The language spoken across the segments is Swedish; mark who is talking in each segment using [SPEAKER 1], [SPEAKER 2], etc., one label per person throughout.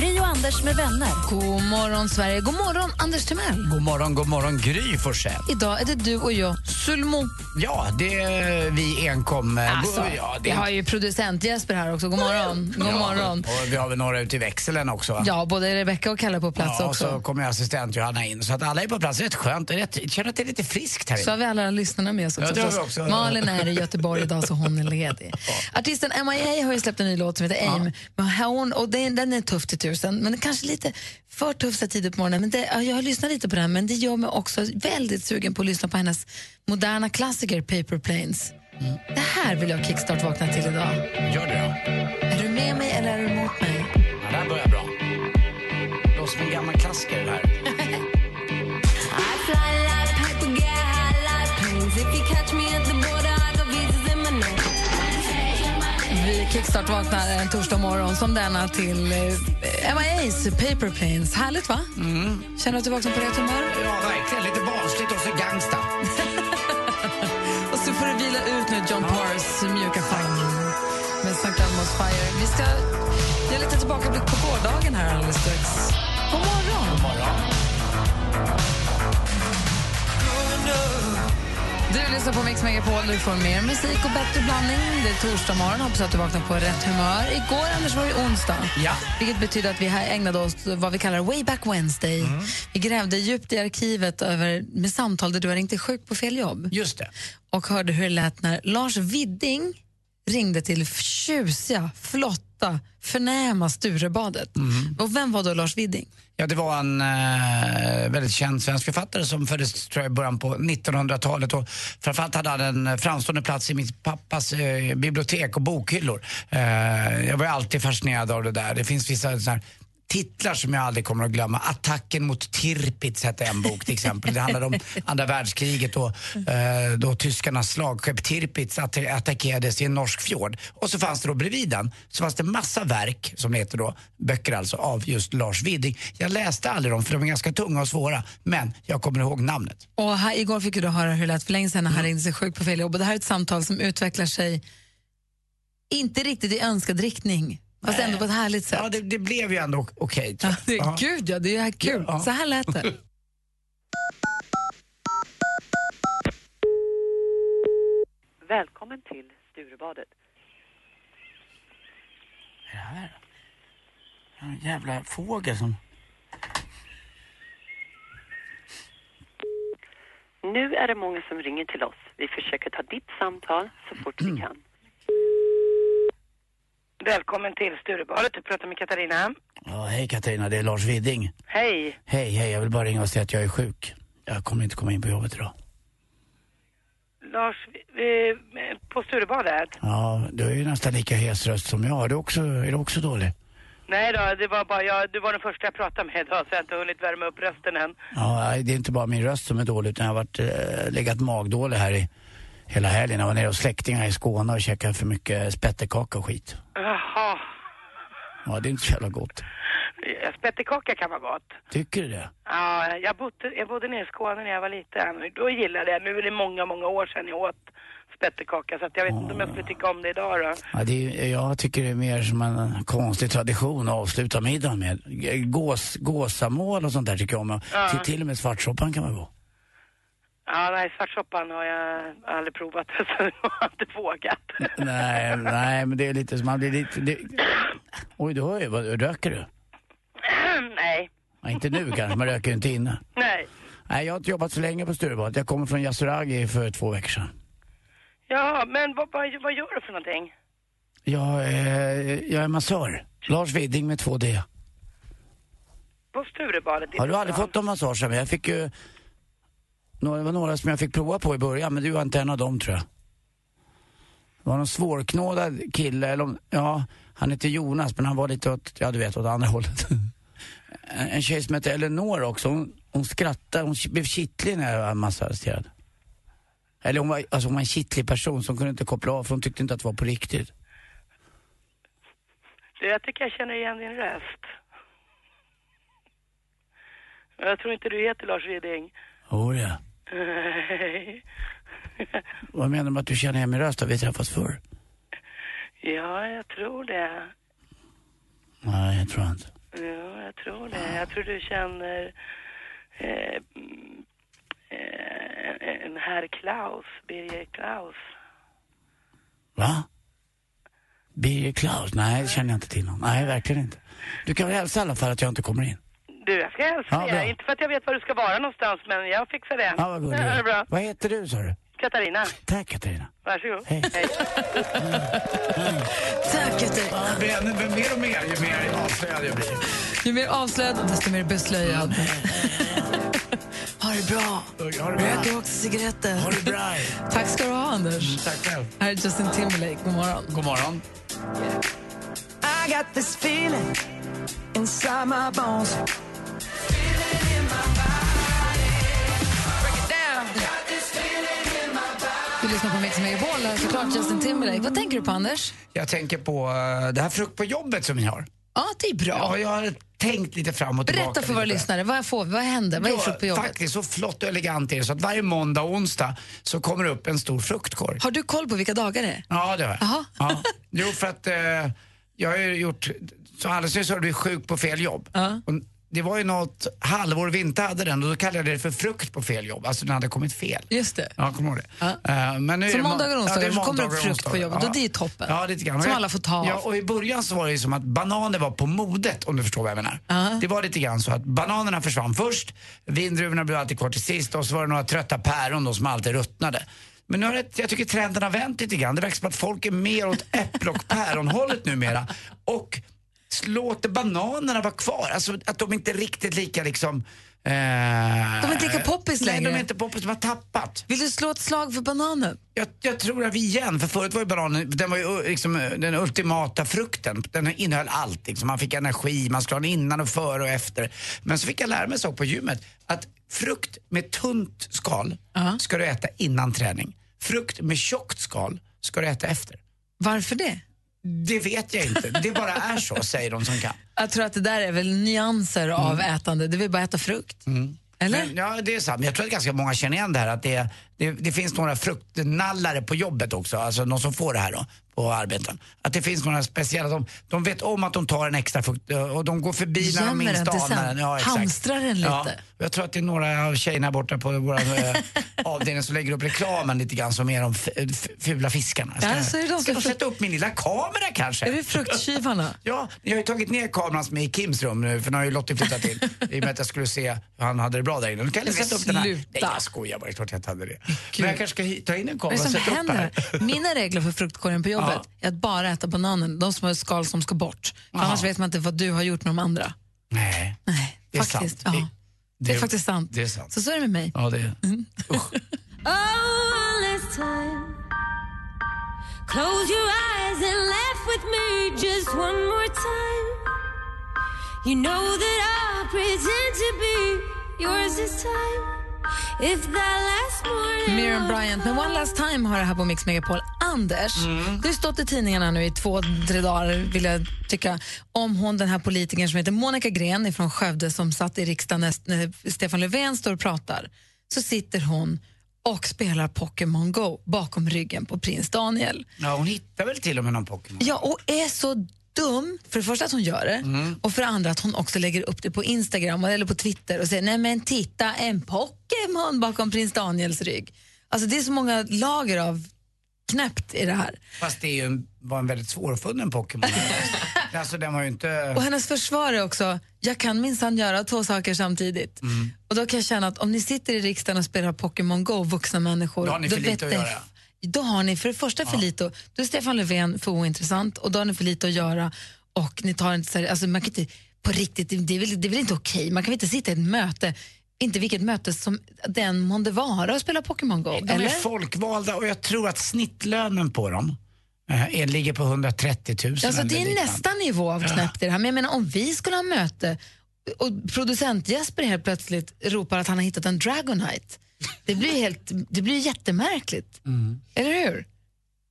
[SPEAKER 1] Gri och Anders med vänner.
[SPEAKER 2] God morgon, Sverige. God morgon, Anders Timell.
[SPEAKER 3] God morgon, god morgon Gry Forssell.
[SPEAKER 2] Idag är det du och jag, Sulmo.
[SPEAKER 3] Ja, det är vi enkom. eh,
[SPEAKER 2] Alltså,
[SPEAKER 3] bo- ja, det
[SPEAKER 2] Vi har ju producent Jesper här också. God morgon. God
[SPEAKER 3] Ja,
[SPEAKER 2] morgon.
[SPEAKER 3] Och vi har väl några ute i växeln också va?
[SPEAKER 2] Ja, både Rebecca och Kalle på plats
[SPEAKER 3] Ja, och så
[SPEAKER 2] också.
[SPEAKER 3] kommer ju assistent Johanna in. Så att alla är på plats. Rätt skönt. och Rätt, jag känner att det är lite friskt här
[SPEAKER 2] Så har
[SPEAKER 3] inne.
[SPEAKER 2] vi alla lyssnarna med oss
[SPEAKER 3] Ja,
[SPEAKER 2] också.
[SPEAKER 3] det har vi
[SPEAKER 2] förstås.
[SPEAKER 3] också.
[SPEAKER 2] Malin är i Göteborg idag så hon är ledig. Artisten MIA har ju släppt en ny låt som heter Aim. Men hon, och den, den är tuff till tusen, men kanske lite för tuff så tidigt på morgonen. Men det, ja, jag har lyssnat lite på den, men det gör mig också väldigt sugen på att lyssna på hennes moderna klassiker Paper Planes.
[SPEAKER 3] Mm.
[SPEAKER 2] Det här vill jag kickstart-vakna till idag.
[SPEAKER 3] Gör det då.
[SPEAKER 2] Är du med mig eller är du emot mig?
[SPEAKER 3] Ja, det här börjar bra. Det låter som en gammal klassiker det här.
[SPEAKER 2] Vi kickstart-vaknar en torsdag morgon som denna till eh, MIA's Paper Planes. Härligt, va? Känner du att du vaknar på rätt humör?
[SPEAKER 3] Mm. Ja, verkligen. Lite barnsligt och så gangsta.
[SPEAKER 2] Och så får du vila ut nu John Morris mjuka fang med St. Elmo's Fire. Vi ska göra lite tillbakablick på gårdagen här alldeles strax. God morgon! Du lyssnar på Mix Megapol, du får mer musik och bättre blandning. Det är torsdag morgon, hoppas att du vaknar på rätt humör. Igår, Anders, var det onsdag.
[SPEAKER 3] Ja.
[SPEAKER 2] Vilket betyder att vi här ägnade oss vad vi kallar way back Wednesday.
[SPEAKER 3] Mm.
[SPEAKER 2] Vi grävde djupt i arkivet över, med samtal där du har ringt dig sjuk på fel jobb
[SPEAKER 3] Just det.
[SPEAKER 2] och hörde hur det lät när Lars Widding ringde till tjusiga, flotta, förnäma Sturebadet. Och vem var då Lars Widding?
[SPEAKER 3] Ja, det var en eh, väldigt känd svensk författare som föddes tror jag, i början på 1900-talet. Och framförallt hade han en eh, framstående plats i min pappas eh, bibliotek och bokhyllor. Eh, jag var ju alltid fascinerad av det där. Det finns vissa såna här titlar som jag aldrig kommer att glömma. Attacken mot Tirpitz hette en bok till exempel. Det handlade om andra världskriget och eh, då tyskarnas slagskepp Tirpitz att- attackerades i en norsk fjord. Och så fanns det då bredvid den så fanns det massa verk, som det heter då, böcker alltså, av just Lars Widing. Jag läste aldrig dem för de är ganska tunga och svåra, men jag kommer ihåg namnet.
[SPEAKER 2] Och här, igår fick du då höra hur det lät för länge sedan när han
[SPEAKER 3] Mm.
[SPEAKER 2] ringde sig sjuk på fel jobb. Och det här är ett samtal som utvecklar sig inte riktigt i önskad riktning, fast ändå på ett härligt sätt.
[SPEAKER 3] Ja, det, det blev ju ändå okej. tror
[SPEAKER 2] Ja,
[SPEAKER 3] jag.
[SPEAKER 2] det,
[SPEAKER 3] Ja.
[SPEAKER 2] Gud ja, det är ju här kul.
[SPEAKER 3] Ja.
[SPEAKER 2] Så här lät det.
[SPEAKER 4] Välkommen till Sturebadet.
[SPEAKER 3] det här? En jävla fågel som...
[SPEAKER 4] Nu är det många som ringer till oss. Vi försöker ta ditt samtal så fort vi kan.
[SPEAKER 5] Välkommen till Sturebadet. Du pratar med Katarina.
[SPEAKER 3] Ja, hej Katarina, det är Lars Widing.
[SPEAKER 5] Hej.
[SPEAKER 3] Hej, hej, jag vill bara ringa och säga att jag är sjuk. Jag kommer inte komma in på jobbet idag.
[SPEAKER 5] Lars, eh, på Sturebadet?
[SPEAKER 3] Ja, du är ju nästan lika hes röst som jag. Är du också, är du också dålig?
[SPEAKER 5] Nej då, det var bara jag, du var den första jag pratade med idag så jag har inte hunnit värma upp rösten än.
[SPEAKER 3] Ja, nej, det är inte bara min röst som är dålig utan jag har varit, eh, legat magdålig här i hela helgen. Jag var nere hos släktingar i Skåne och käkade för mycket spettekaka och skit.
[SPEAKER 5] Jaha.
[SPEAKER 3] Ja, det är inte så jävla gott.
[SPEAKER 5] Eh, Spettekaka kan vara gott.
[SPEAKER 3] Tycker du det?
[SPEAKER 5] Ja, jag, bodde, jag bodde nere i Skåne när jag var liten. Då gillade jag, nu är det många, många år sedan jag åt spettekaka så att jag vet inte om jag skulle tycka om det idag då.
[SPEAKER 3] Ja, det är, jag tycker det är mer som en konstig tradition att avsluta middagen med. G- Gås, gåsamål och sånt där tycker jag om.
[SPEAKER 5] Ja.
[SPEAKER 3] Till, till och med svartsoppan kan vara god.
[SPEAKER 5] Ja, nej, svartsoppan har jag aldrig provat så jag har inte vågat.
[SPEAKER 3] Nej, nej, men det är lite som man blir lite... Det... Oj, du hör ju. Vad, röker du?
[SPEAKER 5] nej,
[SPEAKER 3] Ja, inte nu kanske, man röker ju inte inne.
[SPEAKER 5] nej.
[SPEAKER 3] Nej, jag har inte jobbat så länge på Sturebadet. Jag kommer från Yasuragi för två veckor sedan.
[SPEAKER 5] Ja, men vad, vad, vad gör du för någonting?
[SPEAKER 3] Jag, är- jag är massör. Lars Widing med 2D.
[SPEAKER 5] På Sturebadet? i
[SPEAKER 3] Har du aldrig
[SPEAKER 5] Stockholm?
[SPEAKER 3] fått någon massage av mig? Jag fick ju... Några, det var några som jag fick prova på i början, men du var inte en av dem tror jag. Det var någon svårknådad kille, eller om, ja, han hette Jonas, men han var lite åt, ja du vet, åt andra hållet. en, en tjej som heter Eleanor också. Hon, hon skrattade, hon k- blev kittlig när jag var massagerad. Eller hon var, alltså hon var en kittlig person som kunde inte koppla av för hon tyckte inte att det var på riktigt.
[SPEAKER 5] Du, jag tycker jag känner igen din röst. Men Jag tror inte du heter Lars Widing.
[SPEAKER 3] Oh, ja. Vad menar du med att du känner igen min röst? Har vi träffats förr?
[SPEAKER 5] ja, jag tror det.
[SPEAKER 3] Nej, jag tror inte.
[SPEAKER 5] Ja, jag tror det. Jag tror du känner eh, mm, eh, en- en herr Klaus, Birger Klaus.
[SPEAKER 3] Va? Birger Klaus? Nej, det känner jag inte till någon. Nej, verkligen inte. Du kan väl hälsa i alla fall att jag inte kommer in?
[SPEAKER 5] Du, jag ska hälsa
[SPEAKER 3] Ja,
[SPEAKER 5] dig.
[SPEAKER 3] bra.
[SPEAKER 5] Inte för att jag vet var du ska vara någonstans, men jag fixar det.
[SPEAKER 3] Ja, vad gullig
[SPEAKER 5] Ja,
[SPEAKER 3] du
[SPEAKER 5] det
[SPEAKER 3] är.
[SPEAKER 5] är bra.
[SPEAKER 3] Vad heter du, sa du?
[SPEAKER 5] Katarina,
[SPEAKER 3] Tack, Katarina.
[SPEAKER 5] varsågod.
[SPEAKER 3] Hej.
[SPEAKER 2] Tack, Katarina.
[SPEAKER 3] Mer och mer, ju mer avslöjad jag blir.
[SPEAKER 2] Ju mer avslöjad, desto mer beslöjad. ha det bra.
[SPEAKER 3] Ha det bra.
[SPEAKER 2] Röker också cigaretter.
[SPEAKER 3] Ha det bra. Mm,
[SPEAKER 2] Tack ska du ha, Anders.
[SPEAKER 3] Tack själv.
[SPEAKER 2] Här är Justin Timberlake. God morgon.
[SPEAKER 3] God morgon.
[SPEAKER 6] I got this feeling inside my bones.
[SPEAKER 2] Du lyssnar på Mix Megapol. Här är såklart Justin Timberlake. Vad tänker du på, Anders?
[SPEAKER 3] Jag tänker på eh, det här frukt på jobbet som ni har.
[SPEAKER 2] Ja, det är bra.
[SPEAKER 3] Ja, jag har tänkt lite fram och tillbaka.
[SPEAKER 2] Berätta för våra
[SPEAKER 3] lite.
[SPEAKER 2] lyssnare. Vad, får, vi? vad händer? Vad är frukt på
[SPEAKER 3] Ja,
[SPEAKER 2] jobbet?
[SPEAKER 3] Faktiskt så flott och elegant är det så att varje måndag och onsdag så kommer det upp en stor fruktkorg.
[SPEAKER 2] Har du koll på vilka dagar det är?
[SPEAKER 3] Ja, det har jag.
[SPEAKER 2] Jaha.
[SPEAKER 3] Ja. Jo, för att eh, jag har ju gjort... Så alldeles nyss har du sjuk på fel jobb.
[SPEAKER 2] Ja.
[SPEAKER 3] Och det var ju något halvår vi inte hade den och då kallade jag det för frukt på fel jobb. Alltså den hade kommit fel.
[SPEAKER 2] Just det.
[SPEAKER 3] Ja, kommer ihåg det.
[SPEAKER 2] Ja.
[SPEAKER 3] Eh, men nu
[SPEAKER 2] Så
[SPEAKER 3] är det må-
[SPEAKER 2] måndagar och onsdagar
[SPEAKER 3] det är
[SPEAKER 2] så kommer det upp
[SPEAKER 3] måndagar och
[SPEAKER 2] frukt på
[SPEAKER 3] onsdagar.
[SPEAKER 2] jobbet och det är toppen.
[SPEAKER 3] Ja, lite grann.
[SPEAKER 2] Som alla får ta av.
[SPEAKER 3] Ja, och i början så var det ju som att bananer var på modet om du förstår vad jag menar. Det var lite grann så att bananerna försvann först, vindruvorna blev alltid kvar till sist och så var det några trötta päron då som alltid ruttnade. Men nu har det, jag tycker trenden har vänt lite grann. Det verkar som att folk är mer åt äpple och päronhållet numera. Och låter bananerna vara kvar. Alltså att de inte är riktigt lika liksom... Eh, de är
[SPEAKER 2] inte lika poppis
[SPEAKER 3] Nej, de
[SPEAKER 2] längre.
[SPEAKER 3] är inte poppis. De har tappat.
[SPEAKER 2] Vill du slå ett slag för bananen?
[SPEAKER 3] Jag, jag tror att vi igen, för förut var ju bananen den, var ju, uh, liksom, uh, den ultimata frukten. Den innehöll allt. Liksom. Man fick energi, man skulle ha den innan och före och efter. Men så fick jag lära mig en sak på gymmet. Att frukt med tunt skal ska du äta innan träning. Frukt med tjockt skal ska du äta efter.
[SPEAKER 2] Varför det?
[SPEAKER 3] Det vet jag inte. Det bara är så, säger de som kan.
[SPEAKER 2] Jag tror att det där är väl nyanser av ätande. Du vill bara äta frukt. Eller?
[SPEAKER 3] Mm. Men, ja, det är sant. Men jag tror att ganska många känner igen det här att det, det, det finns några fruktnallare på jobbet också, alltså de som får det här då på arbeten. Att det finns några speciella, de, de vet om att de tar en extra frukt eh, och de går förbi när de
[SPEAKER 2] Gömmer
[SPEAKER 3] minst
[SPEAKER 2] den till sen.
[SPEAKER 3] anar den. Ja, exakt.
[SPEAKER 2] Hamstrar den lite.
[SPEAKER 3] Ja, och jag tror att det är några av tjejerna borta på vår eh, avdelning som lägger upp reklamen lite grann som är de f- f- fula fiskarna. Ska,
[SPEAKER 2] Ja, så är det de som
[SPEAKER 3] ska jag
[SPEAKER 2] fl-
[SPEAKER 3] sätta upp min lilla kamera kanske?
[SPEAKER 2] Är det fruktkyvarna?
[SPEAKER 3] Ja, jag har ju tagit ner kameran som är i Kims rum nu, för nu har ju Lottie flyttat till. I och med att jag skulle se hur han hade det bra där inne. Nu kan jag
[SPEAKER 2] Men
[SPEAKER 3] sätta upp den här. Nej,
[SPEAKER 2] sluta.
[SPEAKER 3] jag skojar bara. Det är klart jag inte hade det. Men jag kanske ska hi- ta in en kamera
[SPEAKER 2] Vad är
[SPEAKER 3] och
[SPEAKER 2] det som
[SPEAKER 3] sätta upp
[SPEAKER 2] händer?
[SPEAKER 3] här.
[SPEAKER 2] Mina regler för fruktkorgen på jobbet är att bara äta bananen, de som har skal som ska bort. För annars vet man inte vad du har gjort med de andra.
[SPEAKER 3] Nej,
[SPEAKER 2] Nej,
[SPEAKER 3] det är
[SPEAKER 2] faktiskt.
[SPEAKER 3] sant.
[SPEAKER 2] Ja.
[SPEAKER 3] Det-
[SPEAKER 2] Det, är faktiskt sant. Mm.
[SPEAKER 3] Det är sant.
[SPEAKER 2] Så så är det med mig.
[SPEAKER 3] Ja, det är...
[SPEAKER 7] Close your eyes and laugh with me just one more time. You know that I'll pretend to be yours this time. If that last morning.
[SPEAKER 2] Miriam Bryant med One Last Time har det här på Mix Megapol. Anders, det har stått i tidningarna nu i två, tre dagar vill jag tycka, om hon den här politikern som heter Monica Gren från Skövde som satt i riksdagen när, när Stefan Löfven står och pratar. Så sitter hon och spelar Pokémon Go bakom ryggen på prins Daniel.
[SPEAKER 3] Ja, hon hittar väl till och med någon Pokémon?
[SPEAKER 2] Ja, och är så dum, för det första att hon gör det
[SPEAKER 3] Mm.
[SPEAKER 2] och för det andra att hon också lägger upp det på Instagram eller på Twitter och säger nej men titta en Pokémon bakom prins Daniels rygg. Alltså det är så många lager av knäppt i det här.
[SPEAKER 3] Fast det är ju en, var en väldigt svårfunnen Pokémon. alltså den var ju inte...
[SPEAKER 2] Och hennes försvar är också, jag kan minsann göra två saker samtidigt.
[SPEAKER 3] Mm.
[SPEAKER 2] Och då kan jag känna att om ni sitter i riksdagen och spelar Pokémon Go, vuxna människor,
[SPEAKER 3] Då har ni för lite att
[SPEAKER 2] ni-
[SPEAKER 3] göra.
[SPEAKER 2] Då har ni för det första för lite, att- då är Stefan Löfven för ointressant och då har ni för lite att göra och ni tar inte seriöst, alltså man kan inte, på riktigt, det är väl, det är väl inte okej, man kan väl inte sitta i ett möte, inte vilket möte som den månde vara och spela Pokémon Go,
[SPEAKER 3] De
[SPEAKER 2] eller?
[SPEAKER 3] är folkvalda och jag tror att snittlönen på dem eh, är, ligger på 130 000.
[SPEAKER 2] Alltså,
[SPEAKER 3] eller
[SPEAKER 2] det är
[SPEAKER 3] liknande.
[SPEAKER 2] nästa nivå av knäppt i det här. Men jag menar, om vi skulle ha möte och producent Jesper helt plötsligt ropar att han har hittat en Dragonite. Det blir ju helt, det blir ju jättemärkligt.
[SPEAKER 7] Mm.
[SPEAKER 2] Eller hur?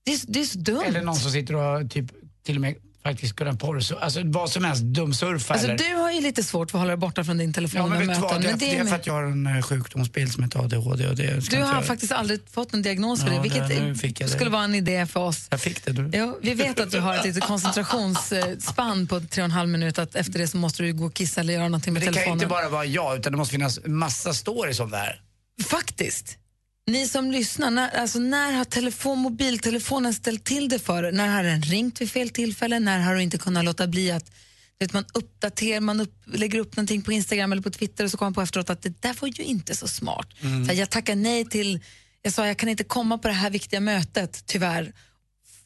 [SPEAKER 2] Det är, det är så dumt.
[SPEAKER 3] Eller någon som sitter och typ till och med faktiskt kunna porr, alltså vad som helst, dumsurfa
[SPEAKER 2] Alltså,
[SPEAKER 3] eller...
[SPEAKER 2] du har ju lite svårt för att hålla dig borta från din telefon
[SPEAKER 3] Ja, men
[SPEAKER 2] och
[SPEAKER 3] vet du vad,
[SPEAKER 2] möten.
[SPEAKER 3] det, är-
[SPEAKER 2] men
[SPEAKER 3] det är
[SPEAKER 2] min-
[SPEAKER 3] för att jag har en eh, sjukdomsbild som heter ADHD och det ska
[SPEAKER 2] Du
[SPEAKER 3] inte
[SPEAKER 2] har
[SPEAKER 3] jag-
[SPEAKER 2] faktiskt aldrig fått någon diagnos för
[SPEAKER 3] Ja,
[SPEAKER 2] det, vilket
[SPEAKER 3] det- nu fick jag det.
[SPEAKER 2] skulle vara en idé för oss.
[SPEAKER 3] Jag fick det du.
[SPEAKER 2] Jo, vi vet att du har ett litet koncentrationsspann på tre och en halv minut, att efter det så måste du ju gå och kissa eller göra någonting
[SPEAKER 3] Men
[SPEAKER 2] med
[SPEAKER 3] det kan ju
[SPEAKER 2] telefonen.
[SPEAKER 3] inte bara vara jag, utan det måste finnas massa stories om det här.
[SPEAKER 2] Faktiskt. Ni som lyssnar, när, alltså när har telefon, mobiltelefonen ställt till det för er? När har den ringt vid fel tillfälle? När har du inte kunnat låta bli att du vet, man uppdaterar, man upp, lägger upp någonting på Instagram eller på Twitter och så kommer man på efteråt att det där var ju inte så smart.
[SPEAKER 8] Mm.
[SPEAKER 2] Så här, jag tackar nej till, jag sa jag kan inte komma på det här viktiga mötet, tyvärr.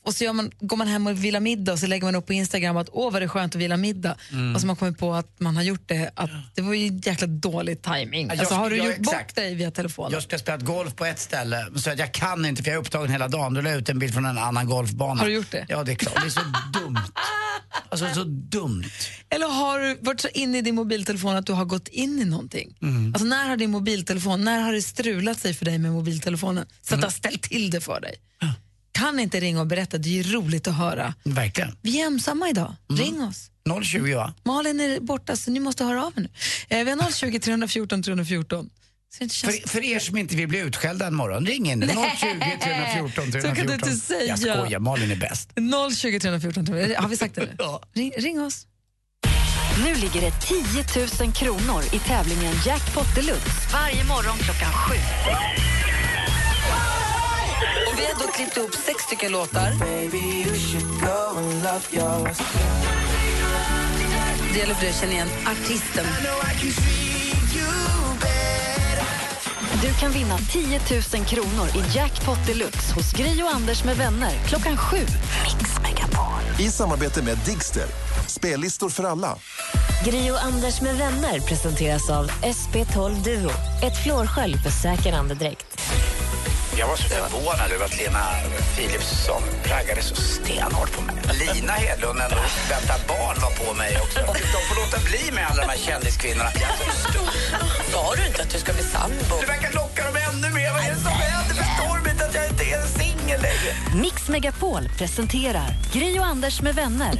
[SPEAKER 2] Och så gör man, går man hem och vilar middag och så lägger man upp på Instagram att åh vad det är skönt att vila middag.
[SPEAKER 3] Mm.
[SPEAKER 2] Och så har man kommer på att man har gjort det, att det var ju jäkla dålig timing.
[SPEAKER 3] Ja, jag
[SPEAKER 2] Alltså, har du
[SPEAKER 3] skulle- ja,
[SPEAKER 2] gjort bort
[SPEAKER 3] exakt.
[SPEAKER 2] dig via telefonen?
[SPEAKER 3] Jag skulle ha spelat golf på ett ställe, så att jag kan inte för jag är upptagen hela dagen. Då la jag ut en bild från en annan golfbana.
[SPEAKER 2] Har du gjort det?
[SPEAKER 3] Ja, det är klart. Det är så dumt. Alltså, det är så dumt.
[SPEAKER 2] Eller har du varit så inne i din mobiltelefon att du har gått in i någonting?
[SPEAKER 3] Mm.
[SPEAKER 2] Alltså när har din mobiltelefon, när har det strulat sig för dig med mobiltelefonen så att
[SPEAKER 3] Mm.
[SPEAKER 2] det har ställt till det för dig? Kan inte ringa och berätta, det är ju roligt att höra.
[SPEAKER 3] Verkligen.
[SPEAKER 2] Vi är ensamma idag,
[SPEAKER 3] Mm.
[SPEAKER 2] ring oss.
[SPEAKER 3] 020 va?
[SPEAKER 2] Malin är borta så ni måste höra av er nu. Eh, vi har 020 314 314. Så det inte känns...
[SPEAKER 3] För, för er som inte vill bli utskällda en morgon, ring in nu.
[SPEAKER 2] Nej.
[SPEAKER 3] 020
[SPEAKER 2] Så kan
[SPEAKER 3] 314
[SPEAKER 2] du
[SPEAKER 3] 314.
[SPEAKER 2] inte säga.
[SPEAKER 3] Jag skojar, Malin är bäst.
[SPEAKER 2] 020 314 314. Har vi sagt det nu? ring, ring oss.
[SPEAKER 1] Nu ligger det 10 000 kronor i tävlingen Jackpot Deluxe varje morgon klockan sju.
[SPEAKER 2] Och vi har då klippt ihop sex stycken låtar. Det gäller för dig att känna igen artisten.
[SPEAKER 1] Du kan vinna 10 000 kronor i Jackpot Deluxe hos Gri och Anders med vänner klockan sju. Mix Megapol.
[SPEAKER 9] I samarbete med Digster. Spellistor för alla.
[SPEAKER 10] Gri och Anders med vänner presenteras av SP12 Duo. Ett flårskölj för säker andedräkt.
[SPEAKER 3] Jag var så förvånad över att Lena Philipsson raggade så stenhårt på mig. Lina Hedlund, ändå vänta barn, var på mig också. De får låta bli med alla de här kändiskvinnorna.
[SPEAKER 11] Sa du inte att du ska bli sambo?
[SPEAKER 3] Du verkar locka dem ännu mer. Vad är det som händer? Förstår de inte att jag inte är singel längre?
[SPEAKER 1] Mix Megapol presenterar Gri och Anders med vänner.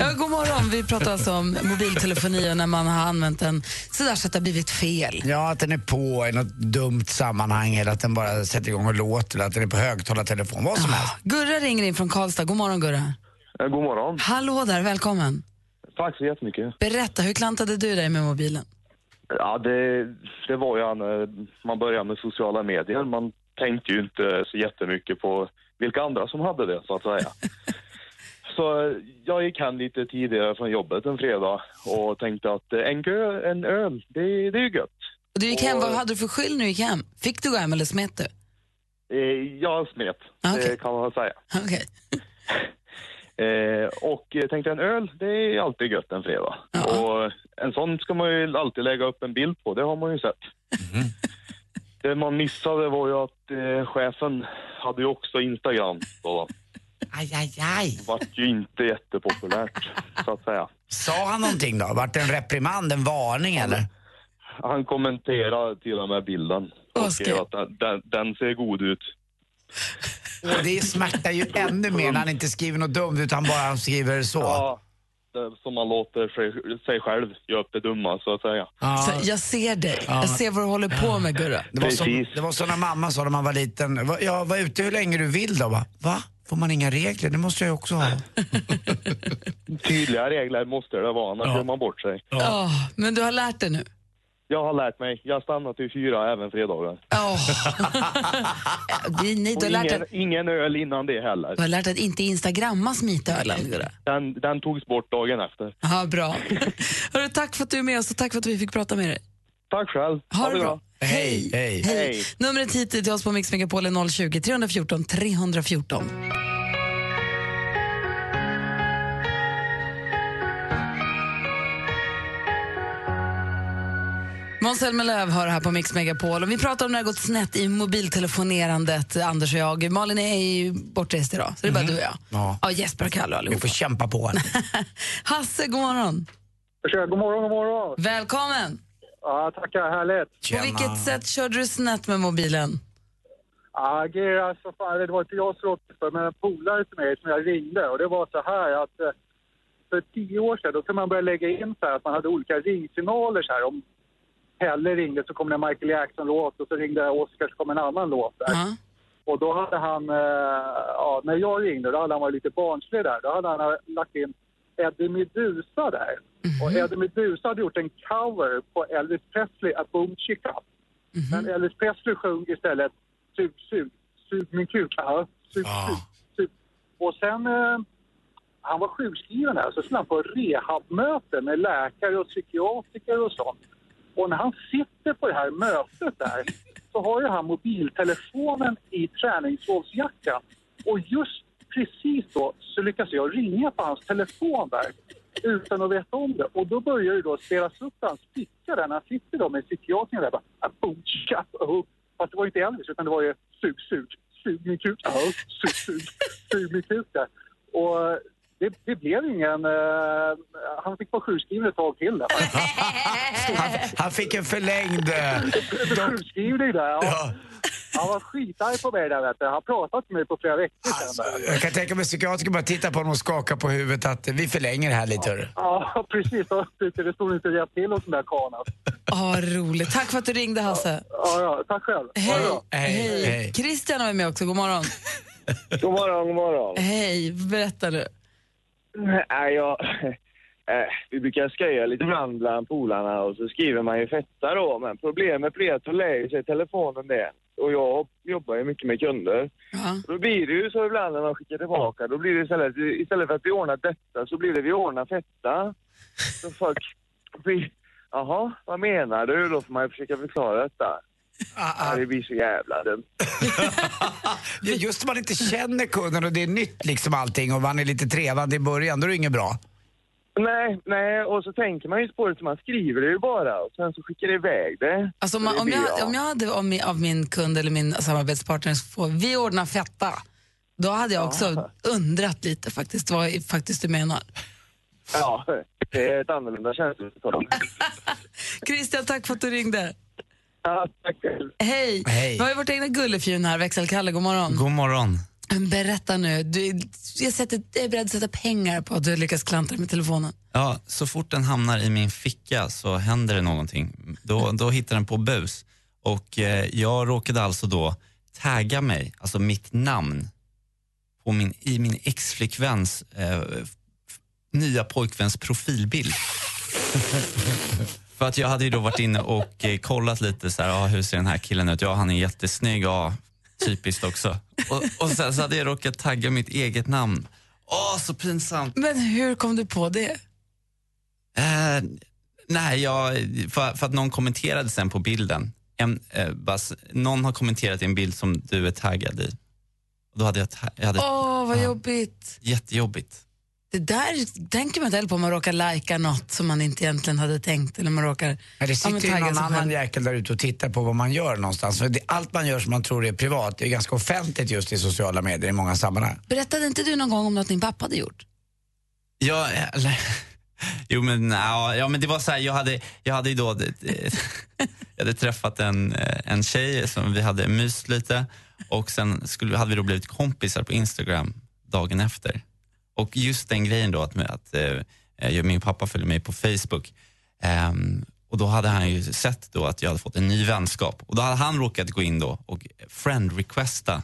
[SPEAKER 2] Ja, god morgon. Vi pratar alltså om mobiltelefoni och när man har använt den sådär så att det har blivit fel.
[SPEAKER 3] Ja, att den är på i något dumt sammanhang eller att den bara sätter igång och låter eller att den är på högtalartelefon, vad
[SPEAKER 11] Ah.
[SPEAKER 3] som helst.
[SPEAKER 2] Gurra ringer in från Karlstad. God morgon, Gurra.
[SPEAKER 12] Eh, God morgon.
[SPEAKER 2] Hallå där, välkommen.
[SPEAKER 12] Tack så jättemycket.
[SPEAKER 2] Berätta, hur klantade du dig med mobilen?
[SPEAKER 12] Ja, det, det var ju när man började med sociala medier. Man tänkte ju inte så jättemycket på vilka andra som hade det, så att säga. Så eh, jag gick hem lite tidigare från jobbet en fredag och tänkte att eh, en, gö, en öl, det, det är ju gött.
[SPEAKER 2] Och du gick hem,
[SPEAKER 12] Och-
[SPEAKER 2] vad hade du för skyll när du gick hem? Fick du gå hem eller smet du?
[SPEAKER 12] Eh, Jag smet, det kan man väl säga.
[SPEAKER 2] Okej.
[SPEAKER 12] Eh, och eh, tänkte en öl, det är alltid gött en fredag. Och en sån ska man ju alltid lägga upp en bild på, det har man ju sett.
[SPEAKER 3] Mm.
[SPEAKER 12] Det man missade var ju att eh, chefen hade ju också Instagram då.
[SPEAKER 3] Aj, aj, aj.
[SPEAKER 12] Det vart ju inte jättepopulärt, så att säga.
[SPEAKER 3] Sa han någonting då? Vart det en reprimand, en varning eller?
[SPEAKER 12] Han kommenterade till och med bilden och skrev att den- den, den ser god ut.
[SPEAKER 3] Och det smärtar ju ännu mer när han inte skriver något dumt utan bara skriver så.
[SPEAKER 12] Ja, det, som man låter sig, sig själv göra upp det dumma, så att säga.
[SPEAKER 2] Så jag ser dig, jag ser vad du håller på med Gurra.
[SPEAKER 3] Det var, som, det var så när mamma sa när man var liten, "Va- ja, var ute hur länge du vill då va? Va? Får man inga regler? Det måste jag ju också ha.
[SPEAKER 12] Tydliga regler måste det vara, annars gör man bort sig.
[SPEAKER 2] Ja, men du har lärt dig nu.
[SPEAKER 12] Jag har lärt mig. Jag stannar till fyra även fredagar.
[SPEAKER 2] Oh. Nej,
[SPEAKER 12] Och
[SPEAKER 2] du, har lärt
[SPEAKER 12] ingen,
[SPEAKER 2] dig,
[SPEAKER 12] ingen öl innan det heller.
[SPEAKER 2] du har lärt dig att inte instagramma smitölen Gurra.
[SPEAKER 12] Den, den togs bort dagen efter.
[SPEAKER 2] Ja, bra. Hörru, tack för att du är med oss och tack för att vi fick prata med dig.
[SPEAKER 12] Tack själv.
[SPEAKER 2] Ha, det bra.
[SPEAKER 3] Hej, hej.
[SPEAKER 2] Hej. Numret hit till oss på Mix Megapol är 020 314 314. Måns Zelmerlöw hör här på Mix Megapol och vi pratar om när det har gått snett i mobiltelefonerandet, Anders och jag. Malin är ju bortrest idag, så det är bara du och jag.
[SPEAKER 3] Ja.
[SPEAKER 2] Ja, Jesper och Kalle och
[SPEAKER 3] Vi får
[SPEAKER 2] allihopa.
[SPEAKER 3] kämpa på.
[SPEAKER 2] Hasse, god morgon.
[SPEAKER 8] Kör, god morgon, god morgon.
[SPEAKER 2] Välkommen!
[SPEAKER 8] Ja, tackar, härligt.
[SPEAKER 2] På vilket sätt körde du snett med mobilen?
[SPEAKER 8] Ja, grejer, alltså, fan, det var inte jag som råkade för, men en polare till mig som jag ringde. Och det var så här att eh, för tio år sedan då kunde man börja lägga in så här att man hade olika ringsignaler så här. Om Pelle ringde så kom det en Michael Jackson-låt och så ringde Oscar så kom en annan låt där. Och då hade han, eh, ja, när jag ringde, då hade han varit lite barnslig där. Då hade han lagt in Eddie Meduza där.
[SPEAKER 7] Mhm.
[SPEAKER 8] Och Eddie Meduza hade gjort en cover på Elvis Presley, A Boom Chica. Men Elvis Presley sjöng istället Sug, sug, sug min kuk. Ja, sug, sug, sug. Och sen, eh, han var sjukskriven här, så skulle han på rehabmöte med läkare och psykiatriker och sånt. Och när han sitter på det här mötet där så har ju han mobiltelefonen i träningsovsjackan. Och just precis då så lyckas jag ringa på hans telefon där utan att veta om det. Och då börjar det då spelas upp hans ficka där när han sitter då med psykiatern där bara "Ah, boom, tja, oh." Fast det var ju inte Elvis utan det var ju sug, sug, sug min kuk, oh, sug, sug, sug min kuk där. Och det, det blev ingen... eh, han fick vara sjukskriven ett tag till där.
[SPEAKER 3] Han, han fick en förlängd... eh,
[SPEAKER 8] Sjukskrivning där, ja. Han var skitarg på mig där vet du. Han pratade med mig på flera veckor sedan.
[SPEAKER 3] Alltså.
[SPEAKER 8] där.
[SPEAKER 3] Jag kan tänka mig psykiatriker bara titta på honom och skaka på huvudet att eh, vi förlänger det här lite. hörru.
[SPEAKER 8] Ja, precis. Och Det stod inte rätt till hos den där karlarna.
[SPEAKER 2] Ja, vad roligt. Tack för att du ringde, Hasse.
[SPEAKER 8] Ja, ja, tack själv.
[SPEAKER 2] Hej.
[SPEAKER 3] Hej, hej.
[SPEAKER 2] Christian var med också. God morgon.
[SPEAKER 13] God morgon, god morgon.
[SPEAKER 2] Hej, berätta du.
[SPEAKER 13] Nej, jag... Eh, vi brukar skoja lite ibland bland polarna och så skriver man ju fetta då. Men problemet blir att då lägger sig telefonen det. Och jag jobbar ju mycket med kunder. Och Då blir det ju så ibland när man skickar tillbaka. Då blir det istället, istället för att vi ordnar detta så blir det vi ordnar fetta. Så folk blir... Jaha, vad menar du? Då får man ju försöka förklara detta.
[SPEAKER 2] Ah,
[SPEAKER 13] Ja, det blir så jävla dumt.
[SPEAKER 3] Ja, Just när man inte känner kunden och det är nytt liksom allting och man är lite trevande i början, då är det inget bra.
[SPEAKER 13] Nej, nej, och så tänker man ju inte på det, så man skriver det ju bara och sen så skickar det iväg det.
[SPEAKER 2] Alltså, om,
[SPEAKER 13] Så
[SPEAKER 2] man,
[SPEAKER 13] det
[SPEAKER 2] om,
[SPEAKER 13] blir
[SPEAKER 2] jag, om jag hade av min, av min kund eller min samarbetspartner få, vi ordnar fetta, då hade jag också undrat lite faktiskt vad i- faktiskt du menar.
[SPEAKER 13] Ja, det är ett annorlunda känsla.
[SPEAKER 2] Christian, tack för att du ringde.
[SPEAKER 13] Ja, tack själv.
[SPEAKER 2] Hej.
[SPEAKER 14] Hej.
[SPEAKER 2] Vi har ju vårt egna gullefjun här, växelkalle. God morgon.
[SPEAKER 14] God morgon.
[SPEAKER 2] Berätta nu. Du, jag, sätter, jag är beredd att sätta pengar på att du lyckas klanta dig med telefonen.
[SPEAKER 14] Ja, så fort den hamnar i min ficka så händer det någonting. Då, då hittar den på bus. Och eh, jag råkade alltså då tagga mig, alltså mitt namn, på min, i min ex-flickväns eh, f- nya pojkväns profilbild. För att jag hade ju då varit inne och eh, kollat lite så här, ah, hur ser den här killen ut? Ja, han är jättesnygg, ja, typiskt också. Och, och sen så hade jag råkat tagga mitt eget namn. Åh, så pinsamt.
[SPEAKER 2] Men hur kom du på det?
[SPEAKER 14] Eh, nej, jag, för, för att någon kommenterade sen på bilden. En, eh, bara, s- någon har kommenterat i en bild som du är taggad i. Och då hade jag, ta- jag hade
[SPEAKER 2] Åh, vad jobbigt.
[SPEAKER 14] jättejobbigt.
[SPEAKER 2] Det där tänker man inte heller på om man råkar lajka något som man inte egentligen hade tänkt. Eller man råkar,
[SPEAKER 3] Ja, det
[SPEAKER 2] men
[SPEAKER 3] sitter ju
[SPEAKER 2] tagga
[SPEAKER 3] någon
[SPEAKER 2] sig
[SPEAKER 3] annan
[SPEAKER 2] själv.
[SPEAKER 3] jäkel där ute och tittar på vad man gör någonstans. För det, allt man gör som man tror är privat, det är ganska offentligt just i sociala medier i många sammanhang.
[SPEAKER 2] Berättade inte du någon gång om något din pappa hade gjort?
[SPEAKER 14] Ja, eller, jo men, ja, ja, men det var så här, jag hade, jag hade ju då eh, jag hade träffat en, eh, en tjej som vi hade myst lite och sen skulle, hade vi då blivit kompisar på Instagram dagen efter. Och just den grejen då att, att eh, jag, min pappa följde mig på Facebook ehm, och då hade han ju sett då att jag hade fått en ny vänskap och då hade han råkat gå in då och friend-requesta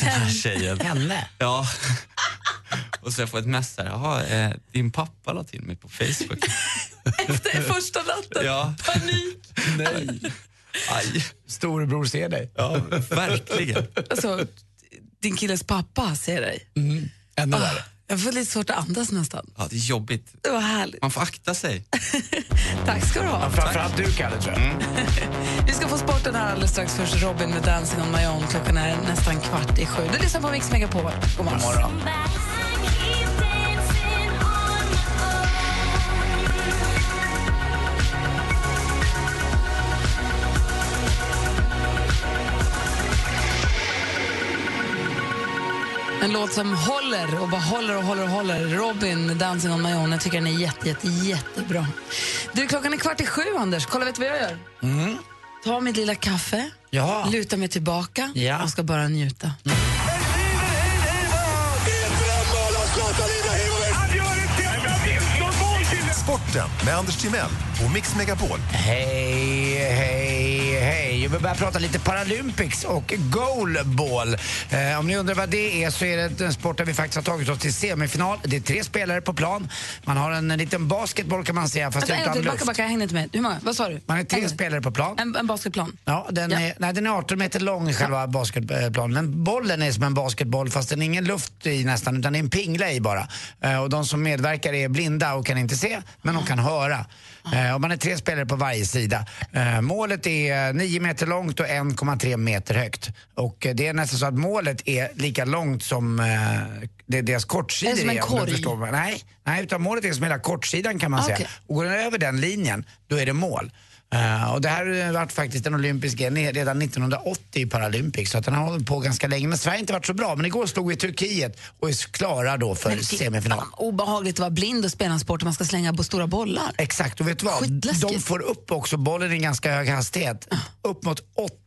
[SPEAKER 14] den här tjejen.
[SPEAKER 3] Henne?
[SPEAKER 14] Ja. Och så jag får ett mess här. Jaha, eh, din pappa la till mig på Facebook.
[SPEAKER 2] Efter första natten?
[SPEAKER 14] Ja.
[SPEAKER 2] Panik!
[SPEAKER 14] Nej. Aj.
[SPEAKER 3] Storebror ser dig.
[SPEAKER 14] Ja, verkligen.
[SPEAKER 2] Alltså, din killes pappa ser dig.
[SPEAKER 3] Mm. Ännu
[SPEAKER 2] ah, jag får lite svårt att andas nästan.
[SPEAKER 14] Ja, det är jobbigt.
[SPEAKER 2] Det var härligt.
[SPEAKER 14] Man får akta sig.
[SPEAKER 2] Tack ska du ha. Mm.
[SPEAKER 3] Framförallt du, Kalle, tror jag.
[SPEAKER 2] Vi ska få sporten här alldeles strax. Först Robin med Dancing on my own. Klockan är nästan kvart i sju. liksom Du lyssnar på Mix Megapol. God morgon.
[SPEAKER 3] God morgon.
[SPEAKER 2] En låt som håller och bara håller och håller och håller. Robin med Dancing on my own. Jag tycker den är jätte, jätte, jättebra. Du, klockan är kvart i sju, Anders. Kolla, vet du vad jag gör?
[SPEAKER 3] Mm.
[SPEAKER 2] Ta mitt lilla kaffe,
[SPEAKER 3] Ja.
[SPEAKER 2] luta mig tillbaka
[SPEAKER 3] Ja.
[SPEAKER 2] och ska bara njuta.
[SPEAKER 9] Sporten med Anders Timell och Mix Megapol.
[SPEAKER 3] Hej, hej, hej. Vi börjar prata lite Paralympics och goalball. Eh, om ni undrar vad det är så är det en sport där vi faktiskt har tagit oss till semifinal. Det är tre spelare på plan. Man har en, liten basketboll kan man säga fast
[SPEAKER 2] Alltså, en,
[SPEAKER 3] utan
[SPEAKER 2] till,
[SPEAKER 3] luft.
[SPEAKER 2] backa, backa, jag hängde inte med. Hur många? Vad sa du?
[SPEAKER 3] Man är tre spelare på plan.
[SPEAKER 2] En, en basketplan.
[SPEAKER 3] Ja, den, Är, nej, den är 18 meter lång, själva basketplanen. Men bollen är som en basketboll fast den är ingen luft i nästan, utan det är en pingla i bara. Eh, och de som medverkar är blinda och kan inte se, men de kan höra. Eh, och man är tre spelare på varje sida. Eh, målet är 9 meter långt och 1,3 meter högt. Och eh, det är nästan så att målet är lika långt som eh, det är deras kortsidor
[SPEAKER 2] Är det som en
[SPEAKER 3] om du
[SPEAKER 2] korg?
[SPEAKER 3] förstår vad- Nej, nej, utan målet är som hela kortsidan kan man
[SPEAKER 2] Ah,
[SPEAKER 3] säga.
[SPEAKER 2] okej.
[SPEAKER 3] Och går den över den linjen, då är det mål. Eh, och det här har varit faktiskt en olympisk gren redan 1980 i Paralympics, så att den har hållit på ganska länge. Men Sverige har inte varit så bra, men igår slog vi Turkiet och är klara då för semifinal.
[SPEAKER 2] Obehagligt att vara blind och spela en sport där man ska slänga på stora bollar.
[SPEAKER 3] Exakt, och vet du vad? De får upp också bollen i ganska hög hastighet, upp mot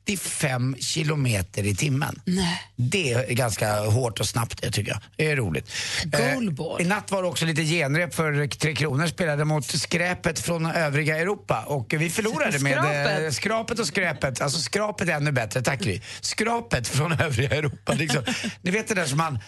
[SPEAKER 3] 85 kilometer i timmen.
[SPEAKER 2] Nej.
[SPEAKER 3] Det är ganska hårt och snabbt det tycker jag. Det är roligt.
[SPEAKER 2] Goalball.
[SPEAKER 3] Eh, I natt var det också lite genrep för Tre Kronor spelade mot skräpet från övriga Europa och vi förlorade med eh,
[SPEAKER 2] Skrapet.
[SPEAKER 3] skrapet och skräpet. Alltså skrapet är ännu bättre, tack Gry. Skrapet från övriga Europa. Liksom. Ni vet det där som man,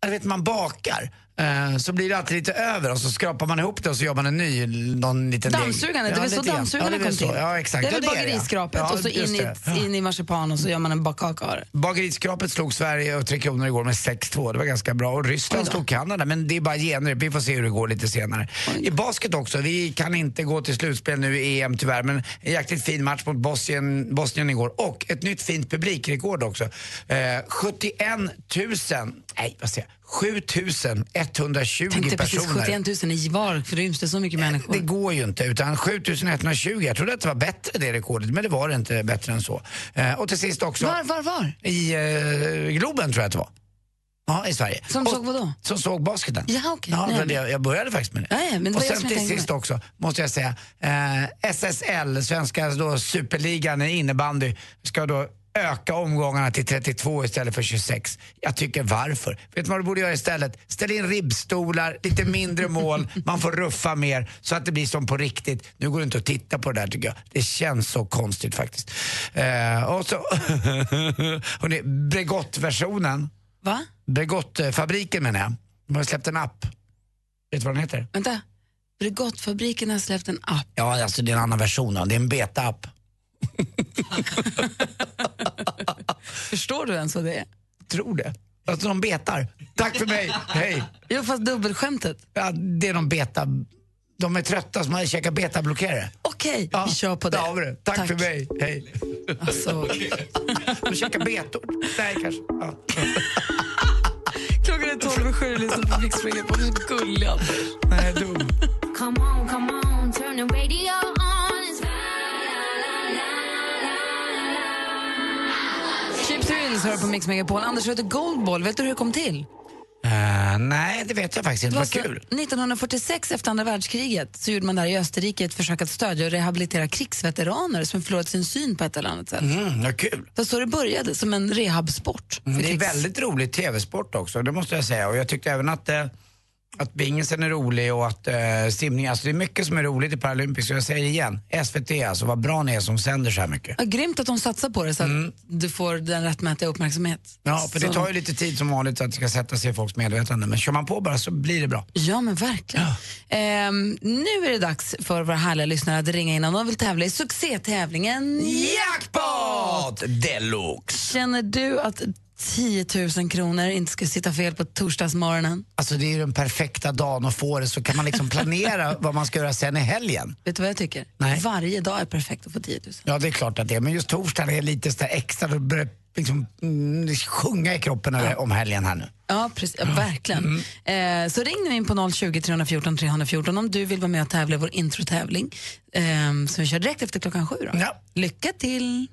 [SPEAKER 3] jag vet man bakar. eh, Så blir det alltid lite över och så skrapar man ihop det och så gör man en ny, någon liten deg.
[SPEAKER 2] Dammsugaren, det var så
[SPEAKER 3] lite grann.
[SPEAKER 2] dammsugaren
[SPEAKER 3] ja, det är
[SPEAKER 2] kom
[SPEAKER 3] så.
[SPEAKER 2] till.
[SPEAKER 3] Ja, exakt.
[SPEAKER 2] Det är väl
[SPEAKER 3] ja, det
[SPEAKER 2] bageriskrapet
[SPEAKER 3] ja.
[SPEAKER 2] och så
[SPEAKER 3] Ja,
[SPEAKER 2] in
[SPEAKER 3] just
[SPEAKER 2] i,
[SPEAKER 3] det. Ja.
[SPEAKER 2] in i marsipan och så gör man en bakkaka av det.
[SPEAKER 3] Bageriskrapet slog Sverige och Tre Kronor igår med 6-2. Det var ganska bra. Och Ryssland slog Kanada, men det är bara genrep. Vi får se hur det går lite senare. I basket också. Vi kan inte gå till slutspel nu i EM tyvärr, men en jäkligt fin match mot Bosnien, Bosnien igår. Och ett nytt fint publikrekord också. Eh, 71 000, nej vad säger jag, 7 120
[SPEAKER 2] Tänkte precis
[SPEAKER 3] personer.
[SPEAKER 2] 71 000 i var, ryms det så mycket människor?
[SPEAKER 3] Det går ju inte, utan 7120. Jag trodde att det var bättre det rekordet, men det var det inte bättre än så. Eh, och till sist också...
[SPEAKER 2] Var, var, var?
[SPEAKER 3] I eh, Globen tror jag att det var. Ja, i Sverige.
[SPEAKER 2] Som såg vadå?
[SPEAKER 3] Som såg basketen.
[SPEAKER 2] Ja, okej.
[SPEAKER 3] Ja,
[SPEAKER 2] Nej,
[SPEAKER 3] men
[SPEAKER 2] men-
[SPEAKER 3] jag, jag började faktiskt med det.
[SPEAKER 2] Ja, ja, men det var
[SPEAKER 3] och
[SPEAKER 2] jag
[SPEAKER 3] sen
[SPEAKER 2] som jag
[SPEAKER 3] till
[SPEAKER 2] tänkte
[SPEAKER 3] sist
[SPEAKER 2] med.
[SPEAKER 3] också, måste jag säga, eh, SSL, svenska då, superligan i innebandy, ska då öka omgångarna till 32 istället för 26. Jag tycker varför? Vet du vad du borde göra istället? Ställ in ribbstolar, lite mindre mål, man får ruffa mer så att det blir som på riktigt. Nu går det inte att titta på det där tycker jag. Det känns så konstigt faktiskt. Eh, och så, hörni, Bregottversionen.
[SPEAKER 2] Va?
[SPEAKER 3] Bregottfabriken menar jag. De har släppt en app. Vet du vad den heter?
[SPEAKER 2] Vänta. Bregottfabriken har släppt en app.
[SPEAKER 3] Ja, alltså det är en annan version av det. är en beta-app.
[SPEAKER 2] Förstår du ens vad det är?
[SPEAKER 3] Tror det. Alltså de betar. Tack för mig, hej.
[SPEAKER 2] Jo, fast dubbelskämtet.
[SPEAKER 3] Ja, det är de beta... De är trötta som har käkat betablockerare.
[SPEAKER 2] Okej, vi kör på det.
[SPEAKER 3] Där har vi det. Tack, för mig, hej.
[SPEAKER 2] Alltså.
[SPEAKER 3] de käkar betor. Nej, kanske. Ja.
[SPEAKER 2] Klockan är tolv och sju, lyssna på Mix Megapol. Du är gullig, Anders.
[SPEAKER 3] Nej, dum.
[SPEAKER 7] Come on, come on, turn the radio on. It's
[SPEAKER 2] Chips Wills hör på Mix Megapol. Anders, vet du Goldball? Vet du hur det kom till?
[SPEAKER 3] Eh, nej, det vet jag faktiskt inte. Vad
[SPEAKER 2] så-
[SPEAKER 3] kul.
[SPEAKER 2] 1946, efter andra världskriget, så gjorde man där i Österrike ett försök att stödja och rehabilitera krigsveteraner som förlorat sin syn på ett eller annat sätt.
[SPEAKER 3] Mm, vad kul.
[SPEAKER 2] Det var så det började, som en rehabsport. för
[SPEAKER 3] Mm, Det är
[SPEAKER 2] krigs-
[SPEAKER 3] väldigt rolig tv-sport också, det måste jag säga. Och jag tyckte även att, eh, att bingisen är rolig och att eh, simning, alltså det är mycket som är roligt i Paralympics. Och jag säger det igen, SVT alltså, vad bra ni är som sänder så här mycket.
[SPEAKER 2] Ja, grymt att de satsar på det så att du får den rättmätiga uppmärksamhet.
[SPEAKER 3] Mm. Ja, för det
[SPEAKER 2] Så-
[SPEAKER 3] tar ju lite tid som vanligt så att det ska sätta sig i folks medvetande. Men kör man på bara så blir det bra.
[SPEAKER 2] Ja, men verkligen. Ehm, nu är det dags för våra härliga lyssnare att ringa in om de vill tävla i succétävlingen
[SPEAKER 3] Jackpot deluxe!
[SPEAKER 2] Känner du att 10 000 kronor inte ska sitta fel på torsdagsmorgonen?
[SPEAKER 3] Alltså det är ju den perfekta dagen att få det så kan man liksom planera vad man ska göra sen i helgen.
[SPEAKER 2] Vet du vad jag tycker?
[SPEAKER 3] Nej.
[SPEAKER 2] Varje dag är perfekt att få 10 000.
[SPEAKER 3] Ja, det är klart att det är. Men just torsdagen är lite så där extra, då börjar det liksom, mm, sjunga i kroppen över- om helgen här nu.
[SPEAKER 2] Ja, precis, ja, verkligen. Eh, så ring nu in på 020 314 314 om du vill vara med och tävla i vår introtävling eh, som vi kör direkt efter klockan sju. Då. Lycka till!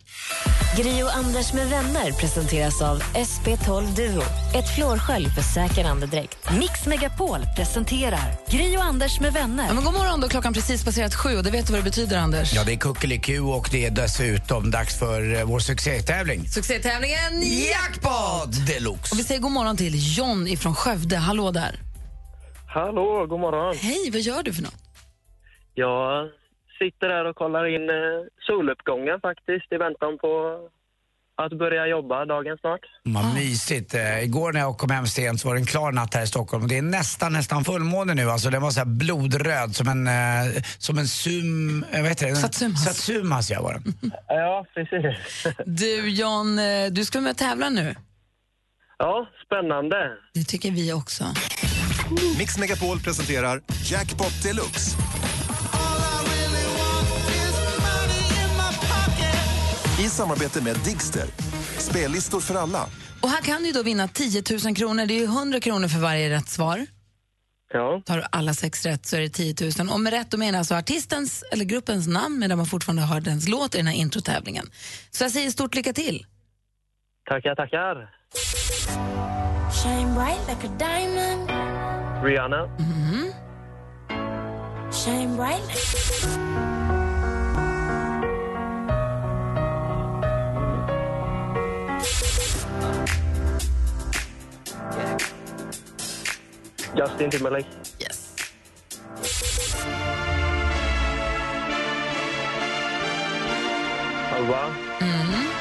[SPEAKER 10] Gri och Anders med vänner presenteras av SP12 Duo. Ett flårskölj för säker andedräkt.
[SPEAKER 15] Mix Megapol presenterar Gri och Anders med vänner.
[SPEAKER 2] Ja, men god morgon, då klockan precis passerat sju och det vet du vad det betyder, Anders.
[SPEAKER 3] Ja, det är kuckeliku och det är dessutom dags för eh, vår succétävling.
[SPEAKER 2] Succétävlingen Jackpot!
[SPEAKER 3] Deluxe.
[SPEAKER 2] Och vi säger god morgon till John ifrån Skövde. Hallå där.
[SPEAKER 7] Hallå, god morgon.
[SPEAKER 2] Hej, vad gör du för något?
[SPEAKER 7] Jag sitter här och kollar in eh, soluppgången faktiskt i väntan på att börja jobba dagen snart.
[SPEAKER 3] Vad mysigt. Eh, igår när jag kom hem sent så var det en klar natt här i Stockholm. Det är nästan, nästan fullmåne nu. Alltså den var så här blodröd som en, eh, som en sum... eh, Vad heter det? Satsumas. Satsumas, ja var den.
[SPEAKER 7] Ja, precis.
[SPEAKER 2] Du John, eh, du ska vara med och tävla nu.
[SPEAKER 7] Ja, spännande.
[SPEAKER 2] Det tycker vi också.
[SPEAKER 9] Mix Megapol presenterar Jackpot Deluxe. I samarbete med Digster. Spellistor för alla.
[SPEAKER 2] Och här kan du då vinna 10 000 kronor. Det är ju 100 kronor för varje rätt svar.
[SPEAKER 7] Ja.
[SPEAKER 2] Tar du alla sex rätt så är det 10 000. Och med rätt då menar jag alltså artistens eller gruppens namn medan man fortfarande hör dens låt i den här introtävlingen. Så jag säger stort lycka till.
[SPEAKER 7] Tackar, tackar.
[SPEAKER 16] Shine bright like a diamond. Mm-hmm.
[SPEAKER 7] Rihanna.
[SPEAKER 16] Shine bright.
[SPEAKER 7] Justin Timberlake.
[SPEAKER 2] Yes.
[SPEAKER 7] Alva.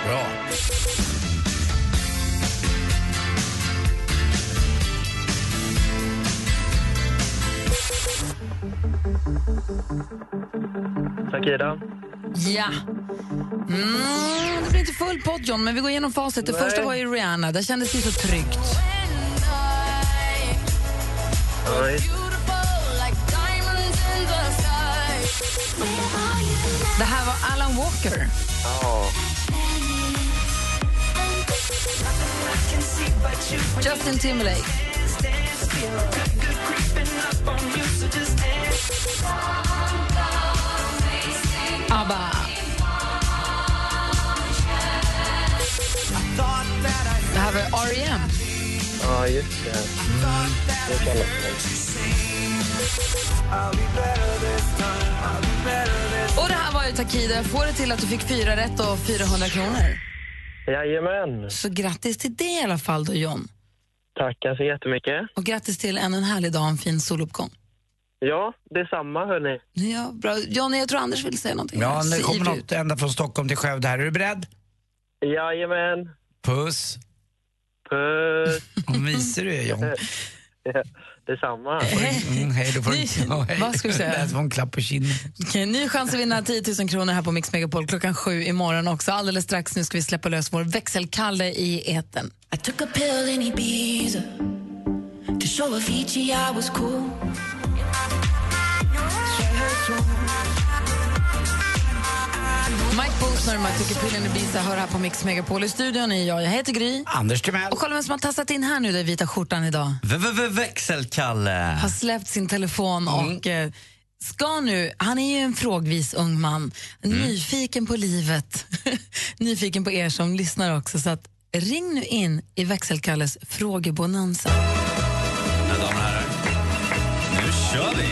[SPEAKER 3] Bra.
[SPEAKER 7] Shakira.
[SPEAKER 2] Ja. Mm, det blir inte full pott John, men vi går igenom facit. Det
[SPEAKER 7] Nej.
[SPEAKER 2] första var ju Rihanna. Där kändes det så tryggt.
[SPEAKER 7] Oj.
[SPEAKER 2] Det här var Alan Walker.
[SPEAKER 7] Ja.
[SPEAKER 2] Justin Timberlake. ABBA. Det här var R.E.M.
[SPEAKER 7] Ja, just det. Det kallas
[SPEAKER 2] Och det här var ju Takida. Jag får det till att du fick fyra rätt och 400 kronor.
[SPEAKER 7] det. Jajamän.
[SPEAKER 2] Så grattis till det i alla fall då, John.
[SPEAKER 7] Tackar så jättemycket.
[SPEAKER 2] Och grattis till ännu en härlig dag och en fin soluppgång.
[SPEAKER 7] Ja, detsamma hörni.
[SPEAKER 2] Ja, bra. Johnny, jag tror Anders vill säga någonting.
[SPEAKER 3] Ja,
[SPEAKER 2] Han
[SPEAKER 3] nu
[SPEAKER 2] ser
[SPEAKER 3] kommer
[SPEAKER 2] ivrig ut.
[SPEAKER 3] något ända från Stockholm till Skövde här. Är du beredd?
[SPEAKER 7] Jajamän.
[SPEAKER 3] Puss.
[SPEAKER 7] Puss.
[SPEAKER 3] Vad mysig du är, John.
[SPEAKER 7] Ja, detsamma.
[SPEAKER 3] Mm, hej, då får du... Ja, hej.
[SPEAKER 2] Vad ska du säga?
[SPEAKER 3] Där får en klapp på kinden.
[SPEAKER 2] Okej, ny chans att vinna 10 000 kronor här på Mix Megapol klockan sju imorgon också. Alldeles strax nu ska vi släppa lös vår växelkalle i eten.
[SPEAKER 16] I took a pill in Ibiza to show Avicii I was cool.
[SPEAKER 2] Mike Bosner och Mike Pillen Ibiza hör här på Mix Megapol. I studion är jag, jag heter Gry.
[SPEAKER 3] Anders Timell.
[SPEAKER 2] Och kolla vem som har tassat in här nu, den vita skjortan idag.
[SPEAKER 14] V- v- v- Växelkalle!
[SPEAKER 2] Har släppt sin telefon och eh, ska nu, han är ju en frågvis ung man, nyfiken på livet, nyfiken på er som lyssnar också. Så att ring nu in i växelkalles frågebonanza.
[SPEAKER 14] Mina damer och herrar, nu kör vi!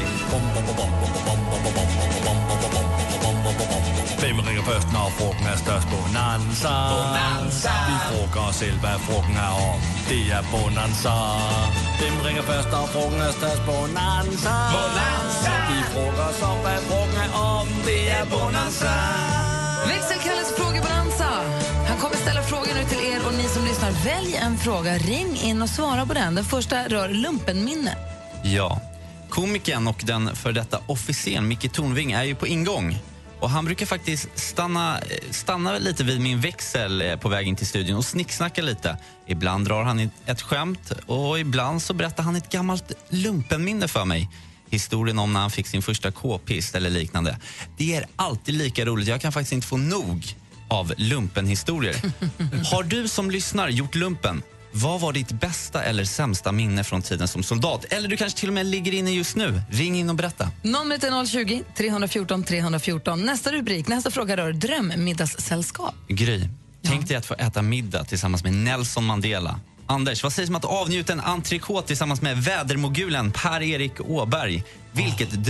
[SPEAKER 17] Hvem ringer først, når frugten er størst? Bonanza. Bonanza. Vi frugger os selv, hvad frugten er om. Det er Bonanza. Hvem ringer først, når frugten er størst? Bonanza. Bonanza. Vi frugger os om, hvad frugten er om. Det er Bonanza.
[SPEAKER 2] Växelkalles frågebonanza. Han kommer ställa frågor nu till er och ni som lyssnar. Välj en fråga, ring in och svara på den. Den första rör lumpenminne.
[SPEAKER 14] Ja. Komikern och den för detta officeren Micke Tornving är ju på ingång. Och Han brukar faktiskt stanna, eh, stanna väl lite vid min växel eh, på vägen till studion och snicksnacka lite. Ibland drar han ett- ett skämt och ibland så berättar han ett gammalt lumpenminne för mig. Historien om när han fick sin första k-pist eller liknande. Det är alltid lika roligt. Jag kan faktiskt inte få nog av lumpenhistorier. Har du som lyssnar gjort lumpen? Vad var ditt bästa eller sämsta minne från tiden som soldat? Eller du kanske till och med ligger inne just nu? Ring in och berätta.
[SPEAKER 2] Numret är 020 314 314. Nästa rubrik, nästa fråga rör drömmiddagssällskap.
[SPEAKER 14] Gry, tänk dig att få äta middag tillsammans med Nelson Mandela. Anders, vad sägs om att avnjuta en entrecote tillsammans med vädermogulen Per-Erik Åberg? Vilket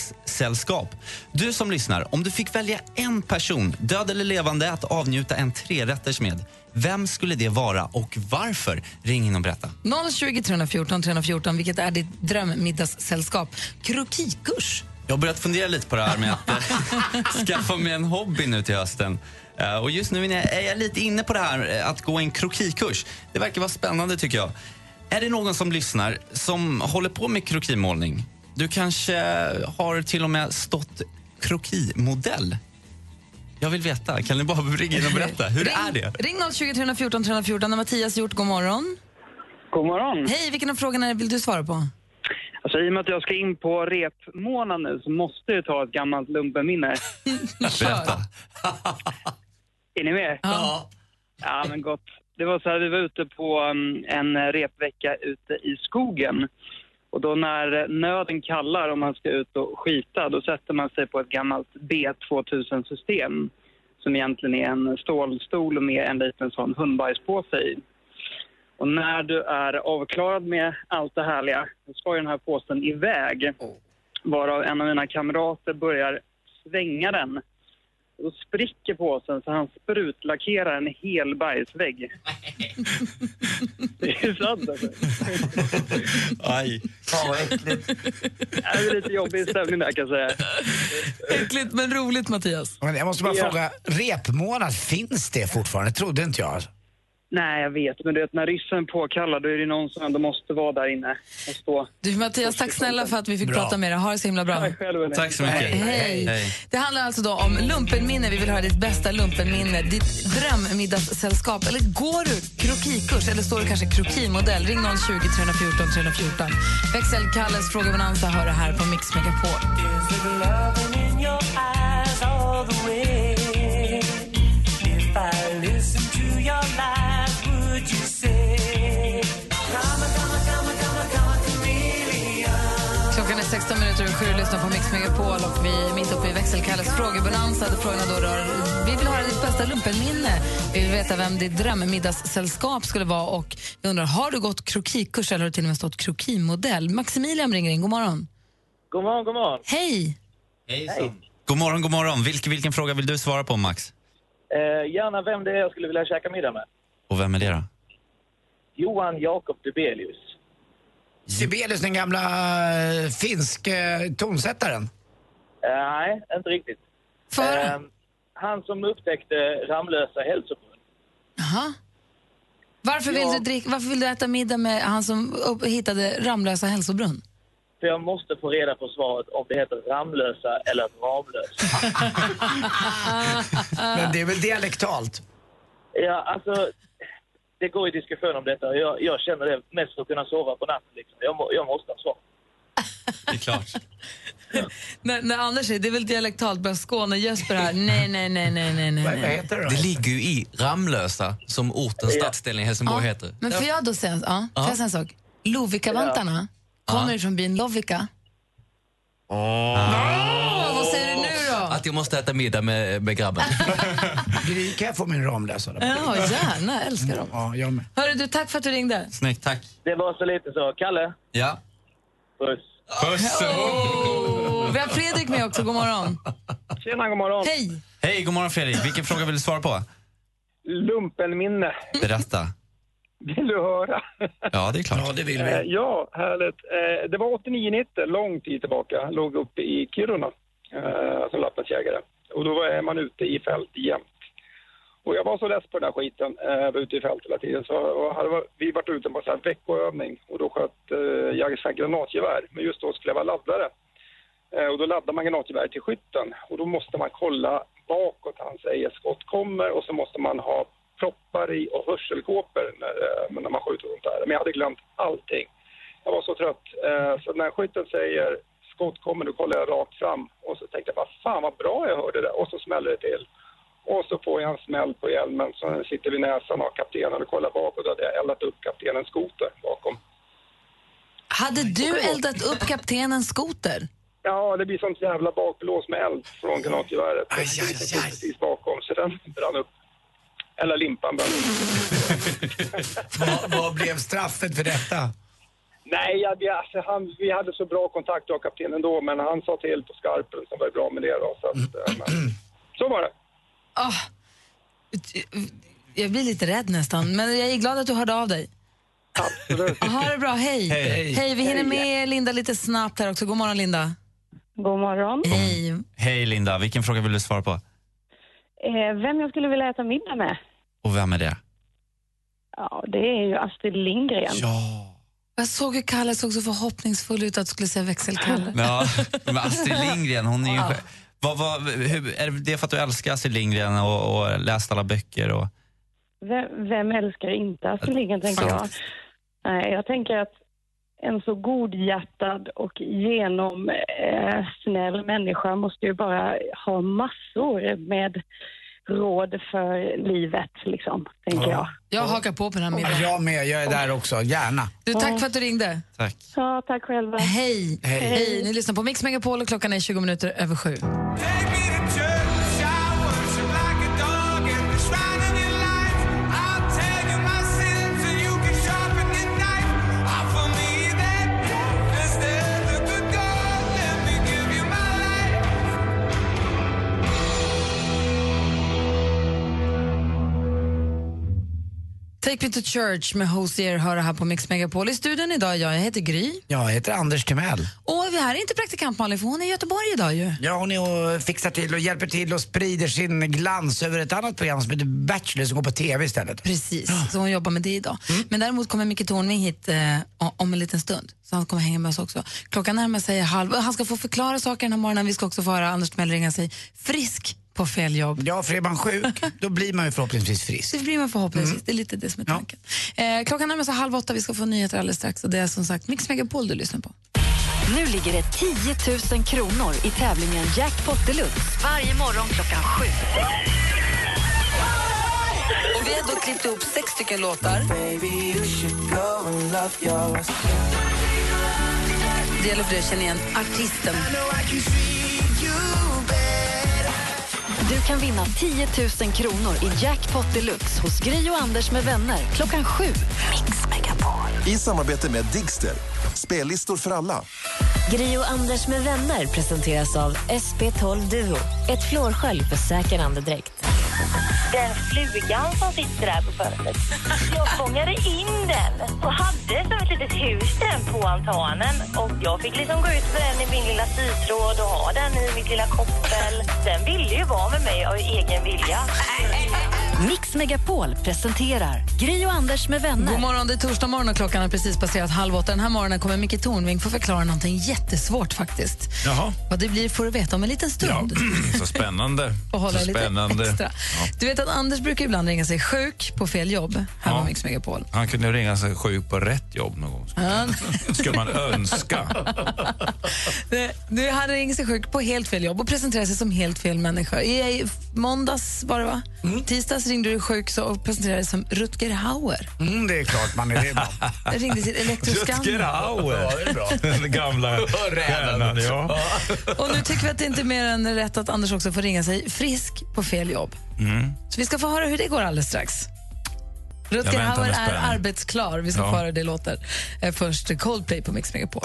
[SPEAKER 14] drömmiddagssällskap! Du som lyssnar, om du fick välja en person, död eller levande, att avnjuta en trerätters med, vem skulle det vara och varför? Ring in och berätta.
[SPEAKER 2] 020 314 314, vilket är ditt drömmiddagssällskap? Krokikurs.
[SPEAKER 14] Jag har börjat fundera lite på det här med att eh, skaffa mig en hobby nu till hösten. Eh, Och just nu är jag- är jag lite inne på det här eh, att gå en krokikurs. Det verkar vara spännande tycker jag. Är det någon som lyssnar som håller på med krokimålning? Du kanske har till och med stått krokimodell? Jag vill veta. Kan ni bara ringa in och berätta? Hur är det?
[SPEAKER 2] Ring 020 314 314 när Mattias gjort god morgon.
[SPEAKER 18] God morgon.
[SPEAKER 2] Hej, vilken av frågorna är det vill du svara på?
[SPEAKER 18] Alltså, I och med att jag ska in på repmånaden nu så måste jag ta ett gammalt lumpenminne.
[SPEAKER 14] Berätta.
[SPEAKER 18] är ni med?
[SPEAKER 2] Ja.
[SPEAKER 18] Ja, men gott. Det var så här, vi var ute på um, en repvecka ute i skogen. Och då när nöden kallar om man ska ut och skita, då sätter man sig på ett gammalt B2000-system som egentligen är en stålstol med en liten sån hundbajspåse i. Och när du är avklarad med allt det härliga, då ska ju den här påsen iväg. Varav en av mina kamrater börjar svänga den. Och då spricker påsen så han sprutlackerar en hel bajsvägg. Det är sant alltså.
[SPEAKER 14] Aj.
[SPEAKER 18] Fan vad äckligt. Det är lite jobbig stämning där kan jag säga.
[SPEAKER 2] Äckligt men roligt Mattias.
[SPEAKER 3] Men jag måste bara
[SPEAKER 18] Ja.
[SPEAKER 3] fråga, repmånad, finns det fortfarande? Trodde inte jag.
[SPEAKER 18] Nej, jag vet. Men du vet, när ryssen påkallar då är det någon som ändå måste vara där inne och stå.
[SPEAKER 2] Du Mattias, tack snälla för att vi fick
[SPEAKER 18] Bra.
[SPEAKER 2] prata med dig. Ha det så himla bra.
[SPEAKER 18] Tack själv, hörni.
[SPEAKER 14] Tack så mycket.
[SPEAKER 2] Hej.
[SPEAKER 14] Hej.
[SPEAKER 2] Det handlar alltså då om lumpenminne. Vi vill höra ditt bästa lumpenminne, ditt drömmiddagssällskap. Eller går du krokikurs? Eller står du kanske krokimodell? Ring 020 314 314. Växelkalles Fråga Bonanza hör du här på Mix Megapol. Klockan är 16 minuter och sju lyssnar på Mix Megapol och vi är mitt uppe i växelkalles frågebonanza där frågorna då rör... Vi vill höra ditt bästa lumpenminne. Vi vill veta vem ditt drömmiddagssällskap skulle vara och vi undrar, har du gått krokikurs eller har du till och med stått krokimodell? Maximilian ringer in, god morgon.
[SPEAKER 16] God morgon, god morgon.
[SPEAKER 2] Hej!
[SPEAKER 14] God morgon, god morgon. Vilken, vilken fråga vill du svara på, Max?
[SPEAKER 16] Eh, gärna vem det är jag skulle vilja käka middag med.
[SPEAKER 14] Och vem är det då?
[SPEAKER 16] Johan Jakob Dubelius.
[SPEAKER 3] Sibelius, den gamla eh, finsk eh, tonsättaren.
[SPEAKER 16] Eh, nej, inte riktigt. Eh, han som upptäckte Ramlösa hälsoförbund.
[SPEAKER 2] Jaha. Varför, vill
[SPEAKER 16] Ja.
[SPEAKER 2] du drick, varför vill du äta middag med han som upp, hittade Ramlösa hälsobrunn?
[SPEAKER 16] För jag måste få reda på svaret om det heter Ramlösa eller Ramlösa.
[SPEAKER 3] Men det är väl dialektalt?
[SPEAKER 16] Ja, alltså, det går ju diskussion om detta. Jag, jag känner det mest för att kunna sova på natten. Liksom. Jag, må, jag måste ha svar.
[SPEAKER 14] Det är klart.
[SPEAKER 2] När, när Anders säger det är väl dialektalt, bara Skåne, Jesper här. Nej, nej, nej, nej, nej, nej. nej.
[SPEAKER 19] Det ligger ju i Ramlösa, som ortens stadsdelning i Helsingborg heter.
[SPEAKER 2] Men får jag då säga, ja, får jag säga en sak? Lovikavantarna kommer från byn Lovika.
[SPEAKER 19] Åh,
[SPEAKER 2] vad säger du nu då?
[SPEAKER 19] Att jag måste äta middag med, med grabben.
[SPEAKER 3] Gry, kan jag få min Ramlösa? då?
[SPEAKER 2] Ja, gärna. Älskar dem.
[SPEAKER 3] Ja, jag med.
[SPEAKER 2] Hörru du, tack för att du ringde.
[SPEAKER 14] Snyggt, tack.
[SPEAKER 16] Det var så lite så. Kalle?
[SPEAKER 14] Ja?
[SPEAKER 16] Puss.
[SPEAKER 14] Puss!
[SPEAKER 2] Och vi har Fredrik med också, god morgon.
[SPEAKER 16] Tjena, god morgon.
[SPEAKER 2] Hej!
[SPEAKER 14] Hej, god morgon Fredrik. Vilken fråga vill du svara på?
[SPEAKER 18] Lumpenminne.
[SPEAKER 14] Berätta.
[SPEAKER 18] Vill du höra?
[SPEAKER 14] Ja, det är klart. Ja, det
[SPEAKER 18] Eh, ja, härligt. Eh, det var 89-90, lång tid tillbaka. Låg uppe i Kiruna eh, som lappasjägare. Och då var man ute i fält jämt. Och jag var så less på den här skiten, eh, var ute i fält hela tiden. Så och hade var- vi varit ute på så här veckoövning och då sköt eh, jag så här granatgevär. Men just då skulle jag vara laddare. Eh, och då laddar man granatgevär till skytten. Och då måste man kolla bakåt hans skott kommer och så måste man ha proppar i och hörselkåpor när, eh, när man skjuter och sånt där. Men jag hade glömt allting. Jag var så trött. Eh, så när skytten säger skott kommer, då kollar jag rakt fram. Och så tänkte jag, vad fan vad bra jag hörde det. Och så smäller det till.
[SPEAKER 6] Och så får jag en smäll på hjälmen, så sitter vid näsan av kaptenen och kollar bakåt. Då hade jag eldat upp kaptenens skoter bakom.
[SPEAKER 2] Hade du eldat upp kaptenens skoter?
[SPEAKER 6] Ja, det blir sånt jävla bakblås med eld från granatgeväret. Den sitter precis bakom, så den brann upp. Eller limpan brann upp.
[SPEAKER 3] vad, vad blev straffet för detta?
[SPEAKER 6] Nej, jag, jag- alltså, han, vi hade så bra kontakt jag och kaptenen då, men han sa till på skarpen, så var det bra med det då. Så, att, eh, men, så var det.
[SPEAKER 2] Ah, jag blir lite rädd nästan, men jag är glad att du hörde av dig. Absolut. Ha det bra, hej.
[SPEAKER 14] Hej.
[SPEAKER 2] vi hinner med Linda lite snabbt här också. God morgon Linda.
[SPEAKER 13] God morgon.
[SPEAKER 2] Hej.
[SPEAKER 14] Hej Linda, vilken fråga vill du svara på?
[SPEAKER 13] Eh, vem jag skulle vilja äta middag med?
[SPEAKER 14] Och vem är det?
[SPEAKER 13] Ja, det är ju Astrid Lindgren.
[SPEAKER 2] Jag såg hur Kalle såg så förhoppningsfull ut att du skulle säga växelkalle.
[SPEAKER 14] Ja, men Astrid Lindgren, hon är ju...
[SPEAKER 2] Wow.
[SPEAKER 14] Vad, vad, hur, är det för att du älskar Astrid Lindgren och, och läst alla böcker? Och,
[SPEAKER 13] Vem, vem älskar inte Astrid Lindgren, tänker jag. Nej, jag tänker att en så godhjärtad och genomsnäll eh, snäll människa måste ju bara ha massor med råd för livet, liksom, tänker jag.
[SPEAKER 2] Jag hakar på på den här
[SPEAKER 3] Ja,
[SPEAKER 2] middagen.
[SPEAKER 3] Jag med, jag är där också. Gärna.
[SPEAKER 2] Du, tack för att du ringde.
[SPEAKER 14] Tack.
[SPEAKER 13] Ja, tack själva.
[SPEAKER 2] Hej.
[SPEAKER 3] Hej.
[SPEAKER 2] Hej. Ni lyssnar på Mix Megapol och klockan är 20 minuter över sju. Take me to church med Hosier hör det här på Mix Megapol. I studion idag, jag, jag heter Gry.
[SPEAKER 3] Jag heter Anders Timell.
[SPEAKER 2] Och vi här är inte praktikant Malin, för hon är i Göteborg idag ju.
[SPEAKER 3] Ja, hon är och fixar till och hjälper till och sprider sin glans över ett annat program som heter Bachelor som går på TV istället.
[SPEAKER 2] Precis, så hon jobbar med det idag. Men däremot kommer Micke Tornving hit eh, o- om en liten stund, så han kommer hänga med oss också. Klockan närmar sig halv, han ska få förklara saker den här morgonen. Vi ska också få höra Anders Mell ringa sig frisk på fel jobb.
[SPEAKER 3] Ja, för är man sjuk, då blir man ju förhoppningsvis frisk.
[SPEAKER 2] Det blir man förhoppningsvis, det är lite det som är tanken. Eh, klockan närmar sig halv åtta, vi ska få nyheter alldeles strax och det är som sagt Mix Megapol du lyssnar på.
[SPEAKER 1] Nu ligger det 10 000 kronor i tävlingen Jackpot Deluxe varje morgon klockan sju.
[SPEAKER 7] Och vi har då klippt ihop sex stycken låtar.
[SPEAKER 2] Det gäller för dig att känna igen artisten.
[SPEAKER 1] Du kan vinna 10 000 kronor i Jackpot Deluxe hos Gry och Anders med vänner klockan sju. Mix Megapol.
[SPEAKER 9] I samarbete med Digster. Spellistor för alla.
[SPEAKER 10] Gri och Anders med vänner presenteras av SP12 Duo. Ett flårskölj för säker andedräkt.
[SPEAKER 20] Den flugan som sitter där på fönstret. Jag fångade in den och hade som ett litet hus den på altanen. Och jag fick liksom gå ut med den i min lilla sytråd och ha den i mitt lilla koppel. Den ville ju vara med mig av egen vilja.
[SPEAKER 1] Mix Megapol presenterar Gry och Anders med vänner.
[SPEAKER 2] God morgon, det är torsdag morgon och klockan har precis passerat halv åtta. Den här morgonen kommer Micke Tornving få förklara någonting jättesvårt faktiskt.
[SPEAKER 17] Jaha.
[SPEAKER 2] Vad det blir får du veta om en liten stund.
[SPEAKER 17] Så spännande.
[SPEAKER 2] Och hålla
[SPEAKER 17] så
[SPEAKER 2] lite
[SPEAKER 17] spännande.
[SPEAKER 2] extra. Du vet att Anders brukar ibland ringa sig sjuk på fel jobb. Här var Mix Megapol.
[SPEAKER 17] Han kunde ju ringa sig sjuk på rätt jobb någon gång.
[SPEAKER 2] Han,
[SPEAKER 17] Skulle man önska.
[SPEAKER 2] nu, han ringer sig sjuk på helt fel jobb och presenterar sig som helt fel människa. I, i måndags var det va? Tisdags ringde du sjuk så, och presenterade dig som Rutger Hauer.
[SPEAKER 3] Mm, det är klart man är det. ibland.
[SPEAKER 2] Jag ringde till Elektroskan.
[SPEAKER 17] Rutger
[SPEAKER 3] Ja, det är bra.
[SPEAKER 17] Hauer. Den gamla stjärnan. Ja.
[SPEAKER 2] Och nu tycker vi att det inte är mer än rätt att Anders också får ringa sig frisk på fel jobb.
[SPEAKER 17] Mm.
[SPEAKER 2] Så vi ska få höra hur det går alldeles strax.
[SPEAKER 17] Jag
[SPEAKER 2] Rutger
[SPEAKER 17] väntar
[SPEAKER 2] Hauer
[SPEAKER 17] med
[SPEAKER 2] är
[SPEAKER 17] spänning.
[SPEAKER 2] arbetsklar. Vi ska
[SPEAKER 17] Ja.
[SPEAKER 2] få höra hur det låter. Eh, Först Coldplay på Mix Megapol.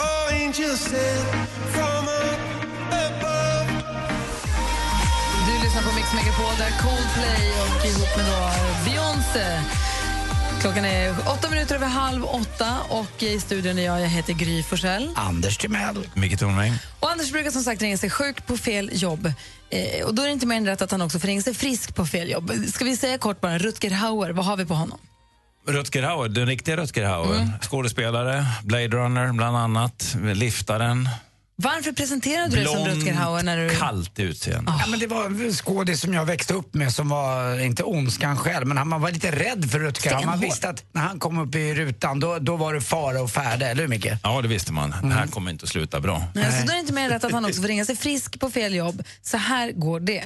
[SPEAKER 2] Du lyssnar på Mix Megapol, där Coldplay och ihop med då Beyoncé. Klockan är åtta minuter över halv åtta och i studion är jag, jag heter Gry Forssell.
[SPEAKER 3] Anders Timell.
[SPEAKER 17] Micke Tornving.
[SPEAKER 2] Och Anders brukar som sagt ringa sig sjuk på fel jobb. Eh, och då är det inte mer än rätt att han också får ringa sig frisk på fel jobb. Ska vi säga kort bara, Rutger Hauer, vad har vi på honom?
[SPEAKER 17] Rutger Hauer, den riktiga Rutger Hauer.
[SPEAKER 2] Mm.
[SPEAKER 17] Skådespelare, Blade Runner bland annat, Liftaren.
[SPEAKER 2] Varför presenterade du dig som Rutger Hauer när du...
[SPEAKER 17] kallt utseende.
[SPEAKER 3] Ja, men det var en skådis som jag växte upp med som var, inte ondskan själv, men han man var lite rädd för Rutger. Han- Man
[SPEAKER 17] Stenhård.
[SPEAKER 3] visste att när han kom upp i rutan, då, då var det fara och färde, eller hur Micke?
[SPEAKER 17] Ja, det visste man. Det här kommer inte att sluta bra.
[SPEAKER 2] Nej. Så då är det inte mer än rätt att han också får ringa sig frisk på fel jobb. Så här går det.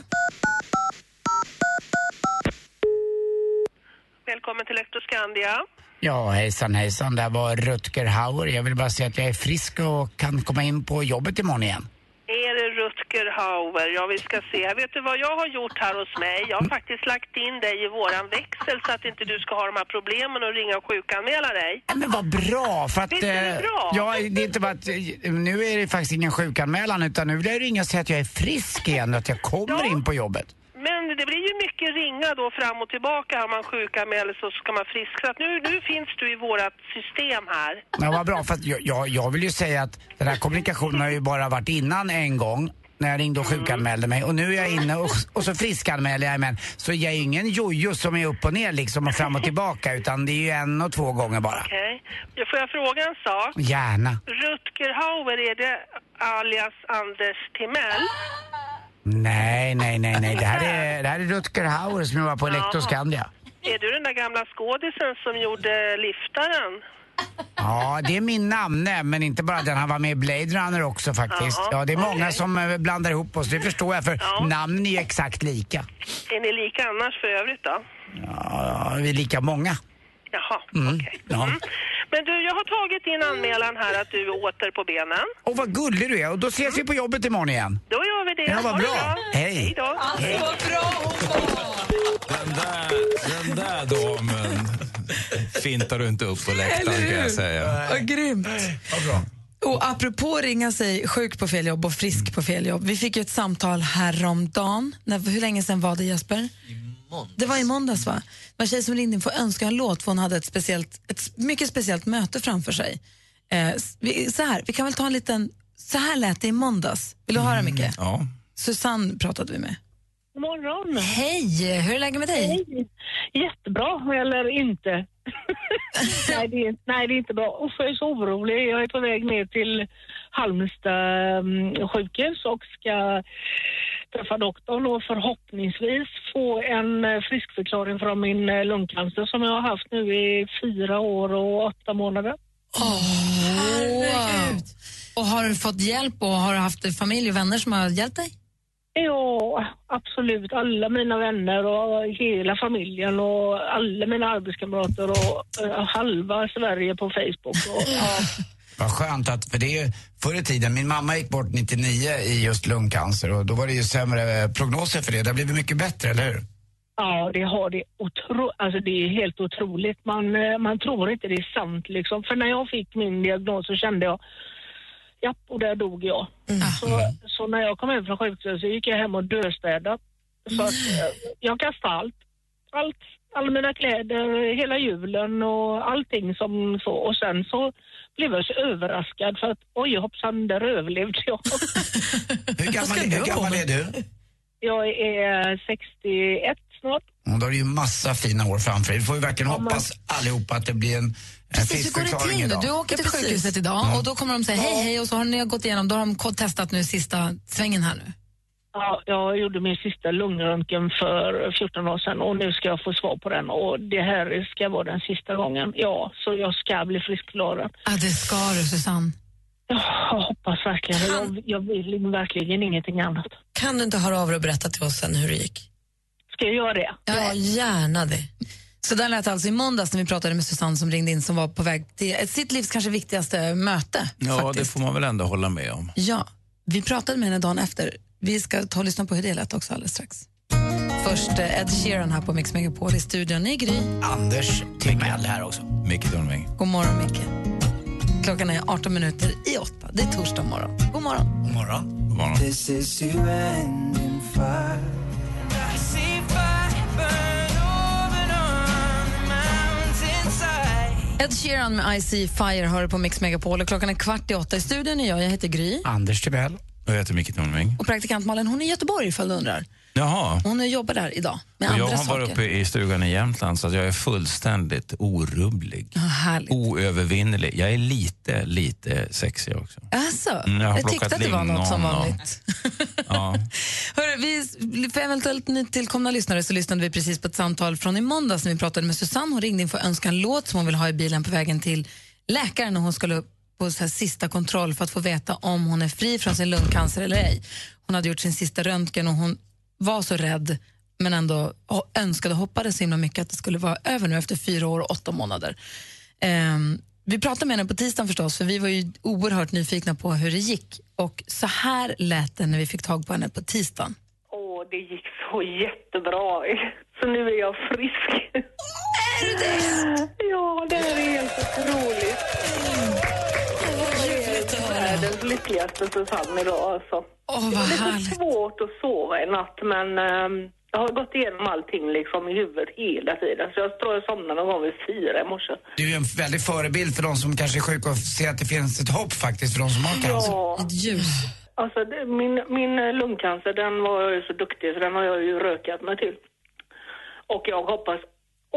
[SPEAKER 21] välkommen till Elektroskandia.
[SPEAKER 3] Ja, hejsan hejsan. Det här var Rutger Hauer. Jag vill bara säga att jag är frisk och kan komma in på jobbet imorgon igen.
[SPEAKER 21] Är det Rutger Hauer? Ja, vi ska se. Vet du vad jag har gjort här hos mig? Jag har faktiskt lagt in dig i våran växel så att inte du ska ha de här problemen och ringa och sjukanmäla dig.
[SPEAKER 3] Ja, Men vad bra! För att,
[SPEAKER 21] Visst är det
[SPEAKER 3] eh,
[SPEAKER 21] bra?
[SPEAKER 3] Ja, det är inte bara att, eh, nu är det faktiskt ingen sjukanmälan utan nu vill jag ringa och säga att jag är frisk igen och att jag kommer in på jobbet.
[SPEAKER 21] Men det blir ju mycket ringa då fram och tillbaka här om man sjukanmäler så ska man frisk. Så att nu, nu finns du i vårat system här.
[SPEAKER 3] Ja, vad bra, för att jag, jag, jag vill ju säga att den här kommunikationen har ju bara varit innan en gång när jag ringde och
[SPEAKER 21] Mm.
[SPEAKER 3] sjukanmälde mig och nu är jag inne och, och så friskanmäler jag mig. Så jag är ju ingen jojo som är upp och ner liksom och fram och tillbaka utan det är ju en och två gånger bara.
[SPEAKER 21] Okej. Får jag fråga en sak?
[SPEAKER 3] Gärna.
[SPEAKER 21] Rutger Hauer, är det alias Anders Timell?
[SPEAKER 3] Nej, nej, nej, nej. Det här är, det här är Rutger Hauer som jobbar på Elektroskandia.
[SPEAKER 21] Är du den där gamla skådisen som gjorde liftaren?
[SPEAKER 3] Ja, det är min namne, men inte bara den. Han var med i Blade Runner också faktiskt. Ja, det är många som eh, blandar ihop oss, det förstår jag för namnen är ju exakt lika.
[SPEAKER 21] Är ni lika annars för övrigt då?
[SPEAKER 3] Ja, vi är lika många.
[SPEAKER 21] Jaha.
[SPEAKER 3] Mm. Ja.
[SPEAKER 21] Men du, jag har tagit din anmälan här att du är åter på benen.
[SPEAKER 3] Och vad gullig du är. Och då ses vi på jobbet imorgon igen.
[SPEAKER 21] Då gör vi det.
[SPEAKER 3] Ja, vad
[SPEAKER 21] Ha det
[SPEAKER 3] bra. Hej.
[SPEAKER 21] då.
[SPEAKER 3] Alltså,
[SPEAKER 21] vad bra
[SPEAKER 17] Den där, den där damen fintar du inte upp på läktaren kan jag säga.
[SPEAKER 2] Vad grymt. Och apropå ringa sig sjuk på fel jobb och frisk på fel jobb. Vi fick ju ett samtal häromdagen. När, hur länge sedan var det Jesper? Det var i måndags va? Det var en tjej som ringde in för att önska en låt för hon hade ett, speciellt, ett mycket speciellt möte framför sig. Eh, s- vi, så här, vi kan väl ta en liten... Så här lät det i måndags. Vill du höra Micke?
[SPEAKER 17] Ja.
[SPEAKER 2] Susanne pratade vi med.
[SPEAKER 4] God morgon!
[SPEAKER 2] Hej! Hur är läget med dig?
[SPEAKER 4] Hej. Jättebra, eller inte. nej, det är, nej, det är inte bra. Usch, jag är så orolig. Jag är på väg ner till Halmstad mm, sjukhus och ska träffa doktorn och förhoppningsvis få en eh, friskförklaring från min eh, lungcancer som jag har haft nu i fyra år och åtta månader.
[SPEAKER 2] Herregud. Och har du fått hjälp och har du haft familj och vänner som har hjälpt dig?
[SPEAKER 4] Ja, absolut. Alla mina vänner och hela familjen och alla mina arbetskamrater och eh, halva Sverige på Facebook. Och, ja.
[SPEAKER 3] Vad skönt att, för det är ju förr i tiden, min mamma gick bort 99 i just lungcancer och då var det ju sämre eh, prognoser för det. Det har blivit mycket bättre, eller hur?
[SPEAKER 4] Ja, det har det. Otro... Alltså, det är helt otroligt. Man, eh, man tror inte det är sant. Liksom. För när jag fick min diagnos så kände jag Japp, och där dog jag. Så, så när jag kom hem från sjukhuset så gick jag hem och döstädade. Så att, eh, jag kastade allt. allt. Alla mina kläder, hela julen och allting som så. Och sen så blev jag så överraskad för att oj hoppsan, där överlevde jag.
[SPEAKER 3] Hur gammal, hur gammal är du?
[SPEAKER 4] Jag är 61 snart.
[SPEAKER 3] Ja, då har du ju massa fina år framför dig. Vi får ju verkligen hoppas allihopa att det blir en, en
[SPEAKER 2] Precis, hur går det
[SPEAKER 3] friskförklaring
[SPEAKER 2] till
[SPEAKER 3] idag.
[SPEAKER 2] nu? Du åker till
[SPEAKER 3] precis.
[SPEAKER 2] sjukhuset idag
[SPEAKER 3] Ja.
[SPEAKER 2] och då kommer de säga hej hej och så har ni gått igenom, då har de ko- testat nu sista svängen här nu.
[SPEAKER 4] Ja, jag gjorde min sista lungröntgen för 14 år sedan och nu ska jag få svar på den och det här ska vara den sista gången. Ja, så jag ska bli friskförklarad.
[SPEAKER 2] Ja, det ska du Susanne.
[SPEAKER 4] Jag hoppas verkligen jag, jag vill verkligen ingenting annat.
[SPEAKER 22] Kan du inte höra av dig och berätta till oss sen hur det gick?
[SPEAKER 4] Ska jag göra det?
[SPEAKER 2] Ja,
[SPEAKER 22] gärna det.
[SPEAKER 2] Så där lät det alltså i måndags när vi pratade med Susanne som ringde in som var på väg till ett sitt livs kanske viktigaste möte.
[SPEAKER 17] Ja, det får man väl ändå hålla med om.
[SPEAKER 2] Ja, vi pratade med henne dagen efter. Vi ska ta och lyssna på hur det lät också alldeles strax. Först eh, Ed Sheeran här på Mix Megapol i studion. Ny Gry.
[SPEAKER 3] Anders Timell här också.
[SPEAKER 17] Micke Tornving.
[SPEAKER 2] God morgon, Micke. Klockan är 18 minuter i åtta. Det är torsdag morgon. God morgon.
[SPEAKER 3] God morgon.
[SPEAKER 17] God morgon.
[SPEAKER 7] This is you and in fire. I see fire burn over on the mountainside.
[SPEAKER 2] Ed Sheeran med I See Fire hör du på Mix Megapol. Och klockan är kvart i åtta. I studion är jag. Jag heter Gry.
[SPEAKER 3] Anders Timell.
[SPEAKER 17] Jag heter Micke Tornving.
[SPEAKER 2] Och praktikant Malin, hon är i Göteborg ifall du undrar.
[SPEAKER 17] Jaha.
[SPEAKER 2] Hon jobbar där idag med
[SPEAKER 17] Och jag
[SPEAKER 2] andra
[SPEAKER 17] har
[SPEAKER 2] saker.
[SPEAKER 17] varit uppe i stugan i Jämtland så att jag är fullständigt orubblig.
[SPEAKER 2] Ja, härligt.
[SPEAKER 17] Oövervinnerlig. Jag är lite, lite sexig också.
[SPEAKER 2] Alltså,
[SPEAKER 17] Mm, jag har
[SPEAKER 2] jag, tyckte
[SPEAKER 17] plockat
[SPEAKER 2] att det var något som
[SPEAKER 17] lingon
[SPEAKER 2] var
[SPEAKER 17] och-
[SPEAKER 2] nytt. Hörru, vi, för eventuellt nytillkomna lyssnare så lyssnade vi precis på ett samtal från i måndags när vi pratade med Susanne. Hon ringde in för att önska en låt som hon vill ha i bilen på vägen till läkaren när hon skulle på så här sista kontroll för att få veta om hon är fri från sin lungcancer eller ej. Hon hade gjort sin sista röntgen och hon var så rädd men ändå ho- önskade och hoppades så himla mycket att det skulle vara över nu efter fyra år och åtta månader. Ehm, vi pratade med henne på tisdagen förstås, för vi var ju oerhört nyfikna på hur det gick. Och så här lät det när vi fick tag på henne på tisdagen.
[SPEAKER 4] Åh, det gick så jättebra. Så nu är jag frisk. Är du det? Ja, det här är helt otroligt. Jag är världens lyckligaste Susanne idag alltså.
[SPEAKER 2] Åh,
[SPEAKER 4] det
[SPEAKER 2] vad
[SPEAKER 4] var lite svårt att sova i natt men ehm, jag har gått igenom allting liksom i huvudet hela tiden. Så jag tror jag somnade någon gång vid fyra i morse.
[SPEAKER 3] Du är ju en väldig förebild för de som kanske är sjuka och ser att det finns ett hopp faktiskt för de som har cancer.
[SPEAKER 4] Ett ljus. Alltså, det, min, min eh, lungcancer, den var jag ju så duktig så den har jag ju rökat mig till. Och jag hoppas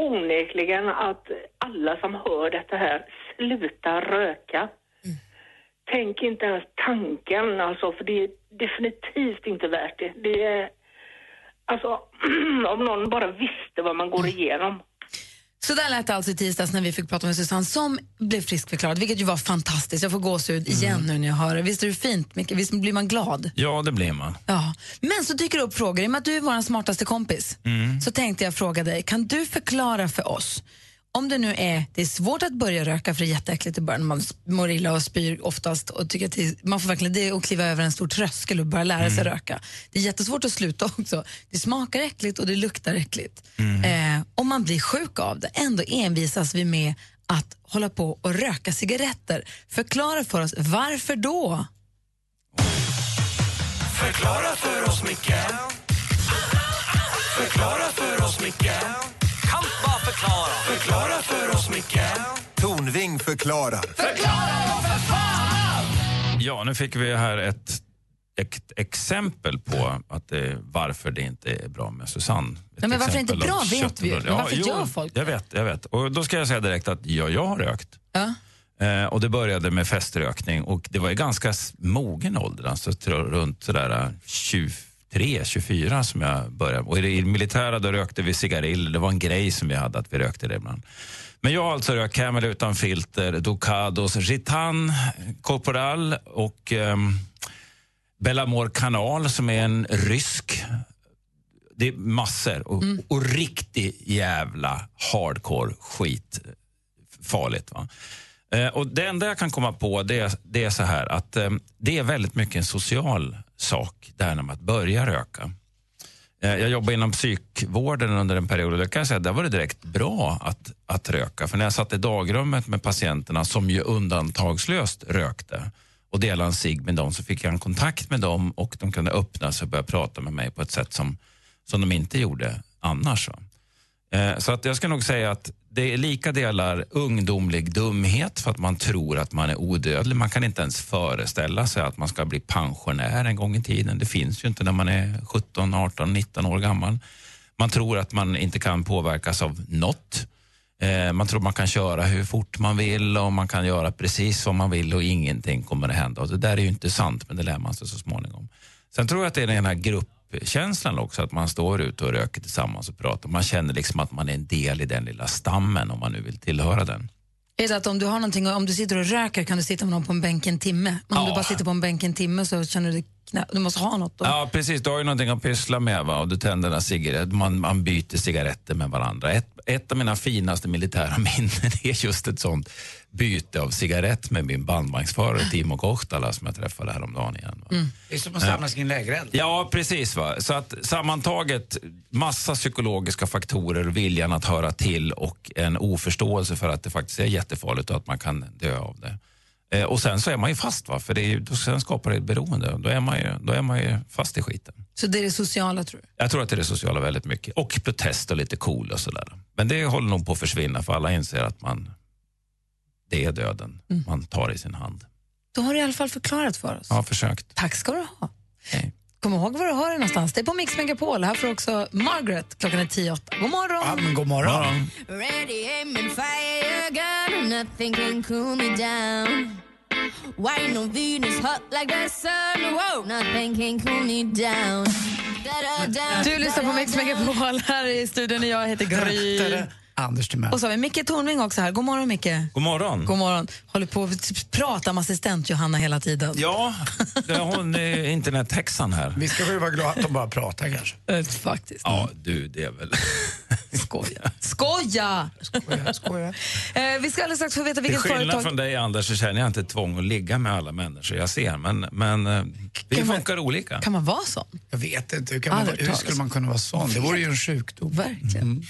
[SPEAKER 4] onekligen att alla som hör detta här slutar röka. Mm. Tänk inte ens tanken alltså, för det är definitivt inte värt det. Det är... Alltså, om någon bara visste vad man går igenom.
[SPEAKER 2] Så där lät det alltså i tisdags när vi fick prata med Susanne som blev friskförklarad, vilket ju var fantastiskt. Jag får gåshud igen nu när jag hör det. Visst är det fint, Micke? Visst blir man glad?
[SPEAKER 17] Ja, det blir man.
[SPEAKER 2] Ja. Men så dyker det upp frågor. I och med att du är vår smartaste kompis
[SPEAKER 17] Mm.
[SPEAKER 2] så tänkte jag fråga dig, kan du förklara för oss om det nu är, det är svårt att börja röka för det är jätteäckligt i början, man mår illa och spyr oftast och tycker att det, är- man får verkligen det är att kliva över en stor tröskel och börja lära sig röka. Det är jättesvårt att sluta också. Det smakar äckligt och det luktar äckligt. Eh, om man blir sjuk av det, ändå envisas vi med att hålla på och röka cigaretter. Förklara för oss, varför då?
[SPEAKER 5] Förklara för oss, Micke Förklara för oss, Micke Kan bara förklara Förklara för oss, Micke
[SPEAKER 9] Tornving förklarar.
[SPEAKER 17] Ja, nu fick vi här ett, ett exempel på att det, varför det inte är bra med Susanne. Ett
[SPEAKER 2] Nej, men varför
[SPEAKER 17] exempel
[SPEAKER 2] det inte är bra
[SPEAKER 17] av
[SPEAKER 2] vet vi ju,
[SPEAKER 17] köttbullar.
[SPEAKER 2] men varför gör folk
[SPEAKER 17] Jag vet, jag vet. Och då ska jag säga direkt att ja, jag har rökt.
[SPEAKER 2] Ja.
[SPEAKER 17] Eh, och det började med feströkning och det var i ganska s- mogen ålder, alltså tr- runt sådär eh, 23, 24 som jag började. Och i det i det militära då rökte vi cigariller, det var en grej som vi hade att vi rökte det ibland. Men jag har alltså rökt Camel utan filter, Ducados, Ritan, Corporal och ehm, Bellamore kanal som är en rysk. Det är massor och, och riktig jävla hardcore skit. Farligt. Va? Eh, och det enda jag kan komma på det är, det är så här att eh, det är väldigt mycket en social sak det här med att börja röka. Eh, Jag jobbade inom psykvården under en period och där kan jag säga att där var det direkt bra att, att röka. För när jag satt i dagrummet med patienterna som ju undantagslöst rökte och delade en cigg med dem så fick jag en kontakt med dem och de kunde öppna sig och börja prata med mig på ett sätt som, som de inte gjorde annars. Va? Eh, Så att jag ska nog säga att det är lika delar ungdomlig dumhet för att man tror att man är odödlig. Man kan inte ens föreställa sig att man ska bli pensionär en gång i tiden. Det finns ju inte när man är 17, 18, 19 år gammal. Man tror att man inte kan påverkas av något. Eh, Man tror man kan köra hur fort man vill och man kan göra precis vad man vill och ingenting kommer att hända. Och det där är ju inte sant, men det lär man sig så småningom. Sen tror jag att det är den här gruppkänslan också, att man står ute och röker tillsammans och pratar. Man känner liksom att man är en del i den lilla stammen om man nu vill tillhöra den.
[SPEAKER 2] Är det att om du har någonting, om du sitter och röker kan du sitta med någon på en bänk en timme? Om du bara sitter på en bänk en timme så känner du dig knä, du måste ha något då?
[SPEAKER 17] Ja, precis. Du har ju någonting att pyssla med va? och du tänder en cigarett. Man, man byter cigaretter med varandra. Ett, ett av mina finaste militära minnen är just ett sånt byte av cigarett med min bandvagnsförare Timo Kohtala som jag träffade häromdagen igen. Va?
[SPEAKER 3] Mm. Det är som att samlas kring lägereld.
[SPEAKER 17] Ja, precis. Va? Så att sammantaget, massa psykologiska faktorer, viljan att höra till och en oförståelse för att det faktiskt är jättefarligt och att man kan dö av det. Eh, och sen så är man ju fast, va? för det är ju, då, sen skapar det ett beroende. Då är, man ju, då är man ju fast i skiten.
[SPEAKER 2] Så det är det sociala tror du?
[SPEAKER 17] Jag tror att det är det sociala väldigt mycket. Och protest och lite cool och sådär. Men det håller nog på att försvinna för alla inser att man, det är döden man tar i sin hand.
[SPEAKER 2] Då har du i alla fall förklarat för oss.
[SPEAKER 17] Jag har försökt.
[SPEAKER 2] Tack ska du ha. Kom ihåg var du har det någonstans. Det är på Mix Megapol. Här får du också Margaret. Klockan är tio i åtta. God morgon!
[SPEAKER 3] Ja, men god morgon.
[SPEAKER 7] Ready, aim, and fire, gun. Nothing can cool me down. Wine on Venus, hot like the sun. Whoa, nothing can cool me down. Da-da-da,
[SPEAKER 2] Du lyssnar på Mix
[SPEAKER 7] da-da-da.
[SPEAKER 2] Megapol. Här i studion är jag, heter Gry.
[SPEAKER 3] Anders Timell.
[SPEAKER 2] Och så har vi Micke Tornving också här. God morgon, Micke.
[SPEAKER 17] God morgon.
[SPEAKER 2] God morgon. Håller på att typ prata med assistent Johanna hela tiden.
[SPEAKER 17] Ja, det är hon är internethäxan här.
[SPEAKER 3] Vi ska väl vara glada att de bara pratar kanske.
[SPEAKER 2] Eh, Faktiskt.
[SPEAKER 17] Ja, du, det är väl...
[SPEAKER 2] Skoja. Skoja!
[SPEAKER 3] Skoja, skoja.
[SPEAKER 2] Eh, vi ska alldeles strax få veta
[SPEAKER 17] Till
[SPEAKER 2] vilket
[SPEAKER 17] skillnad
[SPEAKER 2] företag...
[SPEAKER 17] från dig Anders så känner jag inte ett tvång att ligga med alla människor jag ser. Men, men eh, vi
[SPEAKER 2] Kan man-
[SPEAKER 17] funkar olika.
[SPEAKER 2] Kan man vara sån?
[SPEAKER 3] Jag vet inte, hur, kan man,
[SPEAKER 2] Aldrig
[SPEAKER 3] hur
[SPEAKER 2] hört
[SPEAKER 3] skulle man kunna vara sån? Det vore ju en sjukdom. Mm.
[SPEAKER 2] Verkligen.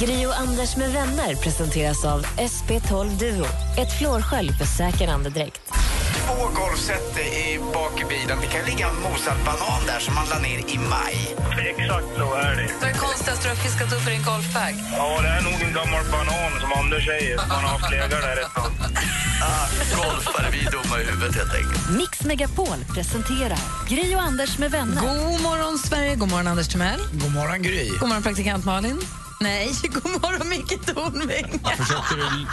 [SPEAKER 10] Gri och Anders med vänner presenteras av SP12 Duo. Ett flårskölj för säker andedräkt.
[SPEAKER 12] Två golfset i bak i bilen. Det kan ligga en mosad banan där som man la ner i maj. Exakt så är det.
[SPEAKER 23] Vad är det konstigaste du har fiskat upp i din golfbag?
[SPEAKER 12] Ja, det är nog en gammal banan som Anders säger. Man har haft legat där ett tag. Ah, golfare, vi är dumma i huvudet helt enkelt.
[SPEAKER 1] Mix Megapol presenterar Gri och Anders med vänner.
[SPEAKER 2] God morgon, Sverige. God morgon, Anders Timell.
[SPEAKER 3] God morgon, Gry.
[SPEAKER 2] God morgon, praktikant Malin. Nej, god morgon, Micke Tornving.
[SPEAKER 17] Försökte du,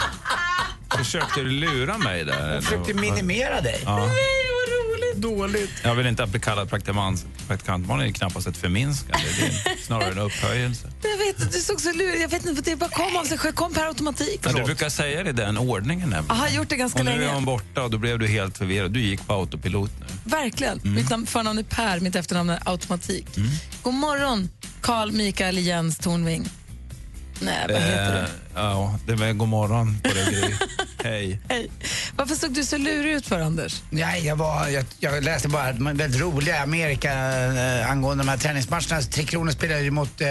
[SPEAKER 17] försökte du lura mig där? Jag
[SPEAKER 3] försökte minimera dig.
[SPEAKER 17] Ja.
[SPEAKER 2] vad roligt.
[SPEAKER 3] Dåligt.
[SPEAKER 17] Jag vill inte bli kallad praktikant. Praktikantbarn är ju knappast ett förminskande. Det är snarare en upphöjelse.
[SPEAKER 2] Jag vet att du såg så lurig Jag vet inte, det bara kom av sig själv. Kom per automatik.
[SPEAKER 17] Men du brukar säga det i den ordningen nämligen.
[SPEAKER 2] Jag har gjort det ganska
[SPEAKER 17] och nu är
[SPEAKER 2] länge.
[SPEAKER 17] hon borta och då blev du helt förvirrad. Du gick på autopilot nu.
[SPEAKER 2] Verkligen.
[SPEAKER 17] Mm.
[SPEAKER 2] Mitt namn, förnamn är Per, mitt efternamn är automatik. God morgon, Carl Mikael Jens Tornving. Nej, vad heter du?
[SPEAKER 17] Eh, Ja, det var god morgon på dig Gry. Hej.
[SPEAKER 2] Hej. Varför såg du så lurig ut för, Anders?
[SPEAKER 3] Nej, jag, var, jag, jag läste bara de väldigt roliga Amerika eh, angående de här träningsmatcherna. Alltså, Tre Kronor spelade ju mot eh,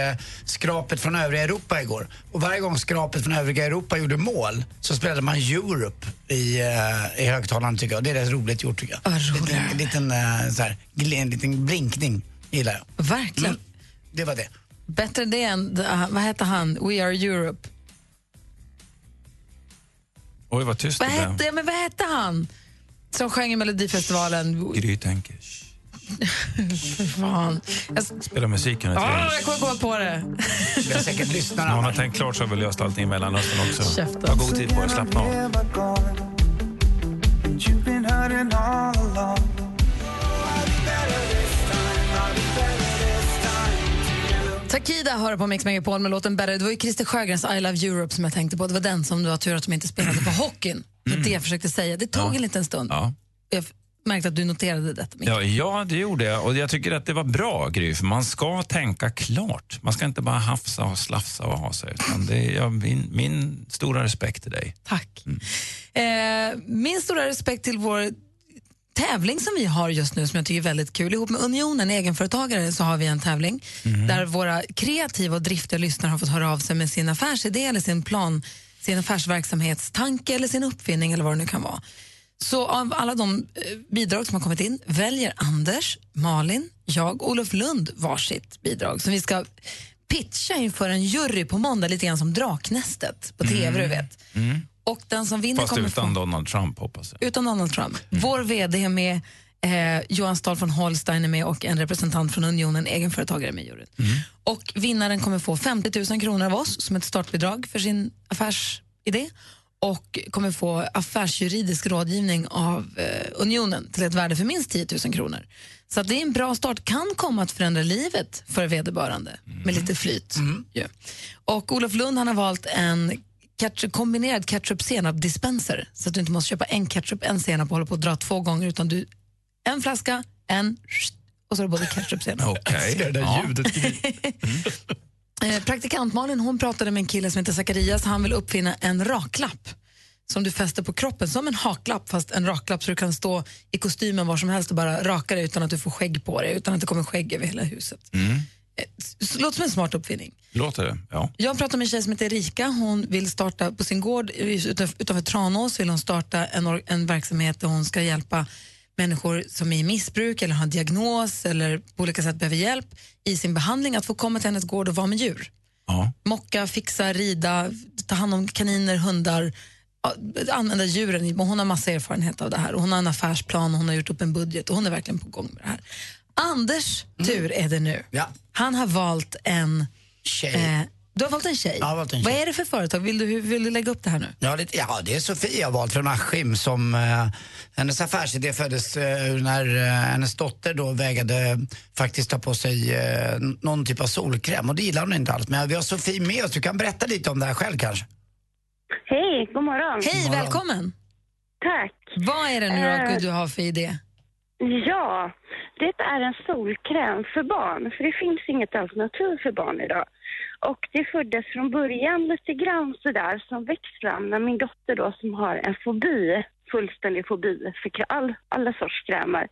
[SPEAKER 3] skrapet från övriga Europa igår. Och varje gång skrapet från övriga Europa gjorde mål så spelade man Europe i, eh, i högtalaren tycker jag. Det är rätt roligt gjort tycker jag. En liten, eh, så här, gl- en liten blinkning gillar jag.
[SPEAKER 2] Verkligen.
[SPEAKER 3] Mm, det var det.
[SPEAKER 2] Bättre det än, äh, vad hette han, We Are Europe?
[SPEAKER 17] Oj, vad tyst
[SPEAKER 2] Vad
[SPEAKER 17] det
[SPEAKER 2] hette, ja, men vad hette han som sjöng i Melodifestivalen?
[SPEAKER 17] blev. Gry tänker. shh,
[SPEAKER 2] Fan. Jag, s-
[SPEAKER 17] Spela musiken ett
[SPEAKER 2] Ah,
[SPEAKER 17] tag.
[SPEAKER 2] jag kommer komma på det.
[SPEAKER 3] Jag säkert lyssnar
[SPEAKER 17] När hon har tänkt klart så har vi löst allting i Mellanöstern också.
[SPEAKER 2] Käften.
[SPEAKER 17] Ta god tid på er, slappna av.
[SPEAKER 2] Takida hör på Mix Megapol med låten Better. Det var ju Christer Sjögrens I Love Europe som jag tänkte på. Det var den som du var tur att de inte spelade på hockeyn. Det var Det jag försökte säga. Det tog en liten stund.
[SPEAKER 17] Ja.
[SPEAKER 2] Jag f- märkte att du noterade detta.
[SPEAKER 17] Ja, ja, det gjorde jag. Och jag tycker att det var bra, Gry, för man ska tänka klart. Man ska inte bara hafsa och slafsa och ha sig. Utan det är, ja, min, min stora respekt till dig.
[SPEAKER 2] Tack. Eh, min stora respekt till vår tävling som vi har just nu som jag tycker är väldigt kul. Ihop med Unionen, egenföretagare, så har vi en tävling
[SPEAKER 23] Mhm.
[SPEAKER 2] där våra kreativa och driftiga lyssnare har fått höra av sig med sin affärsidé eller sin plan, sin affärsverksamhetstanke eller sin uppfinning eller vad det nu kan vara. Så av alla de eh, bidrag som har kommit in väljer Anders, Malin, jag och Olof Lund varsitt bidrag som vi ska pitcha inför en jury på måndag, lite grann som Draknästet på tv, du vet.
[SPEAKER 17] Mm.
[SPEAKER 2] Och den som vinner
[SPEAKER 17] Fast
[SPEAKER 2] kommer
[SPEAKER 17] utan
[SPEAKER 2] få,
[SPEAKER 17] Donald Trump, hoppas jag.
[SPEAKER 2] utan Donald Trump. Vår VD är med, eh, Johan Stahl från Holstein är med och en representant från Unionen, egenföretagare är med i juryn. Och vinnaren kommer få 50 000 kronor av oss som ett startbidrag för sin affärsidé och kommer få affärsjuridisk rådgivning av eh, Unionen till ett värde för minst 10 000 kronor. Så att det är en bra start, kan komma att förändra livet för vederbörande med lite flyt.
[SPEAKER 3] Mm.
[SPEAKER 2] ju. Och Olof Lund han har valt en ketchup, kombinerad ketchup-senap-dispenser så att du inte måste köpa en ketchup, en senap och hålla på och dra två gånger utan du en flaska, en och så är det både ketchup och senap.
[SPEAKER 17] Okej.
[SPEAKER 3] Jag ser det där
[SPEAKER 17] Ja.
[SPEAKER 3] ljudet.
[SPEAKER 2] Eh, praktikant Malin hon pratade med en kille som heter Zacharias. Han vill uppfinna en raklapp som du fäster på kroppen som en haklapp fast en raklapp så du kan stå i kostymen var som helst och bara raka dig utan att du får skägg på dig, utan att det kommer skägg över hela huset.
[SPEAKER 17] Mm.
[SPEAKER 2] Så, låter som en smart uppfinning.
[SPEAKER 17] Låter det? Ja.
[SPEAKER 2] Jag pratade med en tjej som heter Erika. Hon vill starta på sin gård utanf- utanför Tranås vill hon starta en, or- en verksamhet där hon ska hjälpa människor som är i missbruk eller har en diagnos eller på olika sätt behöver hjälp i sin behandling att få komma till hennes gård och vara med djur.
[SPEAKER 17] Ja.
[SPEAKER 2] Mocka, fixa, rida, ta hand om kaniner, hundar, ja, använda djuren. i- Hon har massa erfarenhet av det här. Och Hon har en affärsplan och hon har gjort upp en budget och hon är verkligen på gång med det här.
[SPEAKER 3] Mm.
[SPEAKER 2] Anders tur är det nu. Han har valt en
[SPEAKER 3] Tjej.
[SPEAKER 2] Eh, Du har valt en tjej.
[SPEAKER 3] Jag har valt en
[SPEAKER 2] Vad är det för företag? Vill du, hur- vill du lägga upp det här nu?
[SPEAKER 3] Ja, det, ja, det är Sofia jag har valt från Askim som eh, hennes affärsidé föddes eh, ur när eh, hennes dotter då vägrade faktiskt ta på sig eh, n- någon typ av solkräm och det gillar hon inte alls. Men vi har Sofie med oss, du kan berätta lite om det här själv kanske.
[SPEAKER 13] Hej, god morgon.
[SPEAKER 2] Hej,
[SPEAKER 3] God morgon.
[SPEAKER 2] välkommen!
[SPEAKER 13] Tack.
[SPEAKER 2] Vad är det nu då
[SPEAKER 13] Eh.
[SPEAKER 2] du har för idé?
[SPEAKER 13] Ja, det är en solkräm för barn, för det finns inget alternativ för barn idag. Och det föddes från början lite grann sådär som växt fram när min dotter då som har en fobi, fullständig fobi för krä- all, alla sorts krämer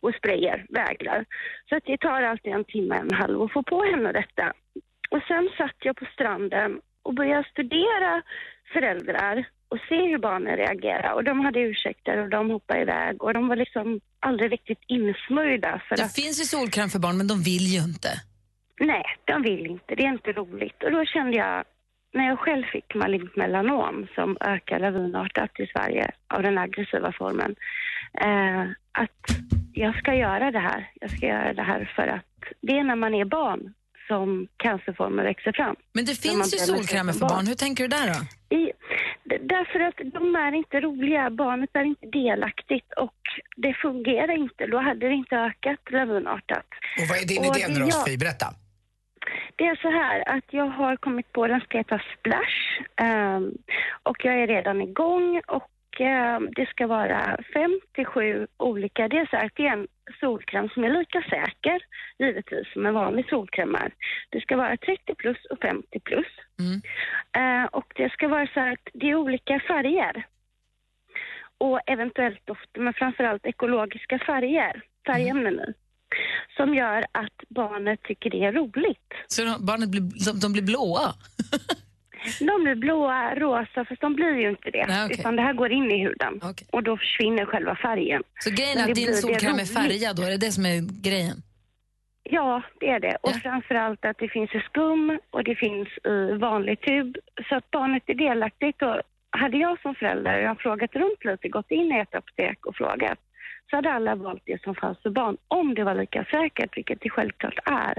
[SPEAKER 13] och sprayer, vägrar. Så att det tar alltid en timme, en halv att få på henne detta. Och sen satt jag på stranden och började studera föräldrar och se hur barnen reagerar. Och de hade ursäkter och de hoppade iväg och de var liksom aldrig riktigt insmörjda. För
[SPEAKER 2] Det
[SPEAKER 13] att,
[SPEAKER 2] finns ju solkräm för barn, men de vill ju inte.
[SPEAKER 13] nej, de vill inte, det är inte roligt. Och då kände jag, när jag själv fick malignt melanom som ökar lavinartat i Sverige av den aggressiva formen, eh, att jag ska göra det här. Jag ska göra det här för att det är när man är barn som cancerformen växer fram.
[SPEAKER 2] Men det
[SPEAKER 13] När man
[SPEAKER 2] finns ju
[SPEAKER 13] blir
[SPEAKER 2] solkrämer för
[SPEAKER 13] barn.
[SPEAKER 2] barn. Hur tänker du där då?
[SPEAKER 13] I, d- därför att de är inte roliga, barnet är inte delaktigt och det fungerar inte. Då hade det inte ökat lavinartat.
[SPEAKER 3] Och vad är din
[SPEAKER 13] Och
[SPEAKER 3] idé
[SPEAKER 13] det
[SPEAKER 3] nu då
[SPEAKER 13] jag-
[SPEAKER 3] Sofie, berätta.
[SPEAKER 13] Det är så här att jag har kommit på, den ska heta Splash ehm, och jag är redan igång och ehm, det ska vara fem till sju olika. Det är så här att det är en solkräm som är lika säker givetvis som en vanlig solkräm är. Det ska vara 30 plus och 50 plus. Eh, och det ska vara så här att det är olika färger och eventuellt dofter, men framförallt ekologiska färger, färgämnen i, som gör att barnet tycker det är roligt.
[SPEAKER 2] Så de, barnet blir, de, de blir blåa?
[SPEAKER 13] De blir blåa, rosa, för de blir ju inte det.
[SPEAKER 2] Nej, okej.
[SPEAKER 13] Utan det här går in i huden och då försvinner själva färgen.
[SPEAKER 2] Så grejen
[SPEAKER 13] Men
[SPEAKER 2] är
[SPEAKER 13] det
[SPEAKER 2] att din
[SPEAKER 13] blir- det
[SPEAKER 2] solkräm är
[SPEAKER 13] roligt.
[SPEAKER 2] färgad då? Är det det som är grejen?
[SPEAKER 13] Ja, det är det. Och framförallt att det finns i skum och det finns i vanlig tub. Så att barnet är delaktigt. Och hade jag som förälder jag har frågat runt lite, gått in i ett apotek och frågat, så hade alla valt det som fanns för barn om det var lika säkert, vilket det självklart är.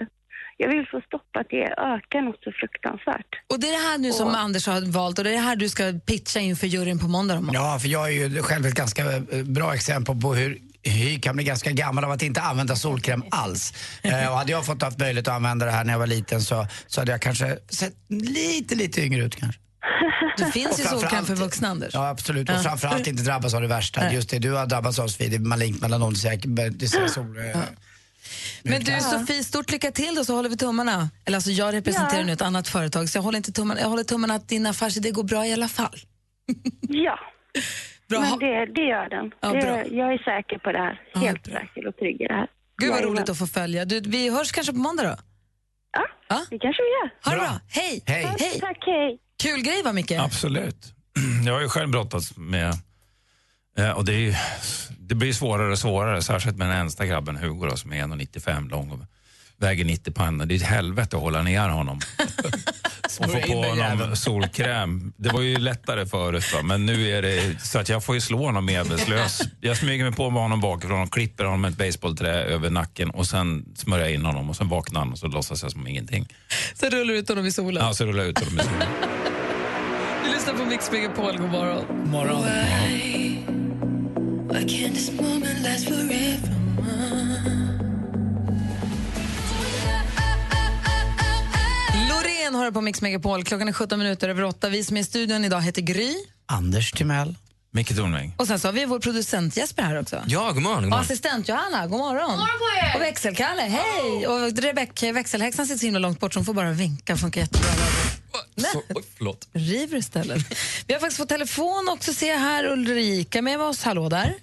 [SPEAKER 13] Jag vill få stopp att det ökar något så fruktansvärt.
[SPEAKER 2] Och det är det här nu som Anders har valt och det är det här du ska pitcha inför juryn på måndag om.
[SPEAKER 3] Ja, för jag är ju själv ett ganska eh, bra exempel på hur hy kan bli ganska gammal av att inte använda solkräm alls. Eh, och hade jag fått haft möjlighet att använda det här när jag var liten så, så hade jag kanske sett lite, lite yngre ut kanske.
[SPEAKER 2] Det finns ju
[SPEAKER 3] Och framförallt-
[SPEAKER 2] solkräm för vuxna, Anders.
[SPEAKER 3] Ja, absolut. Och
[SPEAKER 2] Ja.
[SPEAKER 3] framförallt inte drabbas av det värsta.
[SPEAKER 2] Nej.
[SPEAKER 3] Just det du har drabbats av, Sofie, det är malignt melanom, det är säkert- det är säkert sol... eh,
[SPEAKER 2] Men du Sofie, stort lycka till och så håller vi tummarna. Eller alltså jag representerar
[SPEAKER 13] Ja.
[SPEAKER 2] nu ett annat företag så jag håller, inte tummarna, jag håller tummarna att din affärsidé går bra i alla fall.
[SPEAKER 13] Ja,
[SPEAKER 2] Bra.
[SPEAKER 13] men det, det gör den.
[SPEAKER 2] Ja, bra.
[SPEAKER 13] det, jag är säker på det här. Helt säker och trygg i det här.
[SPEAKER 2] Gud vad
[SPEAKER 13] Jajamän.
[SPEAKER 2] roligt att få följa. Du, vi hörs kanske på måndag då?
[SPEAKER 13] Ja, det kanske vi gör.
[SPEAKER 2] Ha det bra. Hej!
[SPEAKER 17] Hej.
[SPEAKER 13] Tack, hej.
[SPEAKER 2] Kul grej va Micke?
[SPEAKER 17] Absolut. Jag har ju själv brottats med... eh, Och det, är ju, det blir svårare och svårare, särskilt med den äldsta grabben Hugo då, som är 1,95 lång och väger 90 pannor. Det är ett helvete att hålla ner honom och få
[SPEAKER 3] in
[SPEAKER 17] på
[SPEAKER 3] den
[SPEAKER 17] honom
[SPEAKER 3] jäveln.
[SPEAKER 17] solkräm. Det var ju lättare förut, va? men nu är det så att jag får ju slå honom medvetslös. Jag smyger mig på med honom bakifrån och klipper honom med ett baseballträ över nacken och sen smörjer jag in honom och sen vaknar han och så låtsas jag som ingenting.
[SPEAKER 2] Så rullar du ut honom i solen.
[SPEAKER 17] Ja, så rullar jag ut honom i solen.
[SPEAKER 2] Du lyssnar på Mix Megapol, god morgon.
[SPEAKER 3] morgon.
[SPEAKER 6] Why can't this moment last forever?
[SPEAKER 2] Loreen har det på Mix Megapol. Klockan är 17 minuter över 8. Vi som är i studion idag heter Gry.
[SPEAKER 3] Anders Timell.
[SPEAKER 17] Micke Tornving.
[SPEAKER 2] Och sen så har vi vår producent Jesper här också.
[SPEAKER 24] Ja, god morgon. God
[SPEAKER 2] Och
[SPEAKER 24] morgon.
[SPEAKER 2] assistent Johanna, god morgon. God morgon på er. Och växelkalle, hej. Och Rebecka, växelhäxan sitter så himla långt bort så hon får bara vinka. funkar jättebra.
[SPEAKER 24] Så, oj, förlåt.
[SPEAKER 2] River istället. vi har faktiskt fått telefon också ser jag här. Ulrika är med oss, hallå där.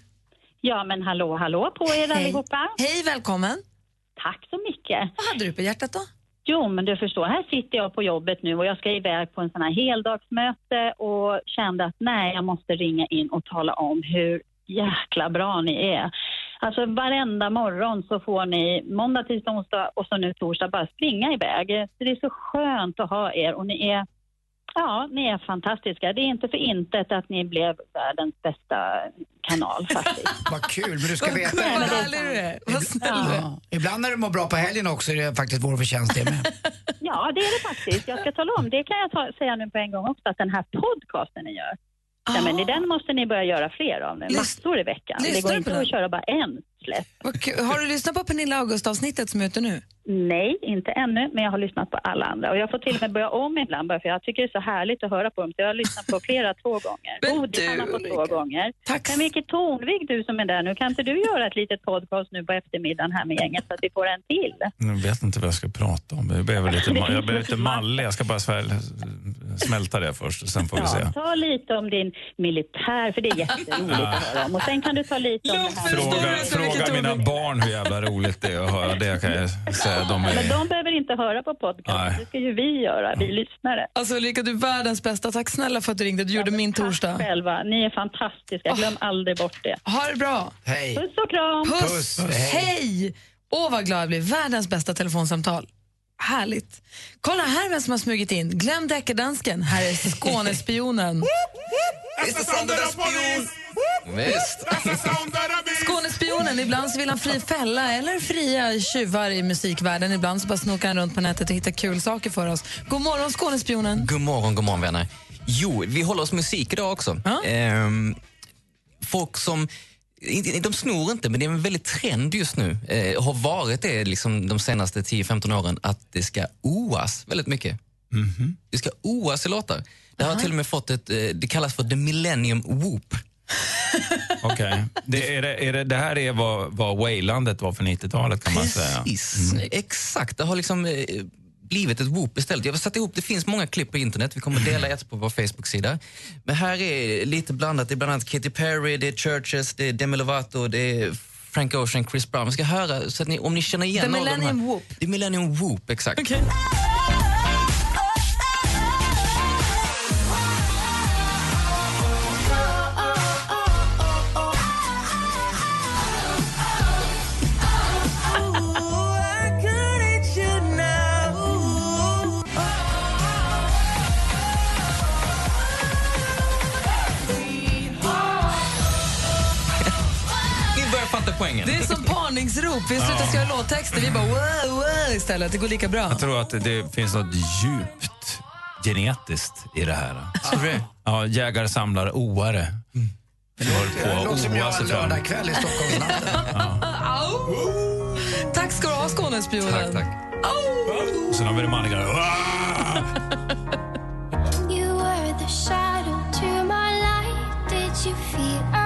[SPEAKER 19] Ja, men hallå, hallå på er
[SPEAKER 2] Hej.
[SPEAKER 19] allihopa.
[SPEAKER 2] Hej, välkommen.
[SPEAKER 19] Tack så mycket.
[SPEAKER 2] Vad hade du på hjärtat då?
[SPEAKER 19] Jo, men du förstår, här sitter jag på jobbet nu och jag ska iväg på en sån här heldagsmöte och kände att nej, jag måste ringa in och tala om hur jäkla bra ni är. Alltså varenda morgon så får ni måndag, tisdag, onsdag och så nu torsdag bara springa iväg. Så det är så skönt att ha er och ni är Ja, ni är fantastiska. Det är inte för intet att ni blev världens bästa kanal faktiskt.
[SPEAKER 3] Vad kul, men du ska
[SPEAKER 19] Vad
[SPEAKER 3] veta.
[SPEAKER 19] kul, vad härlig du
[SPEAKER 2] är.
[SPEAKER 3] Vad
[SPEAKER 19] snäll du är.
[SPEAKER 3] Ibland när du mår bra på helgen också är det faktiskt vår förtjänst det med.
[SPEAKER 19] Ja, det är det faktiskt. Jag ska tala om, det kan jag ta, säga nu på en gång också, att den här podcasten ni gör, ja, men den måste ni börja göra fler av nu. Massor i veckan. Det
[SPEAKER 2] Ah. lyssnar
[SPEAKER 19] går
[SPEAKER 2] du
[SPEAKER 19] inte
[SPEAKER 2] på
[SPEAKER 19] att
[SPEAKER 2] den?
[SPEAKER 19] köra bara en släpp.
[SPEAKER 2] Vad kul. Har du lyssnat på Pernilla August-avsnittet som är ute nu?
[SPEAKER 19] Nej, inte ännu, men jag har lyssnat på alla andra. Och jag får till och med börja om ibland, bara för jag tycker det är så härligt att höra på dem. Så jag har lyssnat på flera två gånger. Godisarna på två gånger. Tack. Men Micke Tornvik, du som är där nu, kan inte du göra ett litet podcast nu på eftermiddagen här med gänget så att vi får en till?
[SPEAKER 17] Jag vet inte vad jag ska prata om. Jag behöver lite, ma- jag behöver lite malle. Jag ska bara sväl, smälta det först, och sen får vi se.
[SPEAKER 19] Ja, ta lite om din militär, för det är jätteroligt att höra om. Och sen kan du ta lite om det här.
[SPEAKER 17] Fråga, fråga mina barn hur jävla roligt det är att höra det. Kan jag säga. De
[SPEAKER 19] Men
[SPEAKER 17] är...
[SPEAKER 19] de behöver inte höra på podcasten, det ska ju vi göra, vi lyssnare.
[SPEAKER 2] Alltså Ulrika, du är världens bästa. Tack snälla för att du ringde. Du gjorde min torsdag. Ah.
[SPEAKER 19] Själva, ni är fantastiska, glöm aldrig bort det.
[SPEAKER 2] Ha det bra.
[SPEAKER 3] Hej.
[SPEAKER 19] Puss och kram.
[SPEAKER 2] Puss. Hej! Åh, vad glad jag blev. Världens bästa telefonsamtal. Härligt. Kolla här vem som har smugit in. Glöm deckardansken. Här är Skånespionen.
[SPEAKER 6] Visst.
[SPEAKER 2] Skånespionen, ibland så vill han fri fälla eller fria tjuvar i musikvärlden. Ibland så bara snokar han runt på nätet och hittar kul saker för oss. God morgon Skånespionen.
[SPEAKER 8] God morgon, god morgon vänner. Jo, vi håller oss musik idag också. Ehm, folk som, inte- de snor inte, men det är en väldigt trend just nu. Eh, har varit det liksom de senaste 10-15 åren, att det ska oas väldigt mycket.
[SPEAKER 7] Mm-hmm.
[SPEAKER 8] Det ska oas i låtar. Det har till och med fått ett, eh, det kallas för the millennium whoop.
[SPEAKER 17] Okej. Det, är det, är det, det här är vad, vad wailandet var för 90-talet kan man säga.
[SPEAKER 8] Precis,
[SPEAKER 2] Mm.
[SPEAKER 8] exakt. Det har liksom eh, blivit ett whoop istället. Jag har satt ihop, det finns många klipp på internet. Vi
[SPEAKER 2] Mm.
[SPEAKER 8] kommer dela ett på vår Facebook-sida. Men här är lite blandat. Det är bland annat Katy Perry, det är Churches, det är Demi Lovato, det är Frank Ocean, Chris Brown. Vi ska höra så att ni, om ni känner igen
[SPEAKER 2] The
[SPEAKER 8] några av de här-
[SPEAKER 2] Millennium Whoop.
[SPEAKER 8] The Millennium Whoop, exakt. Ni börjar fatta poängen.
[SPEAKER 2] Det är som parningsrop. Vi slutar
[SPEAKER 17] Ja.
[SPEAKER 2] skriva låttexter. Vi bara wow, wow istället. Det går lika bra.
[SPEAKER 17] Jag tror att det finns något djupt genetiskt i det här.
[SPEAKER 8] Tror du
[SPEAKER 17] Ja, jägare, samlare, oare. Du
[SPEAKER 3] Det
[SPEAKER 17] håller på
[SPEAKER 3] låter som
[SPEAKER 17] att
[SPEAKER 3] jag har
[SPEAKER 17] oa
[SPEAKER 3] en
[SPEAKER 17] sig fram.
[SPEAKER 3] lördagkväll i Stockholm.
[SPEAKER 2] Au! Tack ska du ha Skånespionen. Tack, tack.
[SPEAKER 17] Sen har vi det manliga.
[SPEAKER 7] You were the shadow to my light. Did you feel I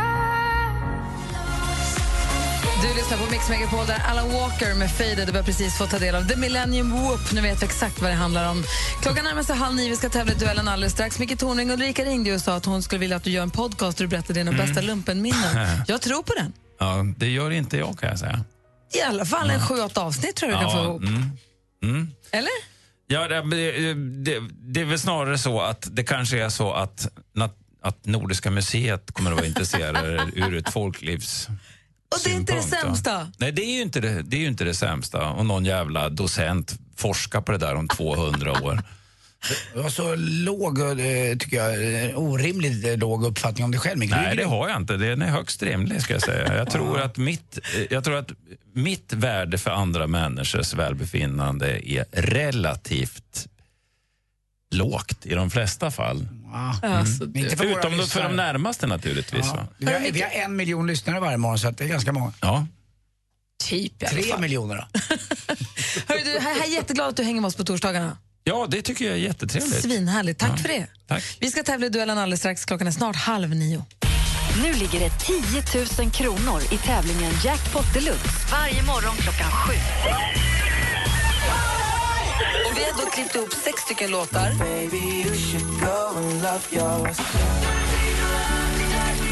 [SPEAKER 2] Du lyssnar på Mix Megapol där Alan Walker med Faded. Du har precis fått ta del av The Millennium Whoop. Nu vet vi exakt vad det handlar om. Klockan närmar sig halv nio. Vi ska tävla i duellen alldeles strax. Micke Tornving och Ulrika ringde ju och sa att hon skulle vilja att du gör en podcast där du berättar dina
[SPEAKER 17] Mm.
[SPEAKER 2] bästa lumpenminnen. Jag tror på den.
[SPEAKER 17] Ja, det gör inte jag kan jag säga.
[SPEAKER 2] I alla fall en sju, åtta avsnitt tror jag du kan få
[SPEAKER 17] Ja,
[SPEAKER 2] ihop.
[SPEAKER 17] mm, mm.
[SPEAKER 2] Eller?
[SPEAKER 17] Ja, det, det, det- det är väl snarare så att det kanske är så att, nat- att Nordiska museet kommer att vara intresserade ur ett folklivs...
[SPEAKER 2] Och det är inte det
[SPEAKER 17] synpunkt, ja.
[SPEAKER 2] sämsta.
[SPEAKER 17] Nej, det är, ju inte det, det är ju inte det sämsta. Och någon jävla docent forskar på det där om 200 år.
[SPEAKER 3] Du har så låg, eh, tycker jag, eh, orimligt eh, låg uppfattning om dig själv. Micke. Du är
[SPEAKER 17] Nej, det
[SPEAKER 3] grym.
[SPEAKER 17] har jag inte. Den är högst rimlig ska jag säga. Jag tror, att mitt, eh, jag tror att mitt värde för andra människors välbefinnande är relativt lågt i de flesta fall.
[SPEAKER 3] Ja.
[SPEAKER 17] Mm.
[SPEAKER 3] Alltså, det- Inte för våra
[SPEAKER 17] Utom för
[SPEAKER 3] lyssnare.
[SPEAKER 17] de närmaste naturligtvis. Va?
[SPEAKER 3] Vi har, vi har en miljon lyssnare varje morgon, så att det är ganska många.
[SPEAKER 17] Ja.
[SPEAKER 2] Typ i alla
[SPEAKER 3] Tre
[SPEAKER 2] fall.
[SPEAKER 3] miljoner då.
[SPEAKER 2] Hörru, du, jag är jätteglad att du hänger med oss på torsdagarna.
[SPEAKER 17] ja, det tycker jag är jättetrevligt.
[SPEAKER 2] Svinhärligt. Tack för det.
[SPEAKER 17] Tack.
[SPEAKER 2] Vi ska tävla i duellen alldeles strax. Klockan är snart halv nio.
[SPEAKER 1] Nu ligger det 10 000 kronor i tävlingen Jackpot Deluxe varje morgon klockan sju.
[SPEAKER 2] Och vi har då klippt ihop sex stycken låtar.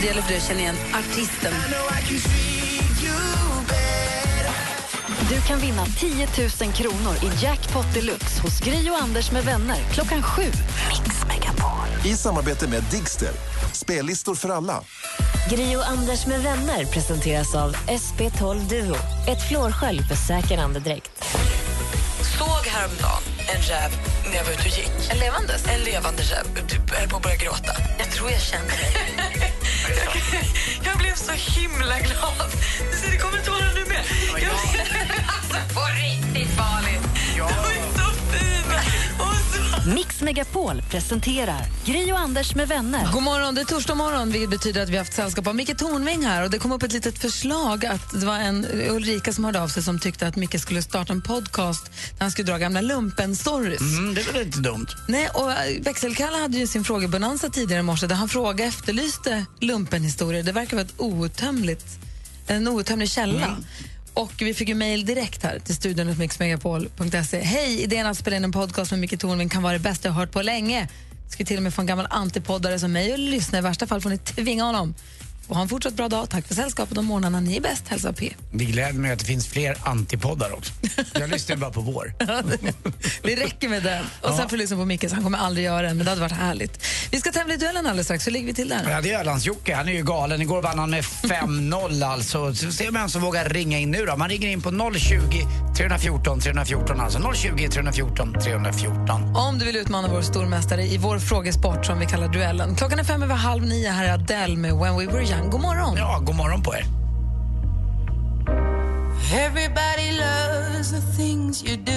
[SPEAKER 2] Det gäller för dig att känna igen artisten.
[SPEAKER 1] Du kan vinna 10 000 kronor i Jackpot Deluxe hos Gri och Anders med vänner klockan sju. Mix Megapol.
[SPEAKER 9] I samarbete med Digster. Spellistor för alla.
[SPEAKER 10] Gri och Anders med vänner presenteras av SP12 Duo. Ett flårskölj för säker andedräkt.
[SPEAKER 23] Såg häromdagen
[SPEAKER 11] en räv när jag var ute och gick. En levandes? En levande räv. Du höll på att börja gråta. Jag tror jag känner dig. jag blev så himla glad. Du ser, det kommer tårar nu med. Jag, alltså, på riktigt, Malin.
[SPEAKER 1] Mix Megapol presenterar Gri och Anders med vänner.
[SPEAKER 2] God morgon, det är torsdag morgon vilket betyder att vi har haft sällskap av Micke Tornving här och det kom upp ett litet förslag att det var en Ulrika som hörde av sig som tyckte att Micke skulle starta en podcast där han skulle dra gamla lumpen-stories.
[SPEAKER 3] Mm, det är väl inte dumt?
[SPEAKER 2] Nej, och eh, Växelkalle hade ju sin frågebonanza tidigare i morse där han frågade efterlyste lumpenhistorier. Det verkar vara ett outtömligt, en outtömlig källa.
[SPEAKER 3] Mm.
[SPEAKER 2] Och vi fick ju mejl direkt här till studion mixmegapol.se. Hej, idén att spela in en podcast med Micke Tornving kan vara det bästa jag hört på länge. Ska till och med få en gammal antipoddare som mig och lyssna. I värsta fall får ni tvinga honom. Och ha en fortsatt bra dag. Tack för sällskapet och morgnarna. Ni är bäst. Hälsa P.
[SPEAKER 3] Det gläder mig att det finns fler antipoddar också. Jag lyssnar bara på vår.
[SPEAKER 2] Det räcker med den. Och sen får du lyssna på Micke, så han kommer aldrig göra den. Men det hade varit härligt. Vi ska tävla i duellen alldeles strax. Hur ligger vi till där?
[SPEAKER 3] Ja, det är Ölands-Jocke. Han är ju galen. Igår vann han med 5-0 alltså. Så se vem som vågar ringa in nu då. Man ringer in på 020 314 314 alltså. 020 314 314.
[SPEAKER 2] Om du vill utmana vår stormästare i vår frågesport som vi kallar duellen. Klockan är fem över halv nio. Här är Adele med When We Were Young. God morgon!
[SPEAKER 3] Ja, god morgon på er.
[SPEAKER 6] Everybody loves the things you do.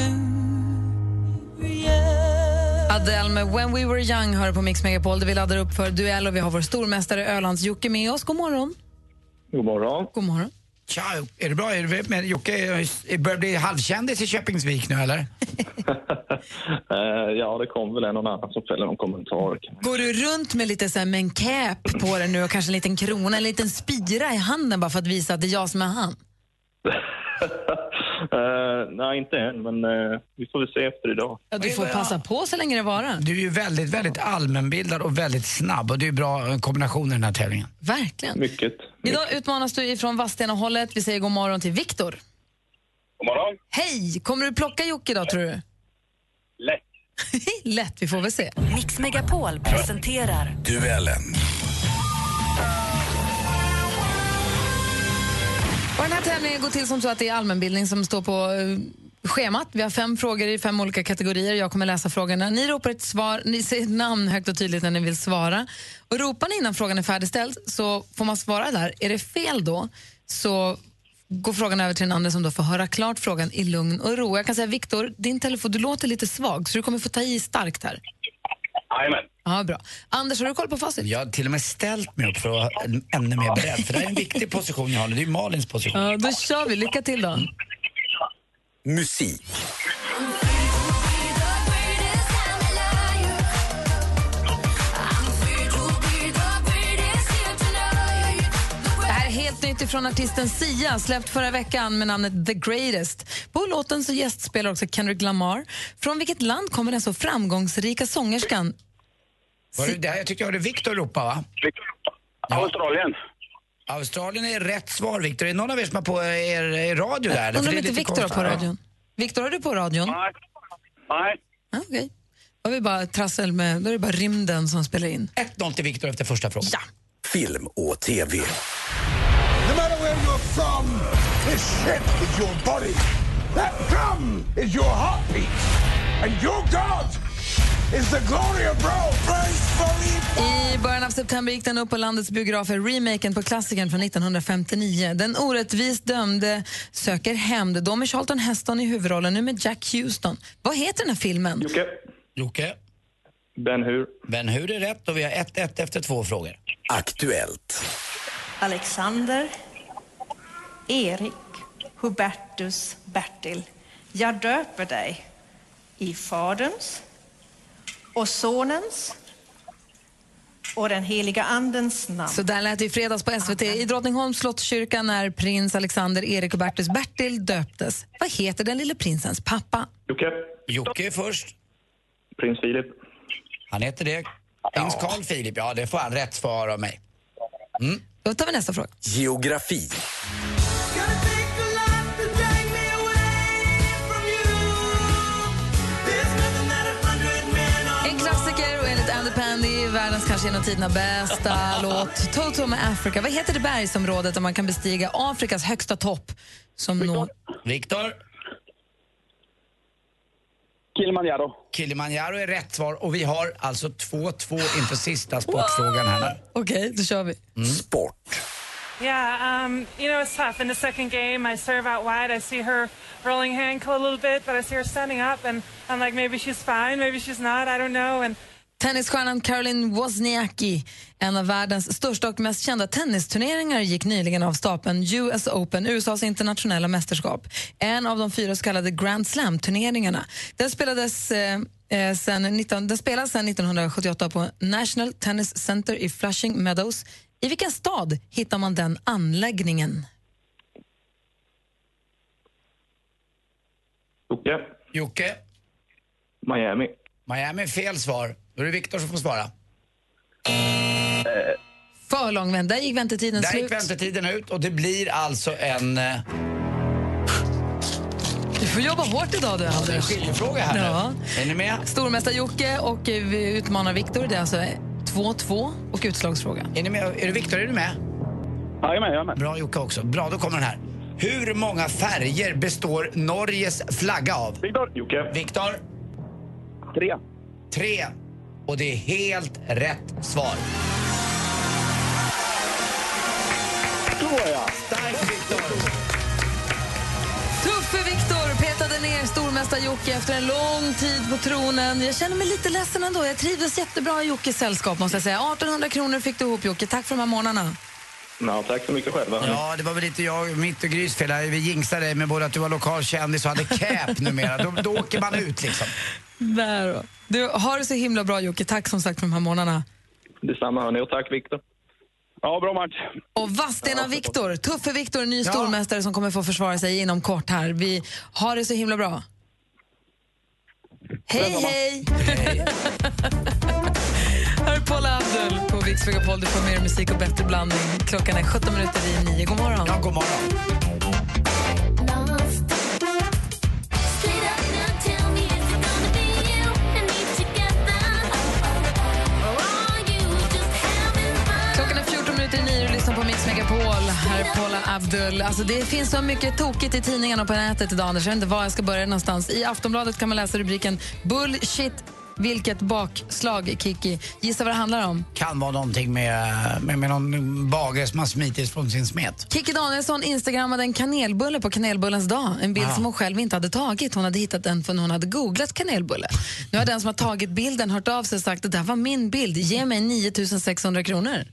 [SPEAKER 2] Adele med When We Were Young hör på Mix Megapol där vi laddar upp för duell och vi har vår stormästare Ölands-Jocke med oss. God morgon!
[SPEAKER 3] God morgon.
[SPEAKER 2] God morgon.
[SPEAKER 3] Tja, är det bra? Är det, men Jocke är- börjar bli halvkändis i Köpingsvik nu eller?
[SPEAKER 14] Eh, ja, det kom väl en och annan som fäller någon kommentar.
[SPEAKER 2] Går du runt med lite så här med en cap på dig nu och kanske en liten krona, en liten spira i handen bara för att visa att det är jag som är han?
[SPEAKER 14] Eh, nej, inte än, men eh, vi får väl se efter idag.
[SPEAKER 2] Ja, du får passa på så länge det varar.
[SPEAKER 3] Du är ju väldigt, väldigt allmänbildad och väldigt snabb och det är ju bra eh, kombination i den här tävlingen.
[SPEAKER 2] Verkligen.
[SPEAKER 14] Mycket.
[SPEAKER 2] Idag utmanas du ifrån Vadstena-hållet. Vi säger god morgon till Viktor.
[SPEAKER 14] God morgon.
[SPEAKER 2] Hej! Kommer du plocka Jocke idag tror du?
[SPEAKER 14] Lätt.
[SPEAKER 2] Lätt, vi får väl se.
[SPEAKER 1] Mix Megapol presenterar
[SPEAKER 12] Duellen.
[SPEAKER 2] Och den här tävlingen går till som så att det är allmänbildning som står på eh, schemat. Vi har fem frågor i fem olika kategorier. Jag kommer läsa frågorna. Ni ropar ett svar, ni säger ett namn högt och tydligt när ni vill svara. Och ropar ni innan frågan är färdigställd så får man svara där. Är det fel då så går frågan över till den andra som då får höra klart frågan i lugn och ro. Jag kan säga Viktor, din telefon, du låter lite svag så du kommer få ta i starkt här.
[SPEAKER 14] Jajamän.
[SPEAKER 2] Ja, bra. Anders, har du koll på facit?
[SPEAKER 3] Jag har till och med ställt mig upp för att vara ännu mer beredd. För det här är en viktig position jag har nu. Det är ju Malins position.
[SPEAKER 2] Ja, då kör vi. Lycka till då.
[SPEAKER 3] Musik.
[SPEAKER 2] Det här är helt nytt ifrån artisten Sia, släppt förra veckan med namnet The Greatest. På låten så gästspelar också Kendrick Lamar. Från vilket land kommer den så framgångsrika sångerskan?
[SPEAKER 3] Var det, det här, jag tyckte jag hörde Viktor ropa, va?
[SPEAKER 14] Australien.
[SPEAKER 3] Australien är rätt svar, Viktor. Är det någon av er som har på er, er radio där?
[SPEAKER 2] Undrar
[SPEAKER 3] För
[SPEAKER 2] om
[SPEAKER 3] det är
[SPEAKER 2] inte
[SPEAKER 3] lite
[SPEAKER 2] Viktor har på
[SPEAKER 3] konstigt.
[SPEAKER 2] radion? Viktor, har du på radion? Nej.
[SPEAKER 14] Nej.
[SPEAKER 2] Okej. Då har vi bara trassel med, då är det bara rymden som spelar in.
[SPEAKER 3] 1-0 till Viktor efter första frågan.
[SPEAKER 12] Film och TV.
[SPEAKER 6] No matter where you're from, this ship is your body. That drum is your heartbeat. And your God is the glory of Rome. Praise for
[SPEAKER 2] I början av september gick den upp på landets biografer, remaken på klassikern från 1959. Den orättvist dömde söker hämnd, då med Charlton Heston i huvudrollen, nu med Jack Houston. Vad heter den här filmen?
[SPEAKER 14] Jocke.
[SPEAKER 3] Jocke.
[SPEAKER 14] Ben Hur.
[SPEAKER 3] Ben Hur är rätt och vi har 1-1 efter två frågor.
[SPEAKER 12] Aktuellt.
[SPEAKER 16] Alexander, Erik, Hubertus, Bertil. Jag döper dig i Faderns och Sonens och den heliga Andens namn.
[SPEAKER 2] Så där lät det i fredags på SVT. I Drottningholms slottskyrka när prins Alexander Erik och Bertus Bertil döptes. Vad heter den lille prinsens pappa?
[SPEAKER 14] Jocke.
[SPEAKER 3] Jocke är först.
[SPEAKER 14] Prins Filip.
[SPEAKER 3] Han heter det. Prins Carl Philip. Ja, det får han rätt svar av mig. Mm.
[SPEAKER 2] Då tar vi nästa fråga.
[SPEAKER 12] Geografi.
[SPEAKER 2] En klassiker och enligt Andy Pandy världens kanske genom tiderna bästa låt. Toto med Africa. Vad heter det bergsområdet där man kan bestiga Afrikas högsta topp? Som når...
[SPEAKER 3] Viktor. Kilimanjaro. Kilimanjaro är rätt svar och vi har alltså 2-2 inför sista sportfrågan här nu.
[SPEAKER 2] Okej, då kör vi.
[SPEAKER 3] Sport.
[SPEAKER 25] Yeah, um, you know, it's tough. In the second game, I serve out wide. I see her rolling her ankle a little bit, but I see her standing up, and I'm like, maybe she's fine, maybe she's not, I don't know. And
[SPEAKER 2] Tennisstjärnan Caroline Wozniacki, en av världens största och mest kända tennisturneringar, gick nyligen av stapeln US Open, USAs internationella mästerskap. En av de fyra så kallade Grand Slam-turneringarna. Den spelades eh, eh, sen 19, den spelas sedan 1978 på National Tennis Center i Flushing Meadows. I vilken stad hittar man den anläggningen?
[SPEAKER 14] Jocke,
[SPEAKER 3] Jocke,
[SPEAKER 14] Miami.
[SPEAKER 3] Miami är fel svar. Då är det Viktor som får svara.
[SPEAKER 14] Eh,
[SPEAKER 2] För lång vända. Där gick väntetiden
[SPEAKER 3] Där
[SPEAKER 2] slut.
[SPEAKER 3] gick väntetiden ut och det blir alltså en... eh,
[SPEAKER 2] Du får jobba hårt idag du,
[SPEAKER 3] Det är en
[SPEAKER 2] Anders.
[SPEAKER 3] skiljefråga här
[SPEAKER 2] Ja.
[SPEAKER 3] nu. Är ni med?
[SPEAKER 2] Stormästare Jocke och eh, vi utmanar Viktor. Det är alltså 2-2 och utslagsfråga.
[SPEAKER 3] Är, ni med? är du Viktor, är du med? Ja, jag är med, jag är med. Bra Jocke också. Bra, då kommer den här. Hur många färger består Norges flagga av? Viktor. Jocke. Viktor. Tre. Tre. Och det är helt rätt svar.
[SPEAKER 2] Såja!
[SPEAKER 3] Starkt Viktor!
[SPEAKER 2] Tuffe Viktor petade ner stormästare Jocke efter en lång tid på tronen. Jag känner mig lite ledsen ändå. Jag trivdes jättebra i Jockes sällskap måste jag säga. 1800 kronor fick du ihop Jocke. Tack för de här morgnarna.
[SPEAKER 14] Ja, tack så mycket själva.
[SPEAKER 3] Ja, det var väl lite jag, mitt och Grys fel. här. Vi jinxade dig med både att du var lokal kändis och hade cap numera. Då, då åker man ut liksom.
[SPEAKER 2] Där då. Du, har det så himla bra Jocke. Tack som sagt för de här morgnarna.
[SPEAKER 14] Detsamma hörni och tack Viktor. Ja, bra match.
[SPEAKER 2] Och Vadstena Viktor, Tuffe Viktor, ny stormästare som kommer få försvara sig inom kort här. Vi har det så himla bra. Hej, hej! Här är Paul Abdul på Mix Megapol. Du får mer musik och bättre blandning. Klockan är 17 minuter i nio. God morgon. Ja,
[SPEAKER 3] god morgon.
[SPEAKER 2] Klockan är 14 minuter i nio och du lyssnar på Mix Megapol. Här är Paula Abdul. Alltså, det finns så mycket tokigt i tidningarna och på nätet idag, Anders. Jag vet inte var jag ska börja någonstans. I Aftonbladet kan man läsa rubriken Bullshit, vilket bakslag, Kiki. Gissa vad det handlar om?
[SPEAKER 3] Kan vara någonting med, med, med någon bagare som har smitit från sin smet.
[SPEAKER 2] Kikki Danielsson instagrammade en kanelbulle på kanelbullens dag. En bild
[SPEAKER 3] Ah.
[SPEAKER 2] som hon själv inte hade tagit. Hon hade hittat den för hon hade googlat kanelbulle. Nu har den som har tagit bilden hört av sig och sagt att det här var min bild. Ge mig 9600 kronor.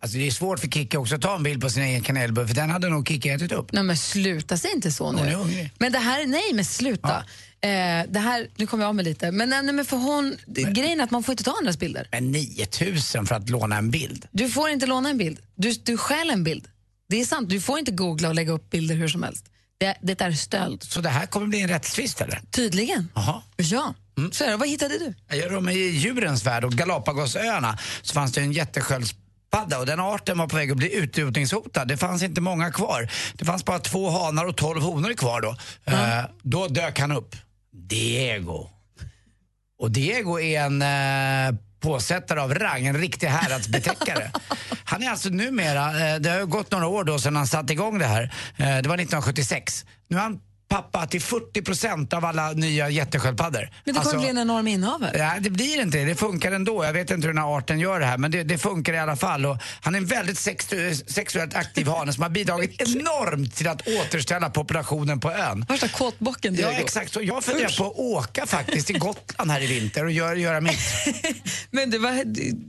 [SPEAKER 3] Alltså det är svårt för Kikki också att ta en bild på sin egen kanelbulle för den hade nog Kikki ätit upp.
[SPEAKER 2] Nej men sluta, säg inte så
[SPEAKER 3] Hon är
[SPEAKER 2] nu.
[SPEAKER 3] hungrig.
[SPEAKER 2] Men det här, nej men sluta. Eh, det här, nu kommer jag av mig lite. Men, nej, men för hon, grejen är att man får inte ta andras bilder.
[SPEAKER 3] Men 9000 för att låna en bild.
[SPEAKER 2] Du får inte låna en bild. Du, du stjäl en bild. Det är sant, du får inte googla och lägga upp bilder hur som helst. Det, det är stöld.
[SPEAKER 3] Så det här kommer bli en rättstvist eller?
[SPEAKER 2] Tydligen.
[SPEAKER 3] Jaha. Mm.
[SPEAKER 2] Ja. Så är det. Vad hittade du?
[SPEAKER 3] Jag rör mig I djurens värld och Galapagosöarna så fanns det en jättesköldpadda och den arten var på väg att bli utrotningshotad. Det fanns inte många kvar. Det fanns bara två hanar och tolv honor kvar då. Eh, då dök han upp. Diego. Och Diego är en eh, påsättare av rang, en riktig häradsbetäckare. Han är alltså numera, eh, det har ju gått några år då sedan han satte igång det här, eh, det var 1976. Nu är han pappa till 40% av alla nya jättesköldpaddor.
[SPEAKER 2] Men det kommer
[SPEAKER 3] Alltså-
[SPEAKER 2] bli en enorm innehavare.
[SPEAKER 3] Nej, det blir inte det. Det funkar ändå. Jag vet inte hur den här arten gör det här, men det, det funkar i alla fall. Och han är en väldigt sexu- sexuellt aktiv hane som har bidragit enormt till att återställa populationen på ön.
[SPEAKER 2] Värsta kåtbocken
[SPEAKER 3] Ja,
[SPEAKER 2] Diego.
[SPEAKER 3] exakt. Så jag funderar på att åka faktiskt till Gotland här i vinter och göra, göra mitt.
[SPEAKER 2] Men det var,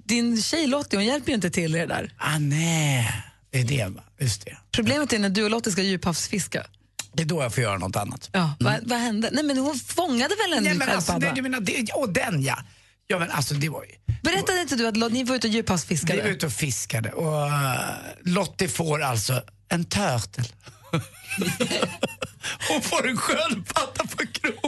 [SPEAKER 2] din tjej Lottie, hon hjälper ju inte till i det där.
[SPEAKER 3] Ah, nej. Det är det, va? Just det.
[SPEAKER 2] Problemet är när du och Lottie ska djuphavsfiska.
[SPEAKER 3] Det är då jag får göra något annat.
[SPEAKER 2] Ja, vad, vad hände? Nej, men hon fångade väl en
[SPEAKER 3] Nej, men alltså,
[SPEAKER 2] sköldpadda?
[SPEAKER 3] det, du menar, det, och den ja. Ja, men alltså det var ju...
[SPEAKER 2] Berättade inte du att Lottie, ni var ute och
[SPEAKER 3] Vi
[SPEAKER 2] djuphavsfiskade?
[SPEAKER 3] var ute och fiskade och eh, Lottie får alltså en turtle. Hon får en sköldpadda på kroken.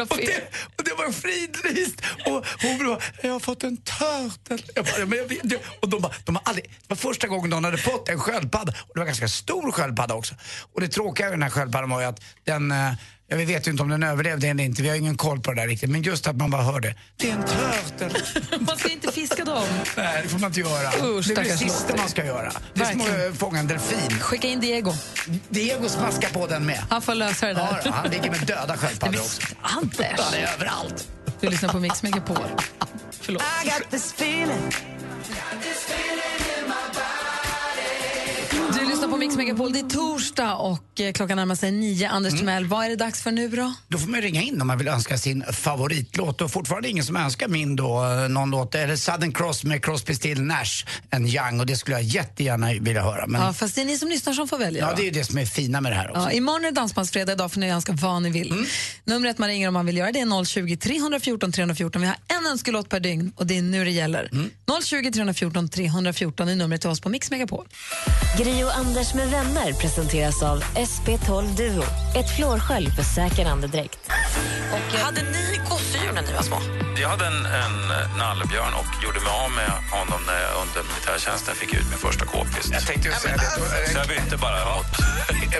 [SPEAKER 3] och, det, och det var fridlyst. Och hon bara, jag har fått en turtle. Jag bara, men jag, vet inte." och de bara, de har aldrig, det var första gången någon hade fått en sköldpadda. Och det var en ganska stor sköldpadda också. Och det tråkiga med den här sköldpaddan var ju att den, eh, ja, vi vet ju inte om den överlevde eller inte, vi har ingen koll på det där riktigt. Men just att man bara hörde, det är en turtle.
[SPEAKER 2] Man ska inte fiska dem.
[SPEAKER 3] Nej, det får man inte göra.
[SPEAKER 2] Usch,
[SPEAKER 3] det är det
[SPEAKER 2] stackars
[SPEAKER 3] sista
[SPEAKER 2] Lotte.
[SPEAKER 3] man ska göra. Det är som att fånga en delfin.
[SPEAKER 2] Skicka in Diego.
[SPEAKER 3] Diego smaskar på den med.
[SPEAKER 2] Han får lösa det där.
[SPEAKER 3] Ja, han ligger med döda sköldpaddor också.
[SPEAKER 2] Anders!
[SPEAKER 3] Han är överallt.
[SPEAKER 2] Du lyssnar på Mix Megapol. Förlåt. Du lyssnar på Mix Megapol. Det är torsdag och eh, klockan närmar sig nio.
[SPEAKER 3] Mm.
[SPEAKER 2] Anders Timell, vad är det dags för nu då?
[SPEAKER 3] Då får man ringa in om man vill önska sin favoritlåt. Och fortfarande ingen som önskar min då, eh, någon låt. Eller Southern Cross med Crosby, Still, Nash and Young. Och det skulle jag jättegärna vilja höra. Men
[SPEAKER 2] Ja, fast det är ni som lyssnar som får välja.
[SPEAKER 3] ja,
[SPEAKER 2] va?
[SPEAKER 3] det är ju det som är fina med det här också.
[SPEAKER 2] Ja, imorgon är det dansbandsfredag, idag får ni önska vad ni vill. Numret man ringer om man vill göra det är 020 314 314. Vi har en önskelåt per dygn och det är nu det gäller. 020 314 314 är numret till oss på Mix Megapol.
[SPEAKER 10] Gri och Anders med vänner presenteras av SP12 Duo. Ett flårskölj för säker andedräkt.
[SPEAKER 11] Hade ni gosedjur när ni var små?
[SPEAKER 17] Jag hade en, en eh, nallebjörn och gjorde mig av med honom när jag under militärtjänsten fick ut min första k-pist. Jag tänkte
[SPEAKER 12] just säga det. Då är det-
[SPEAKER 17] Så jag bytte bara mot...